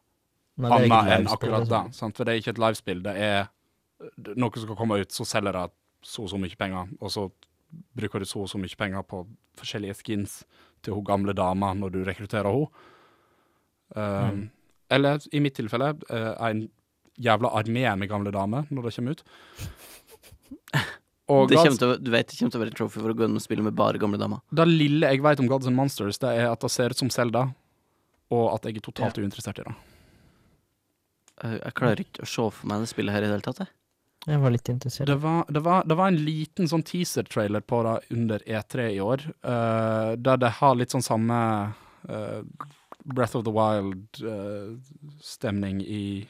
S1: Nei, det er ikke
S3: annet enn
S1: livespill,
S3: akkurat det.
S1: liksom.
S3: Sant? For det er ikke et livespill. Det er d- noe som skal komme ut, så selger det så og så mye penger, og så bruker du så og så mye penger på forskjellige skins til hun gamle dama når du rekrutterer henne. Um, Eller i mitt tilfelle eh, en jævla armé med gamle damer når det kommer ut. Og
S2: det
S3: Gods-
S2: kommer til, å- du vet det kommer til å være et trophy for å gå inn og spille med bare gamle damer.
S3: det lille jeg vet om Gods and Monsters, det er at det ser ut som Selda, og at jeg er totalt uinteressert i det.
S2: Jeg, Eh, jeg klarer ikke å se for meg det spillet her i det hele tatt. jeg.
S1: Jeg var litt interessert.
S3: Det var, det, var, det var en liten sånn teaser-trailer på det under E3 i år, eh, der det har litt sånn samme eh, Breath of the Wild-stemning i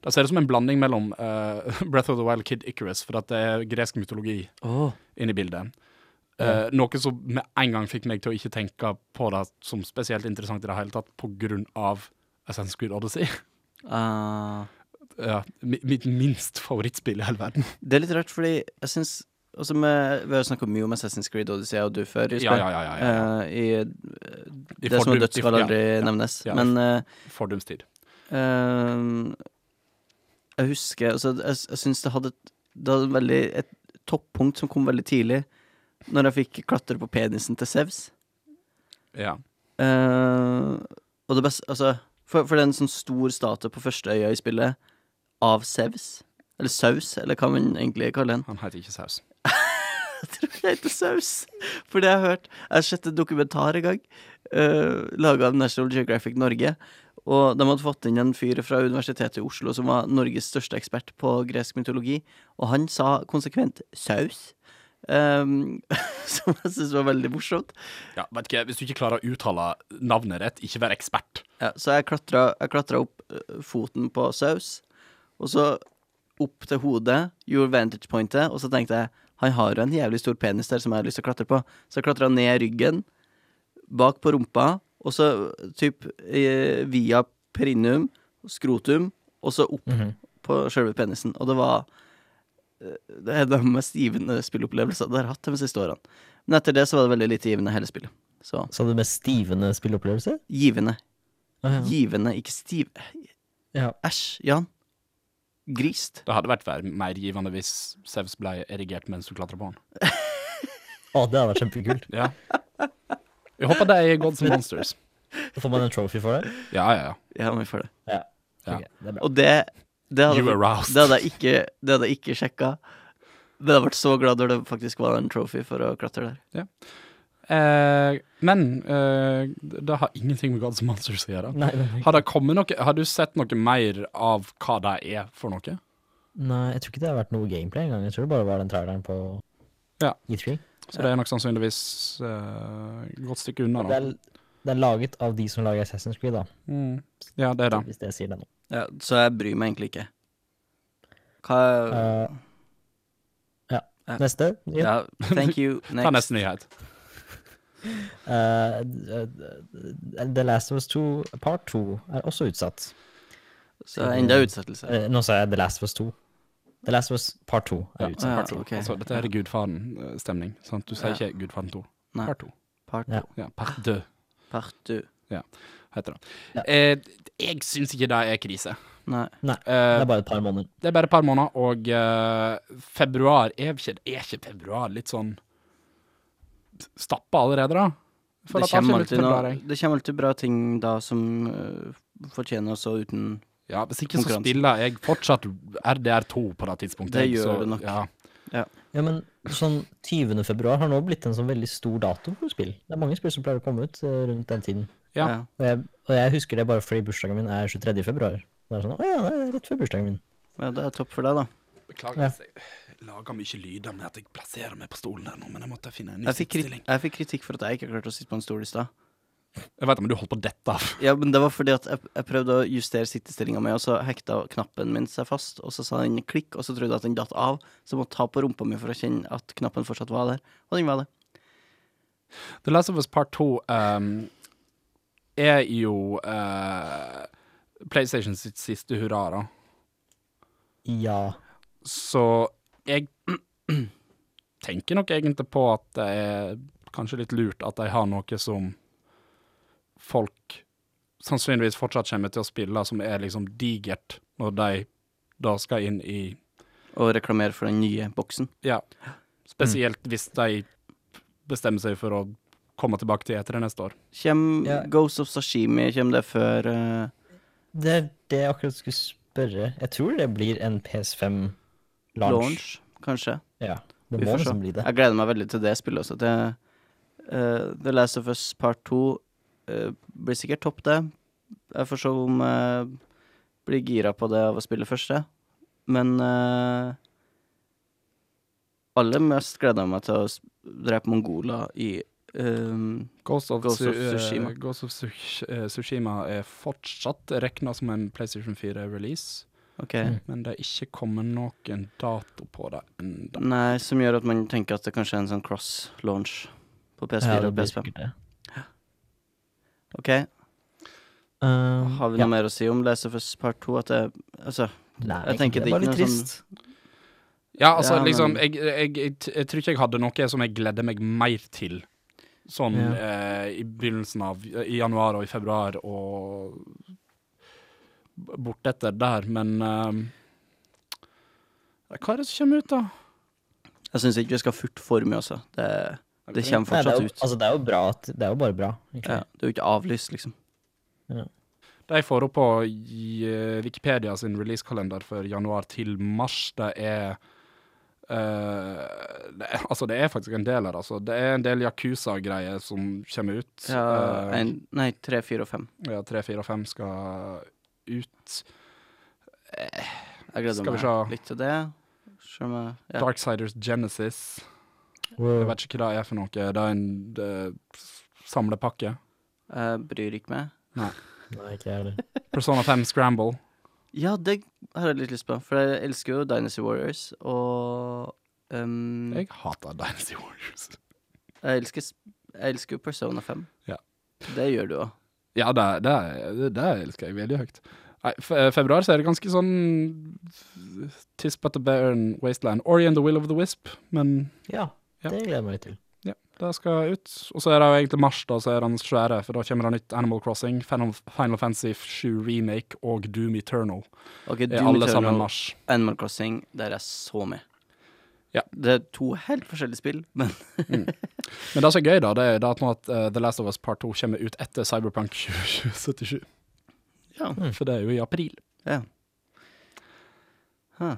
S3: Det ser ut som en blanding mellom eh, Breath of the Wild Kid Icarus, for at det er gresk mytologi inne i bildet. Eh, Noe som med en gang fikk meg til å ikke tenke på det som spesielt interessant i det hele tatt, på grunn av Assassin's Creed Odyssey.
S2: Ah.
S3: Ja, mi- mitt minst favorittspill i hele verden.
S2: det er litt rart, fordi jeg syns Altså med, Vi har snakka mye om Assassin's Creed Odyssey og du før. Jesper.
S3: Ja, ja, ja, ja, ja.
S2: Eh, i,
S3: I
S2: det som er
S3: fordums-
S2: dødt,
S3: i-
S2: skal
S3: ja,
S2: aldri
S3: ja,
S2: nevnes.
S3: ja.
S2: Men eh,
S3: Fordums tid.
S2: Ehm, jeg husker altså, Jeg, jeg syns det hadde, et- det hadde veldig, et toppunkt som kom veldig tidlig, når jeg fikk klatre på penisen til Sevs.
S3: Ja.
S2: Ehm, og det beste Altså, for, for det er en sånn stor statue på første øya i spillet av Sevs. Eller Saus, eller hva man egentlig kaller den.
S3: Han heter ikke Saus.
S2: Jeg tror det heter saus. For det har jeg hørt. Jeg har sett en dokumentar en gang, uh, laga av National Geographic Norge. Og de hadde fått inn en fyr fra Universitetet i Oslo som var Norges største ekspert på gresk mytologi, og han sa konsekvent 'saus'. Um, som jeg syns var veldig morsomt.
S3: Ja, vet ikke, Hvis du ikke klarer å uttale navnet ditt, ikke vær ekspert.
S2: Ja, så jeg klatra, jeg klatra opp eh, foten på saus, og så opp til hodet, gjorde vantage pointet, og så tenkte jeg han har jo en jævlig stor penis der som jeg har lyst til å klatre på. Så jeg klatra ned ryggen, bak på rumpa, og så typ eh, via perineum, skrotum, og så opp på sjølve penisen. Og det var eh, det er de mest givende spillopplevelsene jeg har hatt de siste årene. Men etter det så var det veldig lite givende hele spillet. Så
S1: Så hadde du mest stivende spilleopplevelse?
S2: givende.
S1: Ah, ja.
S2: Givende, ikke stiv.
S1: Ja.
S2: Æsj, Jan. Grist.
S3: Det hadde vært vær- mer givende hvis Sevs ble erigert mens du klatra på han.
S1: Å, det hadde vært kjempekult.
S3: Ja. Jeg håper det er Gods and Monsters.
S1: Da får man en trophy for det.
S3: Ja, ja, ja.
S2: Ja, vi får det.
S1: Ja.
S3: Ja.
S1: Ok, det er bra.
S2: Og det Det hadde,
S3: You aroused.
S2: det hadde jeg ikke, det hadde jeg ikke sjekka. Men jeg hadde vært så glad når det faktisk var en trophy for å klatre der.
S3: Eh, men eh, det har ingenting med Gods and Monsters å gjøre.
S1: Nei, nei, nei.
S3: Har, det kommet noe, har du sett noe mer av hva det er for noe?
S1: nei, jeg tror ikke det har vært noe gameplay engang. Jeg tror det bare var den traileren på
S3: Ja.
S1: E3.
S3: Så det er nok sannsynligvis eh, godt stykke unna.
S1: Det
S3: Da.
S1: er, det er laget av de som lager Assassin's Creed, da.
S3: Mm. Ja, det er det.
S1: Hvis det sier det nå.
S2: Ja, så jeg bryr meg egentlig ikke. Hva
S1: Eh, ja.
S2: Ja.
S1: Neste. Ja.
S2: Ja, thank you.
S3: Ta
S2: Next.
S3: neste nyhet.
S1: Eh, eh, The Last of Us 2 Part 2 er også utsatt.
S2: Så enda utsettelse.
S1: Eh, nå sa jeg The Last of Us 2. The Last of Us Part 2 er
S3: Ja,
S1: utsatt.
S2: Ah, ja,
S3: part to.
S2: ok.
S3: Altså, dette er Gudfaren-stemning. sant? Du sier
S2: Ja.
S3: ikke Gudfaren 2.
S2: Nei.
S3: Part 2.
S2: Part
S1: Ja.
S2: to.
S3: Ja, part 2
S2: Part two.
S3: heter det.
S1: Ja.
S3: Eh, jeg syns ikke det er krise.
S2: Nei.
S1: Det
S3: Eh,
S1: er bare et par måneder.
S3: det er bare et par måneder, og eh, februar er ikke, er ikke februar litt sånn stappa allerede, da? For
S2: Det
S3: at alt
S2: kommer,
S3: er litt
S2: alltid noe,
S3: februar, jeg.
S2: det kommer alltid bra ting da som øh, fortjener å stå uten
S3: Ja, Hvis ikke så
S2: Konkurranse.
S3: spiller jeg fortsatt RDR2 på det tidspunktet.
S2: Det gjør
S3: så,
S2: du nok.
S3: Ja.
S1: Ja, men sånn 20. februar har nå blitt en sånn veldig stor dato for spill. Det er mange spill som pleier å komme ut eh, rundt den tiden.
S3: Ja.
S1: Og jeg, og jeg husker det bare fordi bursdagen min er 23. februar. Det er sånn, å ja, det er rett før bursdagen min.
S2: Ja, det er topp for deg, da.
S3: Beklager
S1: Ja.
S3: hvis jeg lager mye lyder med at jeg plasserer meg på stolen her nå, men jeg måtte finne en ny
S2: Jeg fikk, krit-
S3: stilling.
S2: jeg fikk kritikk for at jeg ikke klarte å sitte på en stol i stad.
S3: Jeg vet det, men du holdt på dette.
S2: Ja, men det var fordi at jeg, jeg prøvde å justere sittestillinga mi, og så hekta knappen min seg fast, og så sa den klikk, og så trodde jeg at den datt av, så jeg måtte ta på rumpa mi for å kjenne at knappen fortsatt var der, og den var det.
S3: The Last of Us Part 2 ehm, er jo eh, PlayStation sitt siste hurra, da.
S1: Ja.
S3: Så jeg tenker nok egentlig på at det er kanskje litt lurt at de har noe som folk sannsynligvis fortsatt kommer til å spille, som er liksom digert når de da skal inn i
S2: Og reklamere for den nye boksen.
S3: Ja. Spesielt hvis de bestemmer seg for å komme tilbake til etere neste år.
S2: Kjem
S1: Ja.
S2: Ghost of Sashimi, kjem det før eh,
S1: Det er det jeg akkurat skulle spørre. Jeg tror det blir en PS5 launch.
S2: launch, kanskje?
S1: Ja. Det
S2: Vi
S1: må
S2: får se.
S1: liksom bli det.
S2: Jeg gleder meg veldig til det spillet også. Det, eh, The Last of Us Part 2 eh, blir sikkert topp, det. Jeg får se om jeg blir gira på det av å spille første. Men eh, aller mest gleder jeg meg til å s- drepe mongoler i eh,
S3: Ghost of,
S2: Ghost
S3: Su
S2: of Tsushima.
S3: eh, Ghost of Tsush- eh, Tsushima er fortsatt regna som en PlayStation 4-release,
S2: OK.
S1: Mm.
S3: men det er ikke kommet noen dato på det ennå.
S2: Nei, som gjør at man tenker at det kanskje er en sånn cross-launch på PS4
S1: Ja, det
S2: og
S1: blir
S2: PS5.
S1: sikkert det.
S2: OK,
S1: Um,
S2: har vi
S1: ja.
S2: noe mer å si om Last of Us Part 2? At det, altså,
S1: Nei,
S2: jeg tenker det
S1: var
S2: er ikke
S1: litt
S2: noe
S1: trist.
S2: sånn
S3: Ja, altså,
S2: Ja, men-
S3: liksom jeg, jeg, jeg, t- jeg tror ikke jeg hadde noe som jeg gledde meg mer til sånn
S1: Ja.
S3: eh, i begynnelsen av I januar og i februar og b- bortetter der, men eh, Hva er det som kommer ut, da?
S2: Jeg syns ikke vi skal furte for mye, altså. Det, det
S1: Nei,
S2: kommer
S1: det,
S2: fortsatt
S1: er jo,
S2: ut.
S1: altså, det er jo bra at Det er jo bare bra. egentlig.
S2: Ja, det er jo ikke avlyst, liksom.
S3: De får opp på i, eh, Wikipedia sin releasekalender for januar til mars. Det er eh, det, er- altså, det er faktisk en del her, altså. Det er en del Yakuza-greier som kommer ut.
S2: Ja,
S3: Eh,
S2: en, nei, tre, fire og fem.
S3: ja, tre, fire og fem skal ut.
S2: Jeg gleder
S3: Skal vi se.
S2: meg litt til det. Selv om jeg, ja.
S3: Darksiders Genesis. Jeg vet ikke hva det er for noe. Det er en eh, samlepakke.
S2: jeg bryr ikke meg.
S1: Nei, ikke jeg heller.
S3: Persona 5 Scramble.
S2: Ja, det har jeg litt lyst på, for jeg elsker jo Dynasty Warriors, og ehm,
S3: Jeg hater Dynasty Warriors.
S2: jeg, elsker, s- jeg elsker jo Persona 5.
S3: Ja.
S2: Det gjør du òg.
S3: Ja, det, det, det, det elsker jeg veldig høyt. Nei, fe- februar så er det ganske sånn Tis but a bear and wasteland. Ori and the will of the wisp, men
S1: Ja,
S3: Ja.
S1: det gleder jeg meg litt til.
S3: ja, det skal ut. Og så er det jo egentlig mars, da, så er den svære, for da kommer det nytt Animal Crossing, Final, Final Fantasy 7 Remake og Doom Eternal.
S2: Ok,
S3: Det er
S2: Doom
S3: alle
S2: Eternal,
S3: sammen mars.
S2: Animal Crossing, der er jeg så med.
S3: Ja.
S2: Det er to helt forskjellige spill, men
S3: Men det som er gøy, da, det er da at nå at eh, The Last of Us Part 2 kommer ut etter Cyberpunk 2077,
S2: ja.
S3: for det er jo i april.
S2: ja. Huh.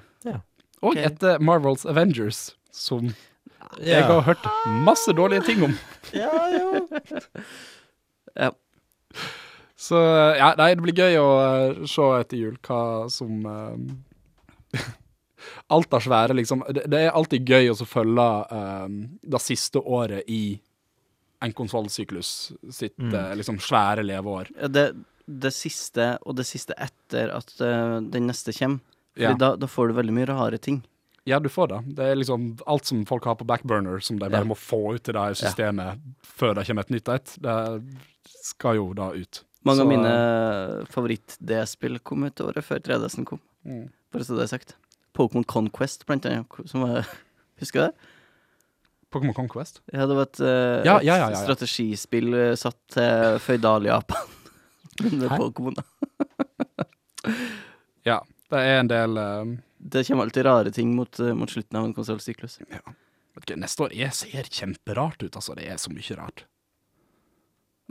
S3: Og
S2: Ok.
S3: etter Marvels Avengers, som jeg har hørt masse dårlige ting om.
S1: ja, ja.
S3: Så eh, ja, nei, det blir gøy å eh, se etter jul hva som eh, Alt av svære, liksom. Det, det er alltid gøy å så følge eh, det siste året i en konsollsyklus sitt eh, liksom svære leveår.
S2: Ja, det, det siste, og det siste etter at eh, den neste kommer. Fordi
S3: Ja.
S2: da, da får du veldig mye rare ting.
S3: Ja, du får det. Det er liksom alt som folk har på backburner, som de bare
S2: Ja.
S3: må få ut i det her systemet før det kommer et nytt et. Det skal jo da ut.
S2: Mange
S3: Så, eh,
S2: av mine favoritt-DS-spill kom ut året før 3DS-en kom,
S3: Mm.
S2: bare så det er sagt. Pokémon Conquest, blant annet, som var Husker du det?
S3: Pokémon Conquest.
S2: Ja, det var et, eh,
S3: Ja, ja, ja, ja, ja.
S2: et strategispill eh, satt til Føydal-Japan. Med
S3: Hæ?
S2: Pokémon.
S3: Ja. Det er en del eh,
S2: Det kommer alltid rare ting mot, eh, mot slutten av en konsollsyklus.
S3: Vet ikke, neste år jeg ser kjemperart ut, altså. Det er så mye rart.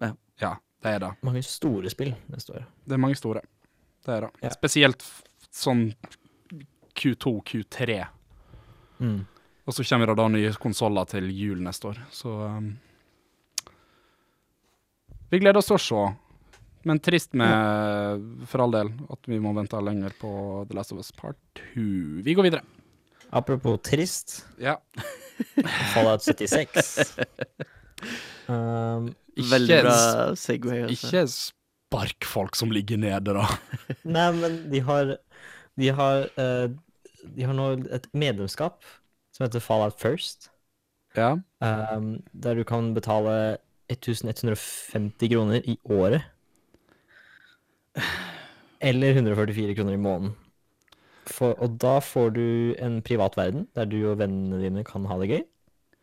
S2: Ja.
S3: det er det.
S1: Mange store spill neste år.
S3: Det er mange store. Det er det.
S1: Ja.
S3: Spesielt f- sånn Q2, Q3.
S1: Mm.
S3: Og så kommer det da nye konsoller til jul neste år, så um, Vi gleder oss til å se. Men trist med, for all del, at vi må vente lenger på The Last of Us Part 2. Vi går videre.
S1: Apropos trist,
S3: Ja.
S1: Fallout 76. Um,
S3: Ikke,
S2: Veldig bra Segway. Altså.
S3: ikke spark folk som ligger nede, da.
S1: nei, men de har De har, eh, de har nå et medlemskap som heter Fallout First.
S3: Ja.
S1: Um, der du kan betale 1150 kroner i året. Eller 144 kroner i måneden. For, og da får du en privat verden, der du og vennene dine kan ha det gøy.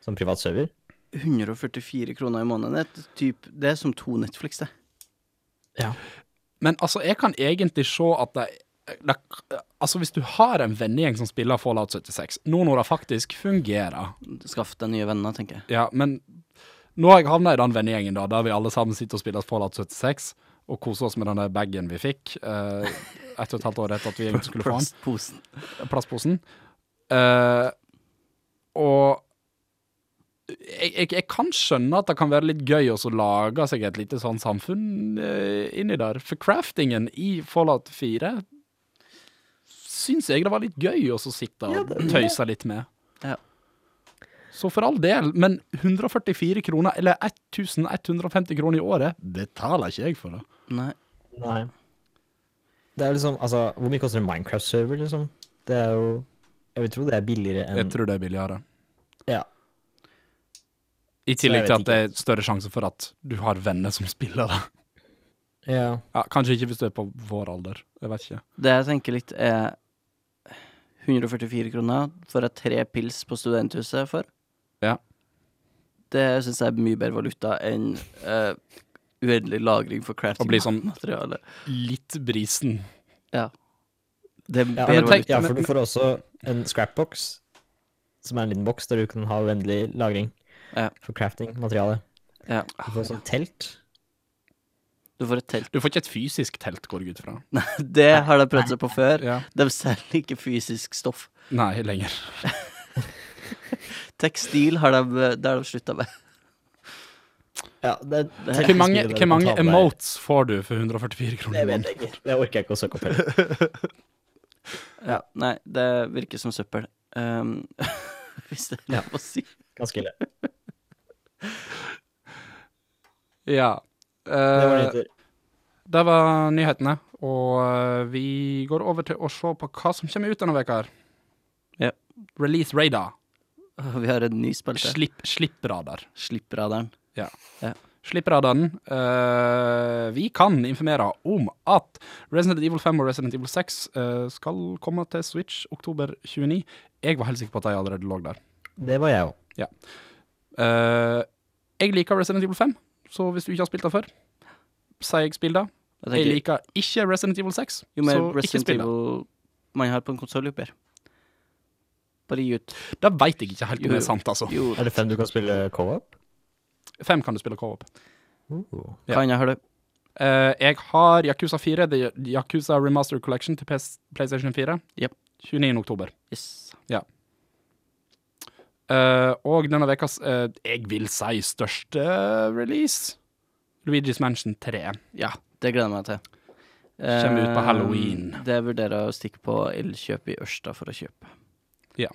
S1: Som privat server.
S2: 144 kroner i måneden. Det er, typ, det er som to Netflix, det.
S1: Ja.
S3: Men altså, jeg kan egentlig se at det, det Altså, hvis du har en vennegjeng som spiller Fallout 76, nå når det faktisk fungerer
S2: Skaff deg nye venner, tenker jeg.
S3: Ja, men nå har jeg havna i den vennegjengen, da, der vi alle sammen sitter og spiller Fallout 76 og koser oss med den der bagen vi fikk eh, ett og et halvt år etter at vi egentlig skulle få den.
S2: Plastposen.
S3: Plastposen. Eh, og jeg, jeg, jeg kan skjønne at det kan være litt gøy også å lage seg et lite sånn samfunn eh, inni der. For craftingen i Fallout 4 syns jeg det var litt gøy også å sitte og tøyse litt med.
S2: Ja.
S3: Så for all del, men 144 kroner, eller 1150 kroner i året, betaler ikke jeg for det.
S2: Nei.
S1: Nei. Det er liksom Altså, hvor mye koster en Minecraft-server, liksom? Det er jo Jeg vil tro det er billigere
S3: Jeg
S1: enn
S3: tror det er billigere.
S1: Ja.
S3: I
S1: Så jeg
S3: tillegg til
S1: vet
S3: at det er større sjanse for at du har venner som spiller det.
S1: ja.
S3: Ja, kanskje ikke hvis du er på vår alder. Jeg vet ikke.
S2: Det jeg tenker litt, er 144 kroner for jeg tre pils på studenthuset for.
S3: Ja.
S2: Det syns jeg er mye bedre valuta enn eh, uendelig lagring for
S3: Å bli sånn-
S2: crafting-materiale.
S3: Litt brisen.
S2: Det er
S1: Ja,
S2: bedre
S1: men
S3: tenk-
S2: valuta.
S1: ja,
S3: men-
S1: for du får også en scrapbox, som er en liten boks der du kan ha uendelig lagring
S2: Ja.
S1: for crafting-materiale.
S2: Ja.
S1: Du
S3: Ah,
S1: får sånn telt.
S2: Du får et telt.
S3: Du får ikke et fysisk telt, går jeg ut fra.
S2: Det har de prøvd seg på før.
S3: Ja.
S2: De selger ikke fysisk stoff.
S3: Nei, lenger.
S2: Tekstil har de, det har de slutta med.
S1: Ja, det, det er
S3: Hvor mange,
S1: teknisk mye
S3: hvor mange
S1: bedre å ta med deg.
S3: emotes får du for 144
S1: Det
S3: kroner?
S1: vet jeg ikke. Det orker jeg ikke å søke opp heller.
S2: Ja, nei, det virker som søppel. Ehm, hvis det er
S1: Ja.
S2: lov å si.
S1: Ganske ille.
S3: Ja.
S1: Det var
S3: Eh,
S1: nyheter.
S3: det var nyhetene. Og eh, vi går over til å se på hva som kommer ut denne veka her.
S2: Ja.
S3: Release radar.
S2: Og Vi har en ny spalte.
S3: Slipp, slipp radar.
S2: Slippradaren.
S3: Slippradaren. Eh, vi kan informere om at Resident Evil 5 og Resident Evil 6 eh, skal komme til Switch oktober 29. Jeg var helt sikker på at de allerede lå der.
S1: Det var jeg òg.
S3: Eh, jeg liker Resident Evil 5, så hvis du ikke har spilt det før, sier jeg spill det.
S2: Jeg
S3: Jeg
S2: tenker,
S3: liker ikke Resident Evil 6,
S2: jo
S3: så
S2: mer
S3: ikke
S2: Resident
S3: spill det.
S2: Evil man har på en konsoll, jo bedre. Bare gi ut.
S3: Det veit jeg ikke helt om
S2: Jo,
S3: det er sant, altså.
S2: Jo,
S1: Er det fem du kan spille co-op? Uh.
S3: Fem kan du spille co-op. ja.
S2: kan jeg ha det?
S3: Eh, jeg har Yakuza 4, The Yakuza Remaster Collection til PS PlayStation 4.
S2: Jep.
S3: 29. oktober.
S2: Yes.
S3: Eh, og denne ukas eh, jeg vil si største release, Luigi's Mansion 3.
S2: Ja, det gleder jeg meg til.
S3: Kommer ut på
S2: Eh,
S3: Halloween.
S2: Det vurderer jeg å stikke på Elkjøp i Ørsta for å kjøpe.
S3: Ja.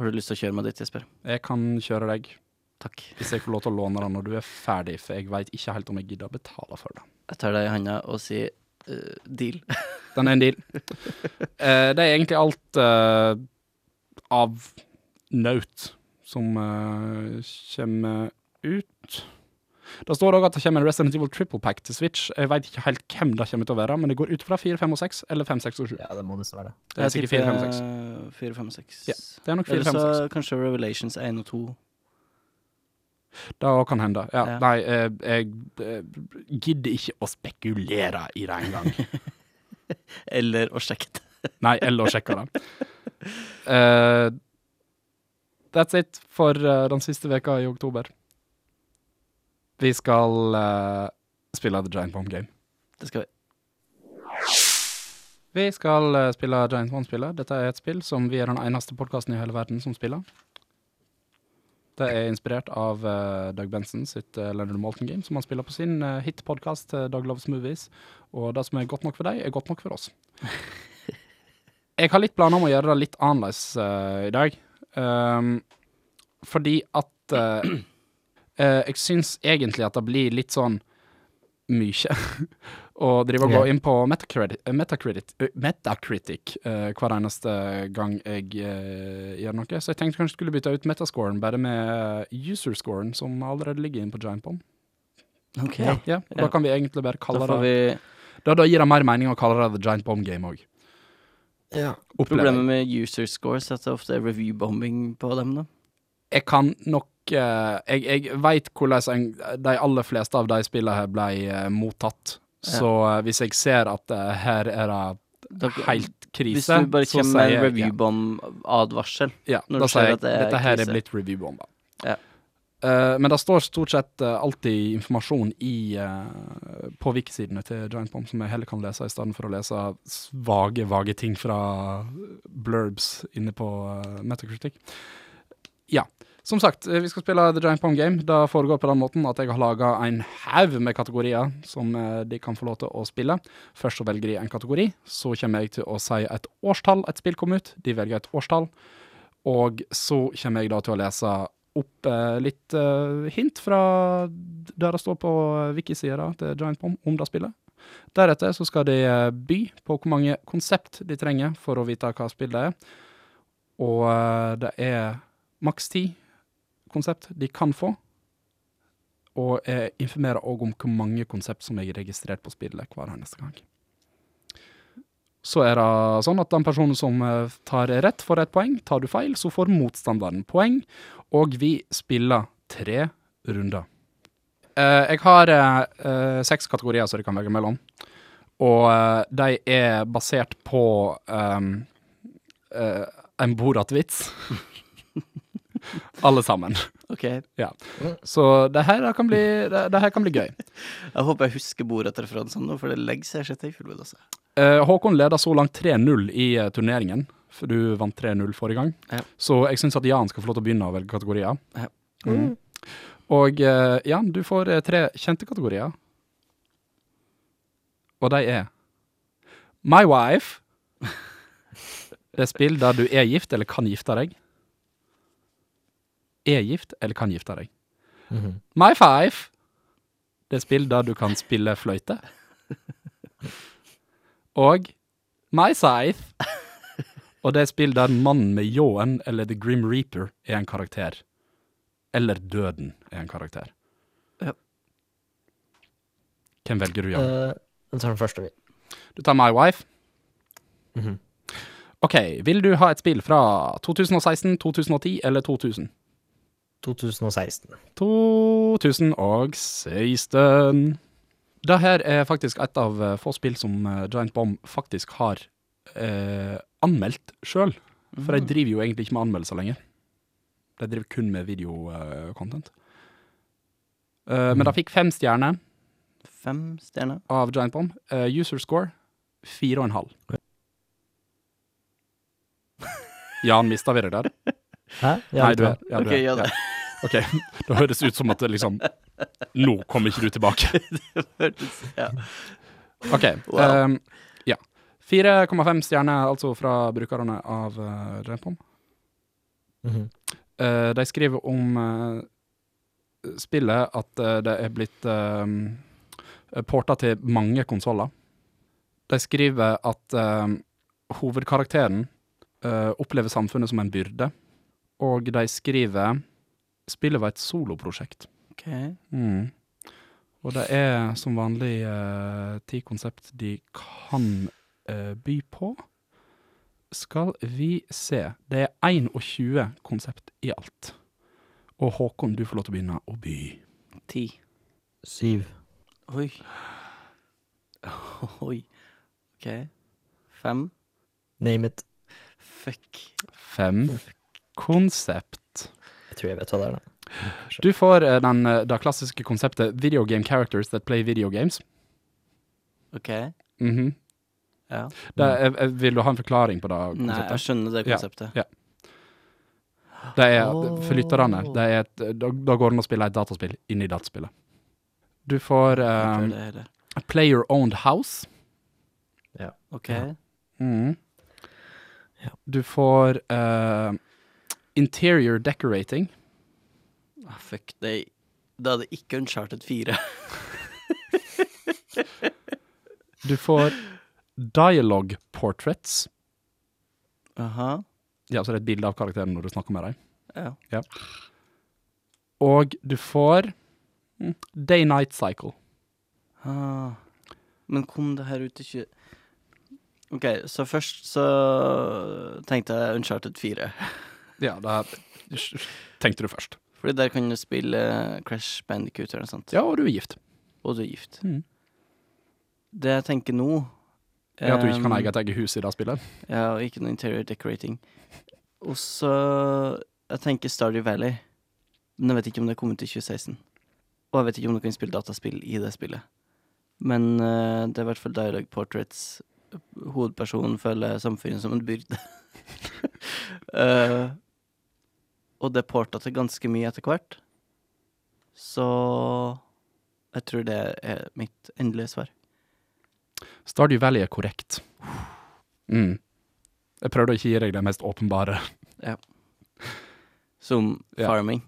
S2: Har du lyst til å kjøre meg dit, Jesper?
S3: Jeg kan kjøre deg
S2: Takk.
S3: hvis jeg får lov til å låne den når du er ferdig, for jeg veit ikke helt om jeg gidder å betale for det.
S2: Jeg tar deg i handa og sier eh, deal.
S3: Den er en deal. Eh, det er egentlig alt eh, av naut som eh, kommer ut. Det står òg at det kommer en Resident Evil Triple Pack til Switch. Jeg veit ikke helt hvem det kommer til å være, men det går ut fra 4, 5 og 6, eller 5, 6 og 7.
S1: Ja, det må nesten være det.
S3: Det er sikkert 4, 5 og 6.
S2: 4, 5 og 6.
S3: Ja, Det er nok 4,
S2: Eller
S3: 5
S2: så
S3: og 6.
S2: kanskje Revelations 1 og 2.
S3: Det òg kan hende. Ja.
S2: Ja.
S3: Nei, eh, jeg eh, gidder ikke å spekulere i det engang.
S2: Eller å sjekke det.
S3: Nei, eller å sjekke det. Eh, that's it for eh, den siste veka i oktober. Vi skal eh, spille The Giant Bomb Game.
S2: Det skal vi.
S3: Vi skal eh, spille Giant Bomb-spillet. Dette er et spill som vi er den eneste podkasten i hele verden som spiller. Det er inspirert av eh, Doug Benson sitt eh, Leonard Malton Game, som han spiller på sin uh, hitpodkast Doug Loves Movies. Og det som er godt nok for deg, er godt nok for oss. Jeg har litt planer om å gjøre det litt annerledes eh, i dag. Ehm, fordi at eh, eh, Jeg syns egentlig at det blir litt sånn mye å drive og gå
S1: Ok.
S3: inn på Metacritic, Metacritic, eh, Metacritic eh, hver eneste gang jeg eh, gjør noe. Så jeg tenkte kanskje jeg skulle bytte ut metascoren bare med userscoren, som allerede ligger inne på Giantbomb.
S2: Ok.
S3: Ja, og
S2: Ja.
S3: Da kan vi egentlig bare
S2: Da
S3: kalle
S2: får
S3: det
S2: vi
S3: da, da gir det mer mening å kalle det The Giant Bomb Game òg.
S1: Ja.
S2: problemet med user scores, at det ofte er review-bombing på dem. da.
S3: jeg kan nok eh, Jeg, jeg veit hvordan en, de aller fleste av de spillene her ble eh, mottatt. Så eh, hvis jeg ser at eh, her er
S2: Da-
S3: det helt
S2: Hvis
S3: krise,
S2: du bare
S3: så
S2: kommer med
S3: sier
S2: en
S3: jeg ja.
S2: review-bomb-advarsel.
S3: Ja,
S2: når
S3: da
S2: du ser
S3: sier jeg
S2: at det er
S3: dette her er
S2: krise.
S3: blitt review-bomba.
S2: Ja.
S3: Eh, men det står stort sett eh, alltid informasjon i, eh, på wiki-sidene til Giant Bomb som jeg heller kan lese, i stedet for å lese svage, vage ting fra blurbs inne på eh, Metacritic. Ja. Som sagt, eh, vi skal spille The Giant Bomb Game. Det foregår på den måten at jeg har laga en haug med kategorier som eh, de kan få lov til å spille. Først så velger de en kategori, så kommer jeg til å si et årstall et spill kom ut. De velger et årstall. Og så kommer jeg da til å lese opp eh, litt eh, hint fra der det står på wiki-sida til Giant Bomb om det spillet. Deretter så skal de eh, by på hvor mange konsept de trenger for å vite hva spill det er. Og eh, det er maks ti konsept de kan få. Og jeg informerer òg om hvor mange konsept som jeg er registrert på spillet hver eneste gang. Så er det sånn at den personen som eh, tar rett, får ett poeng. Tar du feil, så får motstanderen poeng. Og vi spiller tre runder. Eh, jeg har eh, eh, seks kategorier som de kan velge mellom. Og eh, de er basert på ehm, eh, en Borat-vits. Alle sammen.
S2: Ok.
S3: Så det her kan bli, det, det her kan bli gøy.
S2: Jeg håper jeg husker
S3: sånn
S2: Borat-referansen nå, for det legger seg sjette i fullbud, altså.
S3: Eh, Håkon leder så langt 3-0 i eh, turneringen. for du vant 3-0 forrige gang.
S2: Ja.
S3: Så jeg syns at Jan skal få lov til å begynne å velge kategorier.
S2: Ja.
S3: Mm. Og eh, Jan, du får eh, tre kjente kategorier. Og de er My Wife. Det er spill der du er gift eller kan gifte deg. Er gift eller kan gifte deg.
S1: Mhm.
S3: My Five. Det er spill der du kan spille fløyte. Og My Scythe. Og det er spill der mannen med ljåen eller The Grim Reaper er en karakter. Eller Døden er en karakter.
S2: Ja.
S3: Hvem velger du, Jan?
S1: Eh, Jeg tar den første, vi.
S3: Du tar My Wife.
S1: Mhm.
S3: OK, vil du ha et spill fra 2016, 2010 eller 2000?
S1: 2016.
S3: 2016. Det her er faktisk et av eh, få spill som eh, Giant Bomb faktisk har eh, anmeldt sjøl. For de driver jo egentlig ikke med anmeldelser lenger. De driver kun med videocontent. Eh, Men det fikk fem stjerner
S2: Fem stjerner.
S3: av Giant Bomb. Eh, user score fire og en halv. Jan, mista vi det der?
S1: Hæ? Ja,
S3: Nei,
S1: litt
S3: du
S1: bra.
S3: er ja, du
S2: Ok,
S3: er-
S2: ja da.
S3: Ok, da høres det ut som at det liksom Nå kommer ikke du tilbake.
S2: ja.
S3: Ok.
S2: Wow.
S3: ehm, ja. 4,5 stjerner altså fra brukerne av uh, Jampom.
S1: Mhm.
S3: Eh, de skriver om eh, spillet at eh, det er blitt uh, porta til mange konsoller. De skriver at eh, hovedkarakteren eh, opplever samfunnet som en byrde, og de skriver spillet var et soloprosjekt.
S2: Ok.
S3: Mm. Og det er som vanlig eh, ti konsept de kan eh, by på. Skal vi se. Det er 21 konsept i alt. Og Håkon, du får lov til å begynne å by.
S2: Ti.
S1: Syv.
S2: Oi. Oi. Ok. Fem.
S1: Name it.
S2: Fuck.
S3: Fem konsept.
S1: Jeg tror jeg vet hva det er, da.
S3: Du får eh, den, eh, det klassiske konseptet 'video game characters that play video games'.
S2: Ok.
S3: Mhm.
S2: Ja.
S3: det, er- eh, vil du ha en forklaring på det
S2: Nei,
S3: konseptet?
S2: jeg skjønner det
S3: Ja.
S2: konseptet.
S3: Det er, for lytterne,
S2: Åh.
S3: det er et, da, da går det an å spille et dataspill inni dataspillet. Du får
S2: Jeg tror
S3: um,
S2: det heller.
S3: Play Your Own House. Mm.
S2: Ok.
S1: Ja.
S3: Du får eh, Interior Decorating.
S2: Ah, fuck, det Da er det ikke Uncharted 4.
S3: Du får Dialogue Portraits.
S2: Aha.
S3: Ja, så det er et bilde av karakteren når du snakker med dem.
S2: Ja.
S3: Og du får mm, Day-Night Cycle.
S2: Ah. Men kom det her ut i 20... Ok, så først så tenkte jeg Uncharted 4.
S3: Ja, det tenkte du først.
S2: Fordi der kan du spille Crash Bandicoot eller noe sånt.
S3: Ja, og du er gift.
S2: Og du er gift.
S3: Mhm.
S2: Det jeg tenker nå
S3: Ja, at du ikke kan
S2: em,
S3: eie et eget hus i det spillet.
S2: Ja, og ikke noe interior decorating. Og så Jeg tenker Stardew Valley. Men jeg vet ikke om det kom ut i 2016. Og jeg vet ikke om du kan spille dataspill i det spillet. Men eh, det er i hvert fall Dialogue Portraits. Hovedpersonen føler samfunnet som en byrde. Eh, og det porta til ganske mye etter hvert. Så jeg tror det er mitt endelige svar.
S3: Stardew Valley er korrekt. Mm. Jeg prøvde å ikke gi deg det mest åpenbare,
S2: Som
S3: Ja.
S2: farming.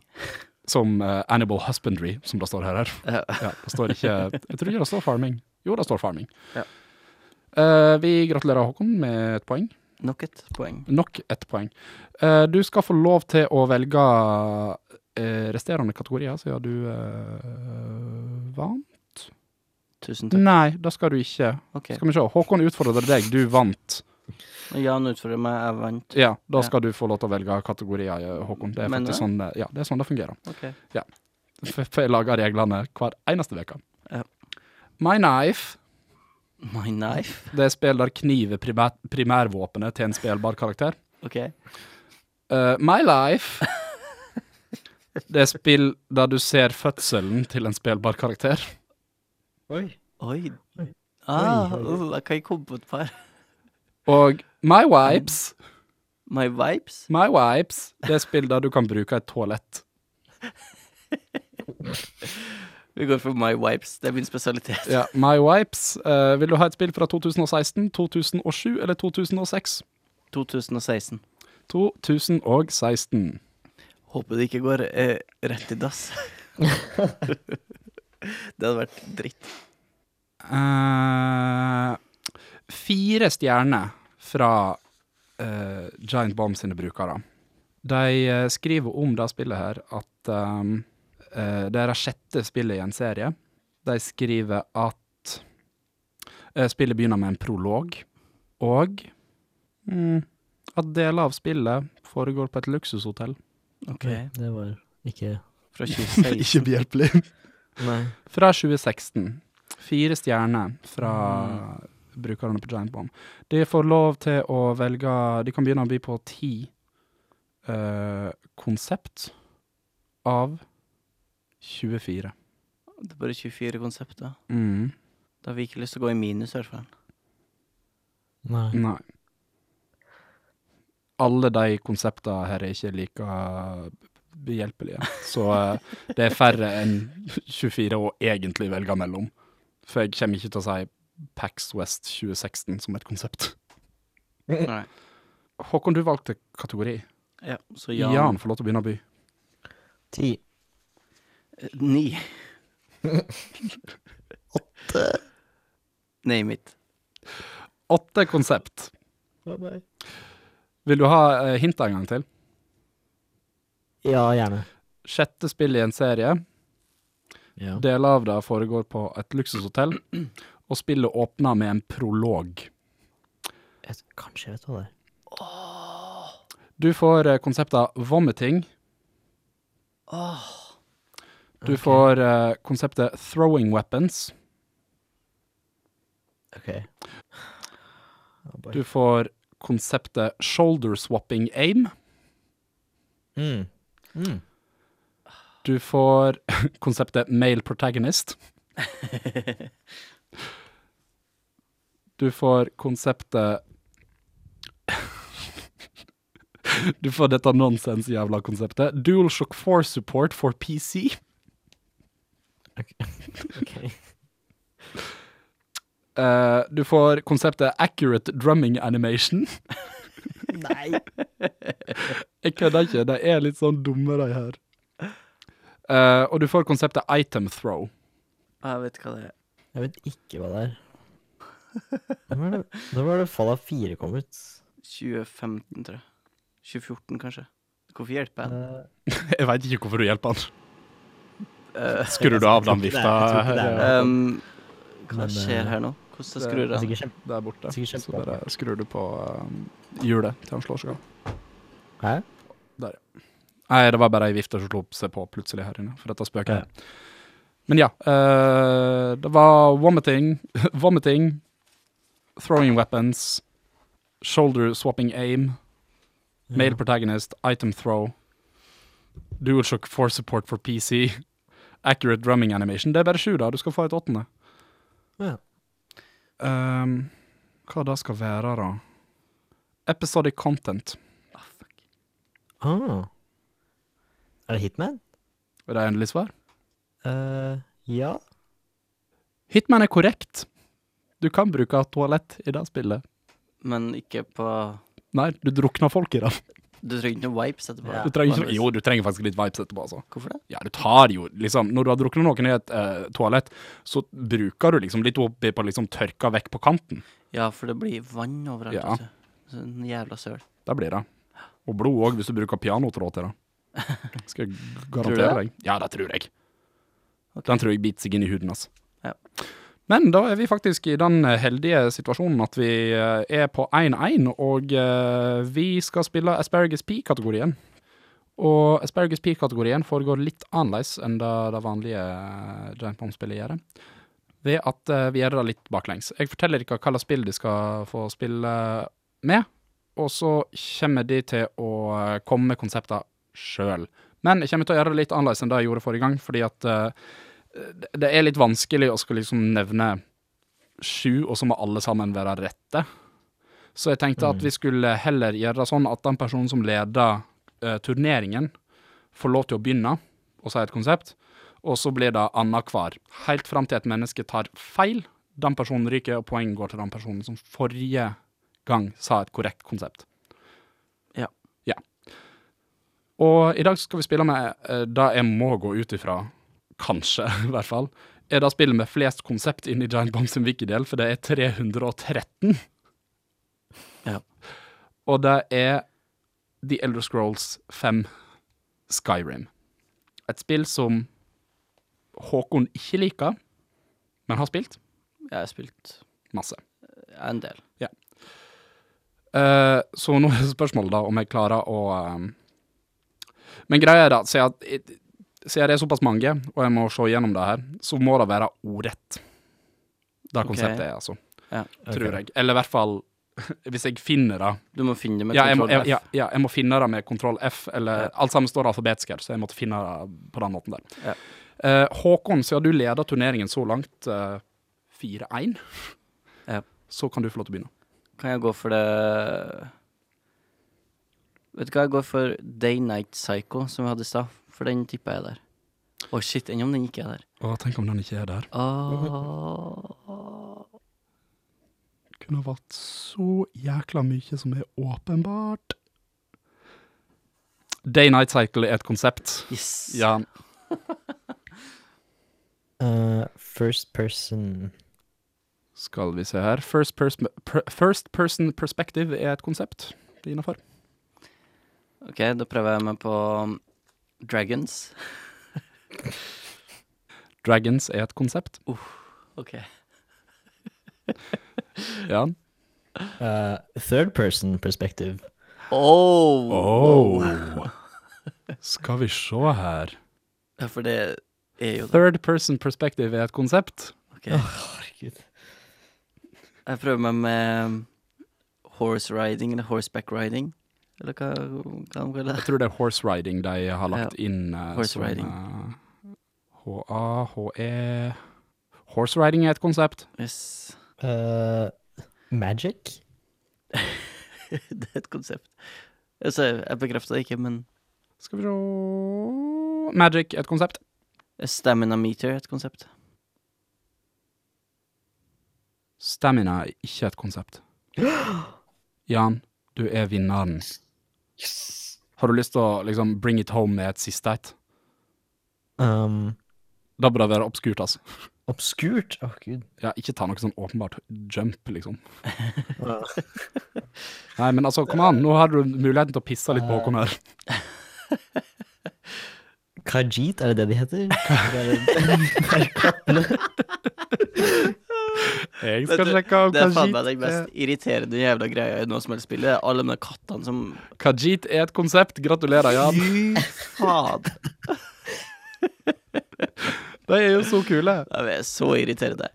S3: som eh, Animal Husbandry, som det står her. her.
S2: Ja.
S3: Ja, det står ikke, jeg tror ikke det står farming. Jo, det står farming.
S2: Ja.
S3: Eh, vi gratulerer Håkon med et poeng.
S2: Nok et poeng.
S3: Nok et poeng. Eh, du skal få lov til å velge eh, resterende kategorier, siden du eh, vant.
S2: Tusen takk.
S3: Nei, det skal du ikke.
S2: Ok.
S3: Skal vi se. Håkon utfordrer deg, du vant.
S2: Jan utfordrer meg, jeg vant.
S3: Ja, da
S2: Ja.
S3: skal du få lov til å velge kategorier, Håkon. Det er
S2: Mener
S3: faktisk
S2: du?
S3: sånn, eh, ja, det, er sånn det fungerer.
S2: Ok.
S3: For for jeg lager reglene hver eneste uke.
S2: Ja.
S3: My Knife,
S2: My knife.
S3: det er spill der kniv er primær, primærvåpenet til en spillbar karakter.
S2: Ok.
S3: Eh, my Life, det er spill der du ser fødselen til en spillbar karakter.
S1: Oi.
S2: Oi. Ah,
S1: Oi, oi, oi.
S2: uh, jeg kan ikke komme på et par.
S3: Og My Wipes,
S2: My vibes?
S3: My Wipes. Det er spill der du kan bruke et toalett.
S2: Vi går for my vibes. Det er min spesialitet.
S3: Ja, My Wipes. Eh, vil du ha et spill fra 2016, 2007 eller 2006?
S2: 2016.
S3: 2016.
S2: Håper det ikke går eh, rett i dass. det hadde vært dritt.
S3: Eh, fire stjerner fra eh, Giant Bomb sine brukere. De eh, skriver om det spillet her at um, eh, det er det sjette spillet i en serie. De skriver at eh, spillet begynner med en prolog, og mm, at deler av spillet foregår på et luksushotell.
S2: Ok.
S1: Det var ikke
S2: Fra 2016.
S3: behjelpelig.
S2: Nei.
S3: Fra 2016. Fire stjerner fra brukerne på Giant Bomb. De får lov til å velge De kan begynne å by på ti eh, konsept av 24.
S2: Det er bare 24 konsepter.
S3: Mm.
S2: Da har vi ikke lyst til å gå i minus, i hvert fall.
S1: Nei.
S3: Nei. Alle de konseptene her er ikke like behjelpelige. Så eh, det er færre enn 24 å egentlig velge mellom. For jeg kommer ikke til å si Pax West 2016 som et konsept.
S2: Nei.
S3: Håkon, du valgte kategori.
S2: Ja, så ja.
S3: Jan, får lov til å begynne å by.
S1: Ti.
S2: Eh, Ni.
S1: Åtte.
S2: Name it.
S3: Åtte konsept. Vil du ha eh, hinta en gang til?
S1: Ja, gjerne.
S3: Sjette spill i en serie.
S1: Ja.
S3: Deler av det foregår på et luksushotell. Og spillet åpner med en prolog.
S1: Jeg, kanskje jeg vet hva det er.
S3: Du får eh, konseptet vomiting. Du får eh, konseptet throwing weapons.
S1: Ok. Oh, boy.
S3: Du får konseptet shoulder swapping aim.
S1: Mm. Mm.
S3: Du får konseptet male protagonist. Du får konseptet Du får dette nonsens-jævla konseptet. DualShock 4 support for PC.
S1: Ok.
S3: Eh, du får konseptet accurate drumming animation.
S1: Nei.
S3: Jeg kødder ikke, de er litt sånn dumme, de her. Eh, og du får konseptet item throw.
S2: Ah, Jeg vet hva det er.
S1: Jeg vet ikke hva det er. Når var det, når var det Fallout 4 kom ut?
S2: 2015, tror jeg. 2014, kanskje. Hvorfor hjelper jeg?
S1: Eh,
S3: Jeg veit ikke hvorfor du hjelper han.
S2: Uh,
S3: Skrur du av den
S1: Jeg tror ikke det er- jeg tror ikke det er
S3: vifta?
S1: det.
S2: um, hva
S1: Men,
S2: skjer
S1: eh,
S2: her nå? Hvordan
S3: det-
S2: skrur
S1: det er
S2: jeg av?
S1: sikkert kjempe...
S3: Der borte.
S1: Sikkert
S3: Så bare skrur du på eh, hjulet til han slår seg av.
S1: Hæ?
S3: Nei, det var bare ei vifte som slo seg på plutselig her inne, for dette spøker jeg. Men ja, eh, det var vomiting, vomiting, throwing weapons, shoulder swapping aim, male protagonist, item throw, DualShock 4 support for PC, accurate drumming animation. Det er bare sju, da. Du skal få et åttende.
S1: Ja.
S3: Ehm, hva det skal være, da? Episodic content.
S2: Ah, fuck.
S1: Ah. Er det Hitman?
S3: Er det endelig svar?
S1: Eh, ja.
S3: Hitman er korrekt. Du kan bruke toalett i det spillet.
S2: Men ikke på
S3: Nei, du drukner folk i det.
S2: Du trenger ikke noen wipes etterpå?
S1: Ja.
S3: Du trenger, ikke- jo, du trenger faktisk litt vibes etterpå, altså.
S2: Hvorfor det?
S3: Ja, du tar jo liksom Når du har druknet noen i et eh, toalett, så bruker du liksom litt oppi på liksom tørka vekk på kanten.
S2: Ja, for det blir vann overalt.
S3: Ja.
S2: vet du. Så en jævla søl.
S3: Det blir det. Og blod òg, hvis du bruker pianotråd til det. Skal jeg
S2: Tror
S3: garantere deg. Ja, det tror jeg.
S2: Ok.
S3: Den tror jeg biter seg inn i huden, altså.
S2: Ja.
S3: Men da er vi faktisk i den heldige situasjonen at vi eh, er på 1-1, og eh, vi skal spille Asparagus P-kategorien. Og Asparagus P-kategorien foregår litt annerledes enn det, det vanlige eh, Giant Bomb-spillet gjør. Ved at eh, vi gjør det litt baklengs. Jeg forteller dere hva slags spill de skal få spille med, og så kommer de til å eh, komme med konsepter sjøl. Men jeg kommer til å gjøre det litt annerledes enn det jeg gjorde forrige gang, fordi at eh, det- det er litt vanskelig å skulle liksom nevne sju, og så må alle sammen være rette. Så jeg tenkte at vi skulle heller gjøre det sånn at den personen som leder eh, turneringen, får lov til å begynne og si et konsept, og så blir det annenhver. Helt fram til et menneske tar feil. Den personen ryker, og poeng går til den personen som forrige gang sa et korrekt konsept.
S2: Ja.
S3: Ja. Og i dag skal vi spille med eh, det jeg må gå ut ifra, kanskje, i hvert fall, er det spillet med flest konsept inn i Giant Bomb sin wikidel, for det er 313.
S2: Ja.
S3: Og det er The Elder Scrolls 5 Skyrim. Et spill som Håkon ikke liker, men har spilt
S2: Jeg har spilt
S3: masse.
S2: en del.
S3: Eh, så nå er spørsmålet da om jeg klarer å eh, Men greia er da, siden at- siden det er såpass mange, og jeg må se gjennom det her, så må det være ordrett. Det konseptet er altså,
S2: Ja.
S3: tror jeg. Eller i hvert fall hvis jeg finner det.
S2: Du må finne det med
S3: Ja jeg, må,
S2: kontroll
S3: jeg,
S2: F.
S3: ja, ja, jeg må finne det med kontroll F, eller alt sammen står alfabetisk her, så jeg måtte finne det på den måten der.
S2: Ja.
S3: Eh, Håkon, siden du leder turneringen så langt, eh, 4-1,
S2: Ja.
S3: så kan du få lov til å begynne.
S2: Kan jeg gå for det Vet du hva, jeg går for Day Night Psycho, som vi hadde i stad. For den tippa jeg er der. Å, shit. Enn om den ikke er der?
S3: Å, tenk om den ikke er der.
S2: Åh.
S3: Kunne ha vært så jækla mye som er åpenbart. Day-night cycle er et konsept.
S2: Yes.
S3: Ja,
S1: Eh, first person
S3: skal vi se her. First, pers per first person perspective er et konsept innafor.
S2: OK, da prøver jeg meg på um, Dragons.
S3: Dragons er et konsept.
S2: OK.
S3: Ja.
S1: Eh, Third person perspective.
S2: Oh.
S3: Skal vi se her.
S2: Ja, for det er jo det.
S3: Third person perspective er et konsept.
S2: OK. Jeg prøver meg med um, horse riding, eller horseback riding. Eller hva, hva de kaller
S3: Jeg
S2: det.
S3: tror det er horse riding de har lagt inn. eh,
S2: Horse
S3: som,
S2: riding.
S3: eh, HA, HE E. Horse riding er et konsept.
S2: Yes.
S1: Eh, magic?
S2: Det er et konsept. Altså, jeg bekrefter det ikke, men
S3: Skal vi se Magic er et konsept.
S2: stamina meter er et konsept.
S3: Stamina er ikke et konsept. Jan, du er vinneren. Har du lyst til å liksom bring it home med et siste et?
S1: Um,
S3: Da bør det være obskurt, altså.
S1: obskurt? Åh, gud.
S3: Ja, ikke ta noe sånn åpenbart jump, liksom. Nei, men altså, kom an, nå har du muligheten til å pisse litt på Håkon her.
S1: Khajiit, er det det de heter? Det er
S3: Jeg
S2: skal sjekke
S3: om
S2: Det er faen meg den mest irriterende jævla greia i noe som helst spill. Det er alle de der kattene som
S3: Kajit er et konsept, gratulerer, Jan.
S2: Fy faen!
S3: De er jo så kule.
S2: Jeg er så irriterende.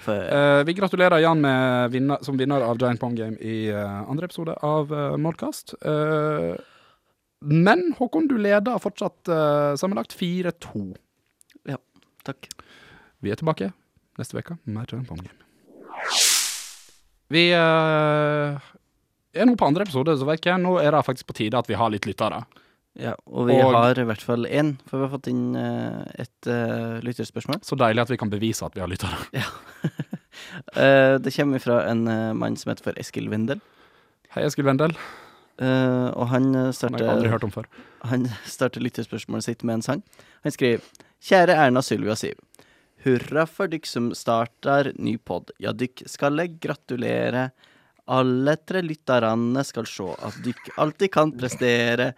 S2: For,
S3: Eh, vi gratulerer Jan med vinner, som vinner av Giant Bomb Game i eh, andre episode av uh, Modcast. Eh, men Håkon, du leder fortsatt eh, sammenlagt 4-2.
S2: takk.
S3: Vi er tilbake neste uke med mer Giant Bomb Game. Vi eh, er nå på andre episode, så vet jeg, nå er det faktisk på tide at vi har litt lyttere.
S2: Ja, og vi
S3: Og-
S2: har i hvert fall én, for vi har fått inn eh, et eh, lytterspørsmål.
S3: Så deilig at vi kan bevise at vi har lyttere.
S2: Eh, det kommer fra en eh, mann som heter for Eskil Wendel,
S3: Hei, Eskil Wendel.
S2: eh, og han eh,
S3: Den har jeg aldri
S2: starter
S3: hørt om før.
S2: Han starter lyttespørsmålet sitt med en sang. Han skriver Kjære Erna Sylvia Siv. Hurra for dykk som startar ny pod. Ja, dykk skal jeg gratulere. Alle tre lytterne skal sjå at dykk alltid kan prestere.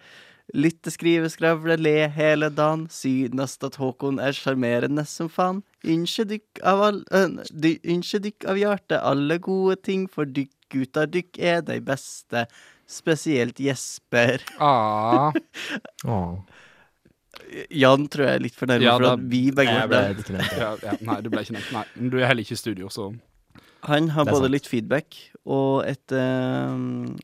S2: Lytte, skrive, skravle, le hele dagen. Synast at Håkon er sjarmerende som faen. Ynskje dykk av all... øh, dy- Ynskje dykk av hjertet alle gode ting, for dykk gutter, dykk er de beste. Spesielt Jesper.
S3: Ah,
S1: Åh,
S2: Jan tror jeg er litt fornærmet
S3: Ja,
S2: for
S3: da-
S2: at vi begge
S1: jeg
S2: var
S1: ble
S2: der.
S1: ikke nevnt.
S3: ja, ja, nei, du ble ikke nevnt. Nei, men du er heller ikke i studio, så
S2: Han har
S1: Det er
S2: både
S1: sant.
S2: litt feedback og et eh,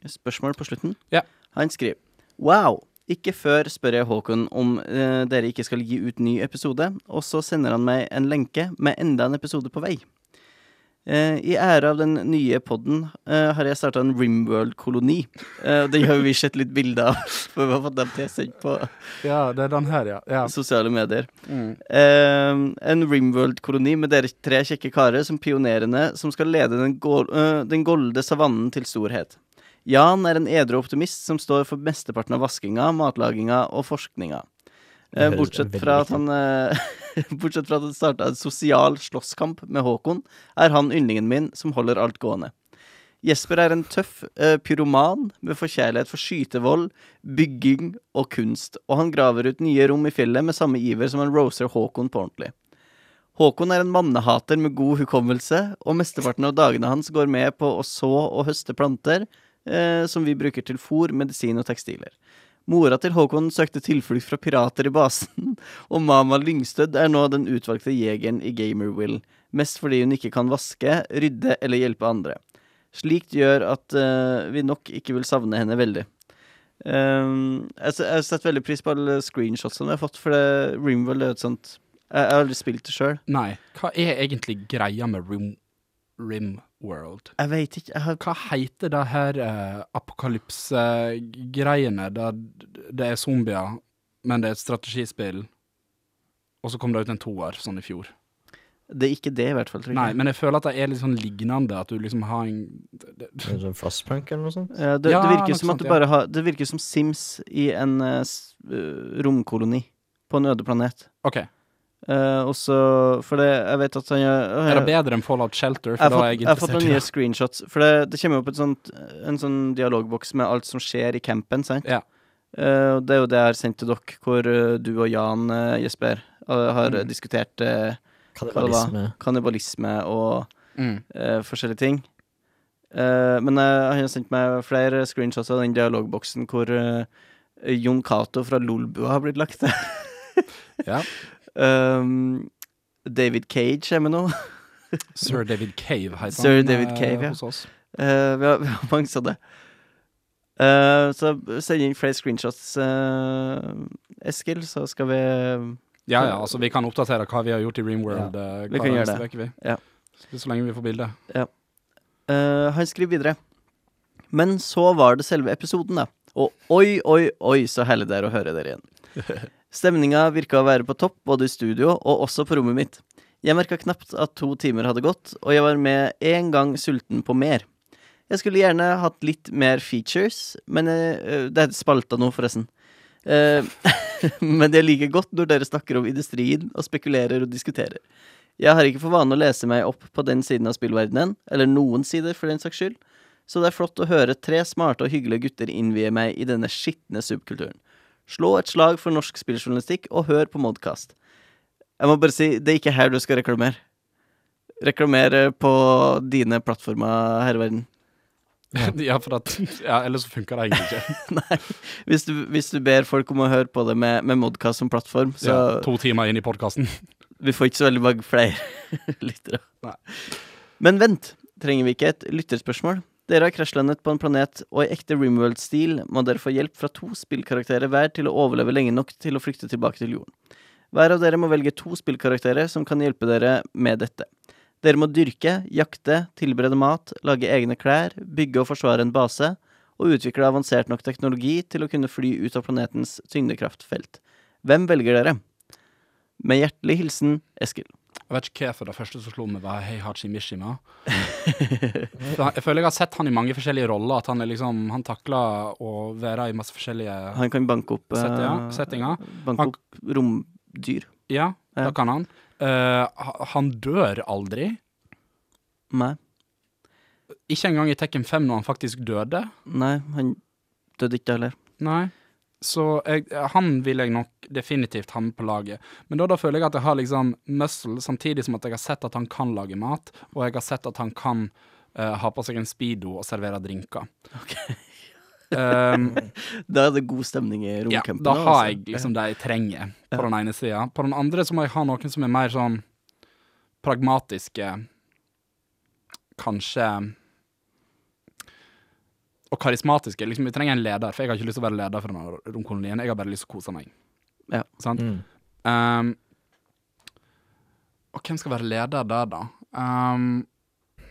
S2: spørsmål på slutten.
S3: Ja.
S2: Han skriver Wow! Ikke før spør jeg Håkon om eh, dere ikke skal gi ut ny episode, og så sender han meg en lenke med enda en episode på vei. Eh, I ære av den nye podden eh, har jeg starta en Rimworld-koloni. Eh, og det har jo vi sett litt bilder av, for vi har fått dem tilsendt på
S3: Ja, det er den her, ja. ja.
S2: sosiale medier.
S3: Mm.
S2: Eh, en Rimworld-koloni med dere tre kjekke karer som pionerene som skal lede den, gol eh, den golde savannen til storhet. Jan er en edru optimist som står for mesteparten av vaskinga, matlaginga og forskninga.
S1: Det
S2: Eh,
S1: høres
S2: bortsett,
S1: veldig
S2: fra at
S1: riktig
S2: han, eh, bortsett fra at han starta en sosial slåsskamp med Håkon, er han yndlingen min som holder alt gående. Jesper er en tøff eh, pyroman med forkjærlighet for skytevold, bygging og kunst, og han graver ut nye rom i fjellet med samme iver som han roser Håkon på ordentlig. Håkon er en mannehater med god hukommelse, og mesteparten av dagene hans går med på å så og høste planter, eh, som vi bruker til fôr, medisin og tekstiler. Mora til Håkon søkte tilflukt fra pirater i basen, og Mama Lyngstød er nå den utvalgte jegeren i Gamerwill, mest fordi hun ikke kan vaske, rydde eller hjelpe andre. Slikt gjør at eh, vi nok ikke vil savne henne veldig. Ehm, jeg, s- jeg har sett veldig pris på alle screenshotsene jeg har fått, for det, Rimworld er jo et sånt Jeg, jeg har aldri spilt det sjøl.
S3: Nei, hva er egentlig greia med Rim, Rim World?
S2: Jeg veit ikke. Jeg har
S3: Hva heter det her eh, apokalypse-greiene, der det er zombier, men det er et strategispill, og så kom det ut en toer sånn i fjor.
S2: Det er ikke det, i hvert fall. Tror jeg.
S3: Nei, men jeg føler at det er litt sånn lignende, at du liksom har en det- det-
S1: Sånn Frostpunk eller noe sånt?
S2: Ja, det,
S3: Ja,
S2: det virker
S3: noe
S2: som
S3: sånt,
S2: at du
S3: ja.
S2: bare har Det virker som Sims i en eh, s- eh, romkoloni på en øde planet.
S3: OK.
S2: Eh, og så For det, jeg vet at han gjør
S3: Er det bedre enn Fallout Shelter? For
S2: jeg har,
S3: da
S2: fått,
S3: er jeg
S2: jeg har fått
S3: interessert
S2: noen
S3: i
S2: nye
S3: det.
S2: screenshots. For det, det kommer jo opp et sånt, en sånn dialogboks med alt som skjer i campen. Sant?
S3: Ja.
S2: Eh, og det er jo det jeg har sendt til dere, hvor eh, du og Jan, eh, Jesper, eh, har
S3: Mm.
S2: eh, diskutert eh,
S1: Kannibalisme.
S2: kannibalisme og
S3: Mm.
S2: eh, forskjellige ting. Eh, men eh, han har sendt meg flere screenshots av den dialogboksen hvor eh, Jon Cato fra Lolbua har blitt lagt til.
S3: Ja.
S2: Um, David Cage er med nå.
S3: Sir David Cave heter
S2: Sir
S3: han
S2: David
S3: eh,
S2: Cave, ja.
S3: hos oss.
S2: Eh, vi, har, vi har mange sånne. Eh, så send inn flere screenshots, eh, Eskil, så skal vi
S3: Ja ja, altså vi kan oppdatere hva vi har gjort i Rimworld ja.
S2: vi
S3: hver
S2: kan gjøre
S3: eneste
S2: det.
S3: uke, vi.
S2: Ja.
S3: Så så lenge vi får bilde.
S2: Eh, Han skriver videre. Men så var det selve episoden, da. Og oi, oi, oi, så herlig det er å høre dere igjen. Stemninga virka å være på topp, både i studio og også på rommet mitt. Jeg merka knapt at to timer hadde gått, og jeg var med en gang sulten på mer. Jeg skulle gjerne hatt litt mer features, men jeg, øh, Det er spalta nå, forresten. Eh, men jeg liker godt når dere snakker om industrien og spekulerer og diskuterer. Jeg har ikke for vane å lese meg opp på den siden av spillverdenen, eller noen sider for den saks skyld, så det er flott å høre tre smarte og hyggelige gutter innvie meg i denne skitne subkulturen. Slå et slag for norsk spilljournalistikk, og hør på Modcast. Jeg må bare si, det er ikke her du skal reklamere. Reklamere på dine plattformer, her i verden.
S3: Ja. for at Ja, ellers så funker det egentlig ikke.
S2: Nei, hvis du, hvis du ber folk om å høre på det med, med Modcast som plattform, så
S3: ja, to timer inn i podkasten.
S2: Vi får ikke så veldig mange flere lyttere.
S3: Nei.
S2: Men vent, trenger vi ikke et lytterspørsmål? Dere har krasjlandet på en planet, og i ekte Rimworld-stil må dere få hjelp fra to spillkarakterer hver til å overleve lenge nok til å flykte tilbake til jorden. Hver av dere må velge to spillkarakterer som kan hjelpe dere med dette. Dere må dyrke, jakte, tilberede mat, lage egne klær, bygge og forsvare en base, og utvikle avansert nok teknologi til å kunne fly ut av planetens tyngdekraftfelt. Hvem velger dere? Med hjertelig hilsen Eskil.
S3: Jeg vet ikke hvorfor det første som slo meg, var Heihachi Mishima. For han- Jeg føler jeg har sett han i mange forskjellige roller, at han er liksom Han takler å være i masse forskjellige
S2: Han kan banke opp eh,
S3: Sette- ja, settinger.
S2: Banke
S3: Han-
S2: opp romdyr.
S3: Ja,
S2: Ja.
S3: det kan han. Eh, ha- han dør aldri.
S2: Nei,
S3: Ikke engang i Tekken 5 når han faktisk døde.
S2: nei, han døde ikke heller.
S3: Nei. Så jeg, han vil jeg nok definitivt ha med på laget. Men da, da føler jeg at jeg har liksom muscle, samtidig som at jeg har sett at han kan lage mat, og jeg har sett at han kan eh, ha på seg en speedo og servere drinker. Um,
S2: Da er det god stemning i
S3: ja,
S2: romcampen.
S3: da har
S2: altså.
S3: jeg liksom det jeg trenger, på
S2: Ja.
S3: den ene sida. På den andre så må jeg ha noen som er mer sånn pragmatiske Kanskje Og karismatiske. Liksom, vi trenger en leder, for jeg har ikke lyst til å være leder for denne romkolonien. Jeg har bare lyst til å kose meg.
S2: Ja.
S3: Sant? Ehm,
S1: Mm.
S3: Um, og hvem skal være leder der, da? Um,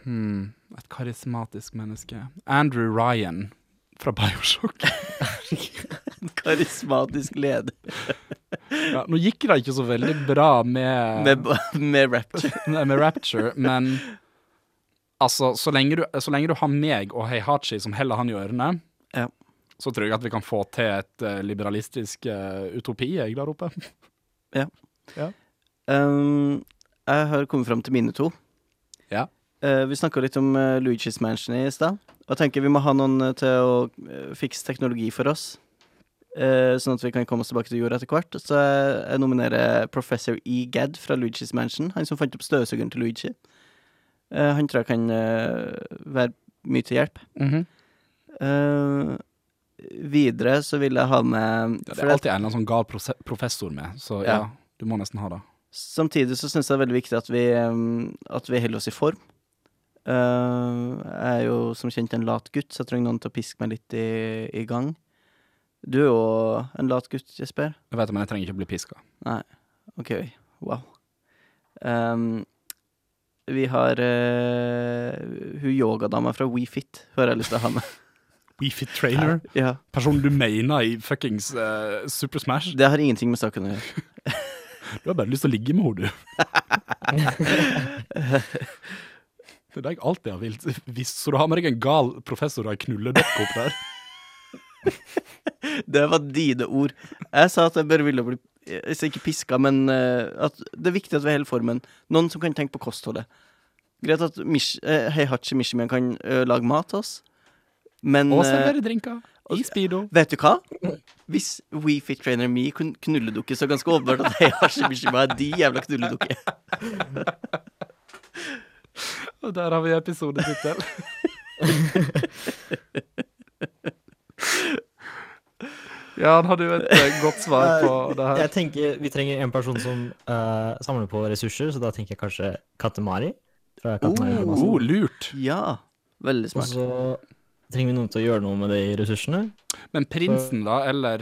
S3: Hmm. Et karismatisk menneske. Andrew Ryan fra Bioshock.
S2: Karismatisk leder
S3: Ja, nå gikk det ikke så veldig bra med,
S2: med, med rapture.
S3: Nei, med Rapture, men altså, så lenge, du, så lenge du har meg og Heihachi som heller han i ørene,
S2: Ja.
S3: så tror jeg at vi kan få til et eh, liberalistisk eh, utopi jeg der oppe.
S2: Um, jeg har kommet fram til mine to.
S3: Ja.
S2: Eh, vi snakka litt om eh, Luigi's Mansion i stad. Og jeg tenker vi må ha noen eh, til å eh, fikse teknologi for oss. eh, sånn at vi kan komme oss tilbake til jorda etter hvert. Så jeg, jeg nominerer professor E. Gadd fra Luigi's Mansion. Han som fant opp støvsugeren til Luigi. Eh, han tror jeg kan eh, være mye til hjelp. Eh, videre så vil jeg ha med
S3: Det
S2: for
S3: er
S2: jeg-
S3: alltid en eller annen sånn gal prose- professor med, så ja.
S2: Ja.
S3: du må nesten ha det.
S2: Samtidig så syns jeg det er veldig viktig at vi, um, at vi holder oss i form. Uh, jeg er jo som kjent en lat gutt, så jeg trenger noen til å piske meg litt i, i gang. Du er jo en lat gutt, Jesper.
S3: Jeg vet det, men jeg trenger ikke bli piska.
S2: OK, wow. Um, vi har uh, hun yogadama fra WeFit, hører jeg lyst til å ha med.
S3: WeFit trainer?
S2: ja.
S3: Personen du mener i fuckings eh, Super Smash?
S2: Det har ingenting med saken å gjøre.
S3: Du har bare lyst til å ligge med henne, du. det er det jeg alltid har vilt. Hvis- Så du har med deg en gal professor og ei knulledokk opp der?
S2: Det var dine ord. Jeg sa at jeg bare ville bli altså Ikke piska, men eh, at det er viktig at vi holder formen. Noen som kan tenke på kostholdet. Greit at Mish, eh, Heihachi Mishima kan eh, lage mat til oss, men
S3: Og
S2: eh,
S3: servere drinker. I speedo.
S2: Vet du hva? Hvis WeFit Trainer Me kun knulledukke, så er det ganske åpenbart at Heihachi Mishima er de jævla knulledukke.
S3: Og der har vi episodetittel. ja, han hadde jo et eh, godt svar på det her.
S1: Jeg tenker Vi trenger en person som eh, samler på ressurser, så da tenker jeg kanskje Katemari. Fra Katemari
S2: Oh.
S1: Damacy.
S3: Oh, lurt.
S2: Ja. Veldig
S1: Og
S2: smart.
S1: så trenger vi noen til å gjøre noe med de ressursene.
S3: Men prinsen, da, eller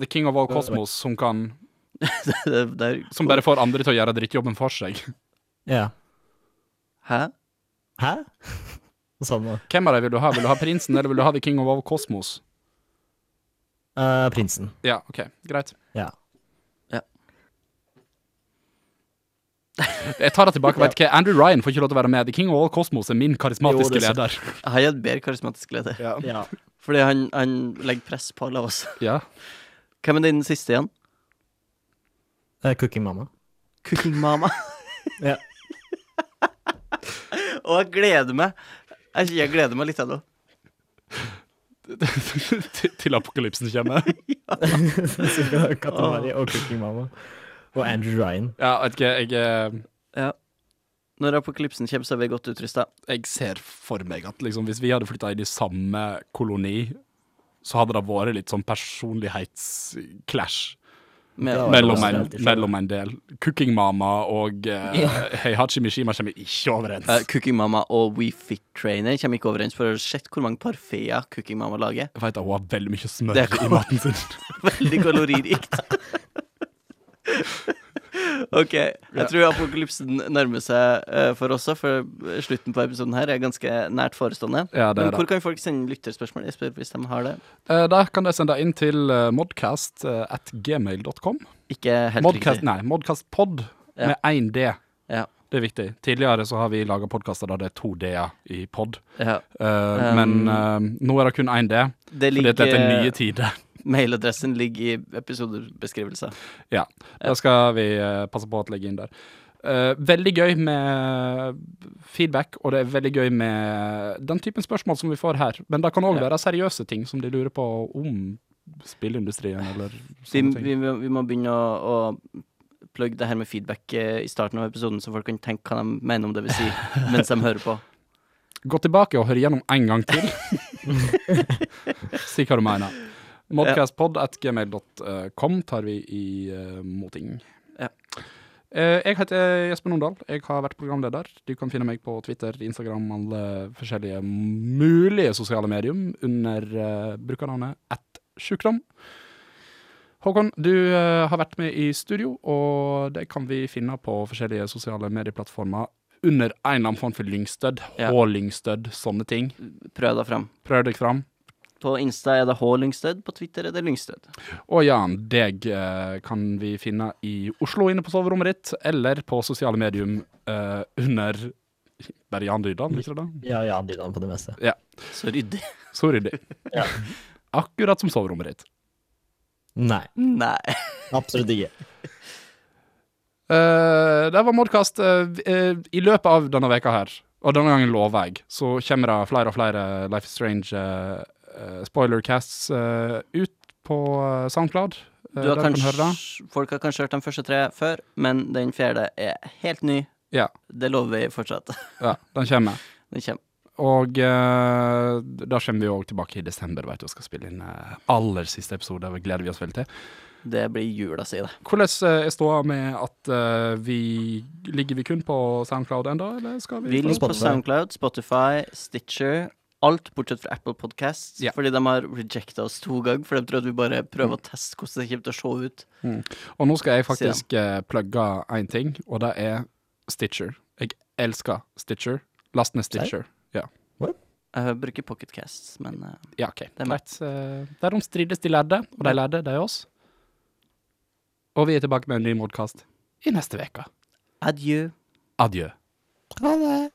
S3: The King of All Cosmos, som, kan,
S2: Det der-
S3: som bare får andre til å gjøre drittjobben for seg.
S1: Ja.
S2: Hæ?
S1: Hæ? Hva sa du nå?
S3: Hvem av dem vil du ha? Vil du ha prinsen, eller vil du ha The King of All Cosmos?
S1: Eh, prinsen.
S3: Ja, OK, greit.
S1: Ja.
S3: Jeg tar det tilbake. Vet du hva? Andrew Ryan får ikke lov til å være med. The King of All Cosmos er min
S1: Jo,
S3: karismatiske
S1: det er sant.
S3: leder.
S2: Jeg har et bedre karismatisk leder.
S3: Ja.
S1: ja.
S2: Fordi han, han legger press på alle oss.
S3: ja.
S2: Hvem er den siste igjen?
S1: Eh, cooking Mama.
S2: Cooking Mama.
S1: Ja.
S2: Og jeg gleder meg. Jeg, jeg gleder meg litt ennå.
S3: Til- Til apokalypsen kommer.
S1: Så vi har Katemari og Cooking Mama. Og Andrew Ryan.
S3: Ja, vet ikke, jeg, eh,
S2: Når apokalypsen kommer, så er vi godt utrusta.
S3: jeg ser for meg at liksom, hvis vi hadde flytta inn i samme koloni, så hadde det vært litt sånn personlighetsclash
S1: Ja,
S3: mellom,
S1: det
S3: en-
S1: var alltid sånn.
S3: mellom en del. Cooking Mama og eh, Heihachi Mishima kommer ikke overens.
S2: Eh, Cooking Mama og We Fit Trainer kommer ikke overens, for jeg har sett hvor mange parfeer Cooking Mama lager.
S3: jeg veit hun har veldig mye smør
S2: Det er
S3: i maten sin.
S2: Veldig kaloririkt. OK. Jeg tror apokalypsen nærmer seg eh, for oss òg, for slutten på episoden her er ganske nært forestående.
S3: Ja, det er
S2: Men
S3: det.
S2: hvor kan folk sende lytterspørsmål, Jesper, hvis de har det?
S3: Eh, da kan de sende inn til eh, modcast eh, at gmail.com.
S2: Ikke helt
S3: Modcast,
S2: riktig.
S3: nei, modcastpod
S2: Ja.
S3: med én D.
S2: Ja.
S3: Det er viktig. Tidligere så har vi laga podkaster der det er to D-er i pod.
S2: Ja.
S3: Eh, men eh, nå er det kun én D,
S2: Det
S3: fordi at dette er nye
S2: Um, ligger
S3: tider.
S2: Mailadressen ligger i episodebeskrivelser.
S3: ja, det skal vi eh, passe på å legge inn der. Eh, veldig gøy med feedback, og det er veldig gøy med den typen spørsmål som vi får her. Men det kan òg
S2: Ja.
S3: være seriøse ting som de lurer på om spillindustrien eller
S2: Vi,
S3: sånne ting.
S2: vi, må- vi må begynne å, å plugge det her med feedback eh, i starten av episoden, så folk kan tenke hva de mener om det vi sier, mens de hører på.
S3: Gå tilbake og hør gjennom en gang til. si hva du mener. Modcastpod.gmail.com tar vi i uh, moting.
S2: Ja.
S3: Eh, jeg heter Jesper Nordahl. Jeg har vært programleder. Du kan finne meg på Twitter, Instagram, alle forskjellige mulige sosiale medium under eh, brukernavnet at sjukdom. Håkon, du eh, har vært med i studio, og det kan vi finne på forskjellige sosiale medieplattformer. under en eller annen form for lyngstødd.
S2: Ja.
S3: H-lyngstødd, sånne ting.
S2: Prøv deg fram.
S3: Prøv deg fram.
S2: På Insta er det H Lyngstød, på Twitter er det Lyngstød.
S3: Og Jan, deg eh, kan vi finne i Oslo inne på soverommet ditt, eller på sosiale medium eh, under Bare Jan Dydal, ikke det?
S1: Ja, ja, de på det meste.
S2: Så ryddig.
S3: Så ryddig.
S1: Ja.
S3: Akkurat som soverommet ditt.
S1: Nei,
S3: Mm.
S2: Nei.
S1: absolutt ikke.
S3: Eh, det var Modkast. Eh, vi- eh, I løpet av denne veka her, og denne gangen lover jeg, så kommer det flere og flere Life is Strange eh, eh, spoilercasts eh, ut på eh, SoundCloud. Eh,
S2: Du har
S3: der kan høre det.
S2: kanskje, folk har kanskje hørt de første tre før, men den fjerde er helt ny.
S3: Ja,
S2: Det lover vi fortsatt.
S3: ja, den kommer.
S2: Den kommer.
S3: Og eh, da kommer vi òg tilbake i desember vet du, og skal spille inn eh, aller siste episode. og Det gleder vi oss veldig til.
S2: Det blir jula si, det.
S3: Hvordan eh, er ståa med at eh, vi Ligger vi kun på SoundCloud ennå, eller skal vi,
S2: Vi
S3: få-
S2: ligger på
S1: Spotify.
S2: SoundCloud, Spotify, Stitcher. Alt bortsett fra Apple Podcasts,
S3: Ja.
S2: fordi de har rejecta oss to ganger. For de tror at vi bare prøver å teste hvordan det kommer til å se ut.
S3: Og nå skal jeg faktisk eh, plugge én ting, og det er Stitcher. Jeg elsker Stitcher. Last ned Stitcher. Ja.
S2: Jeg bruker Pocketcasts, men eh,
S3: ja, OK.
S2: er meg.
S3: Greit. Eh, Der de strides, de lærde, og de lærde, det er oss. Og vi er tilbake med en ny modkast i neste uke.
S2: adjø.
S3: Adjø.
S1: Ha det.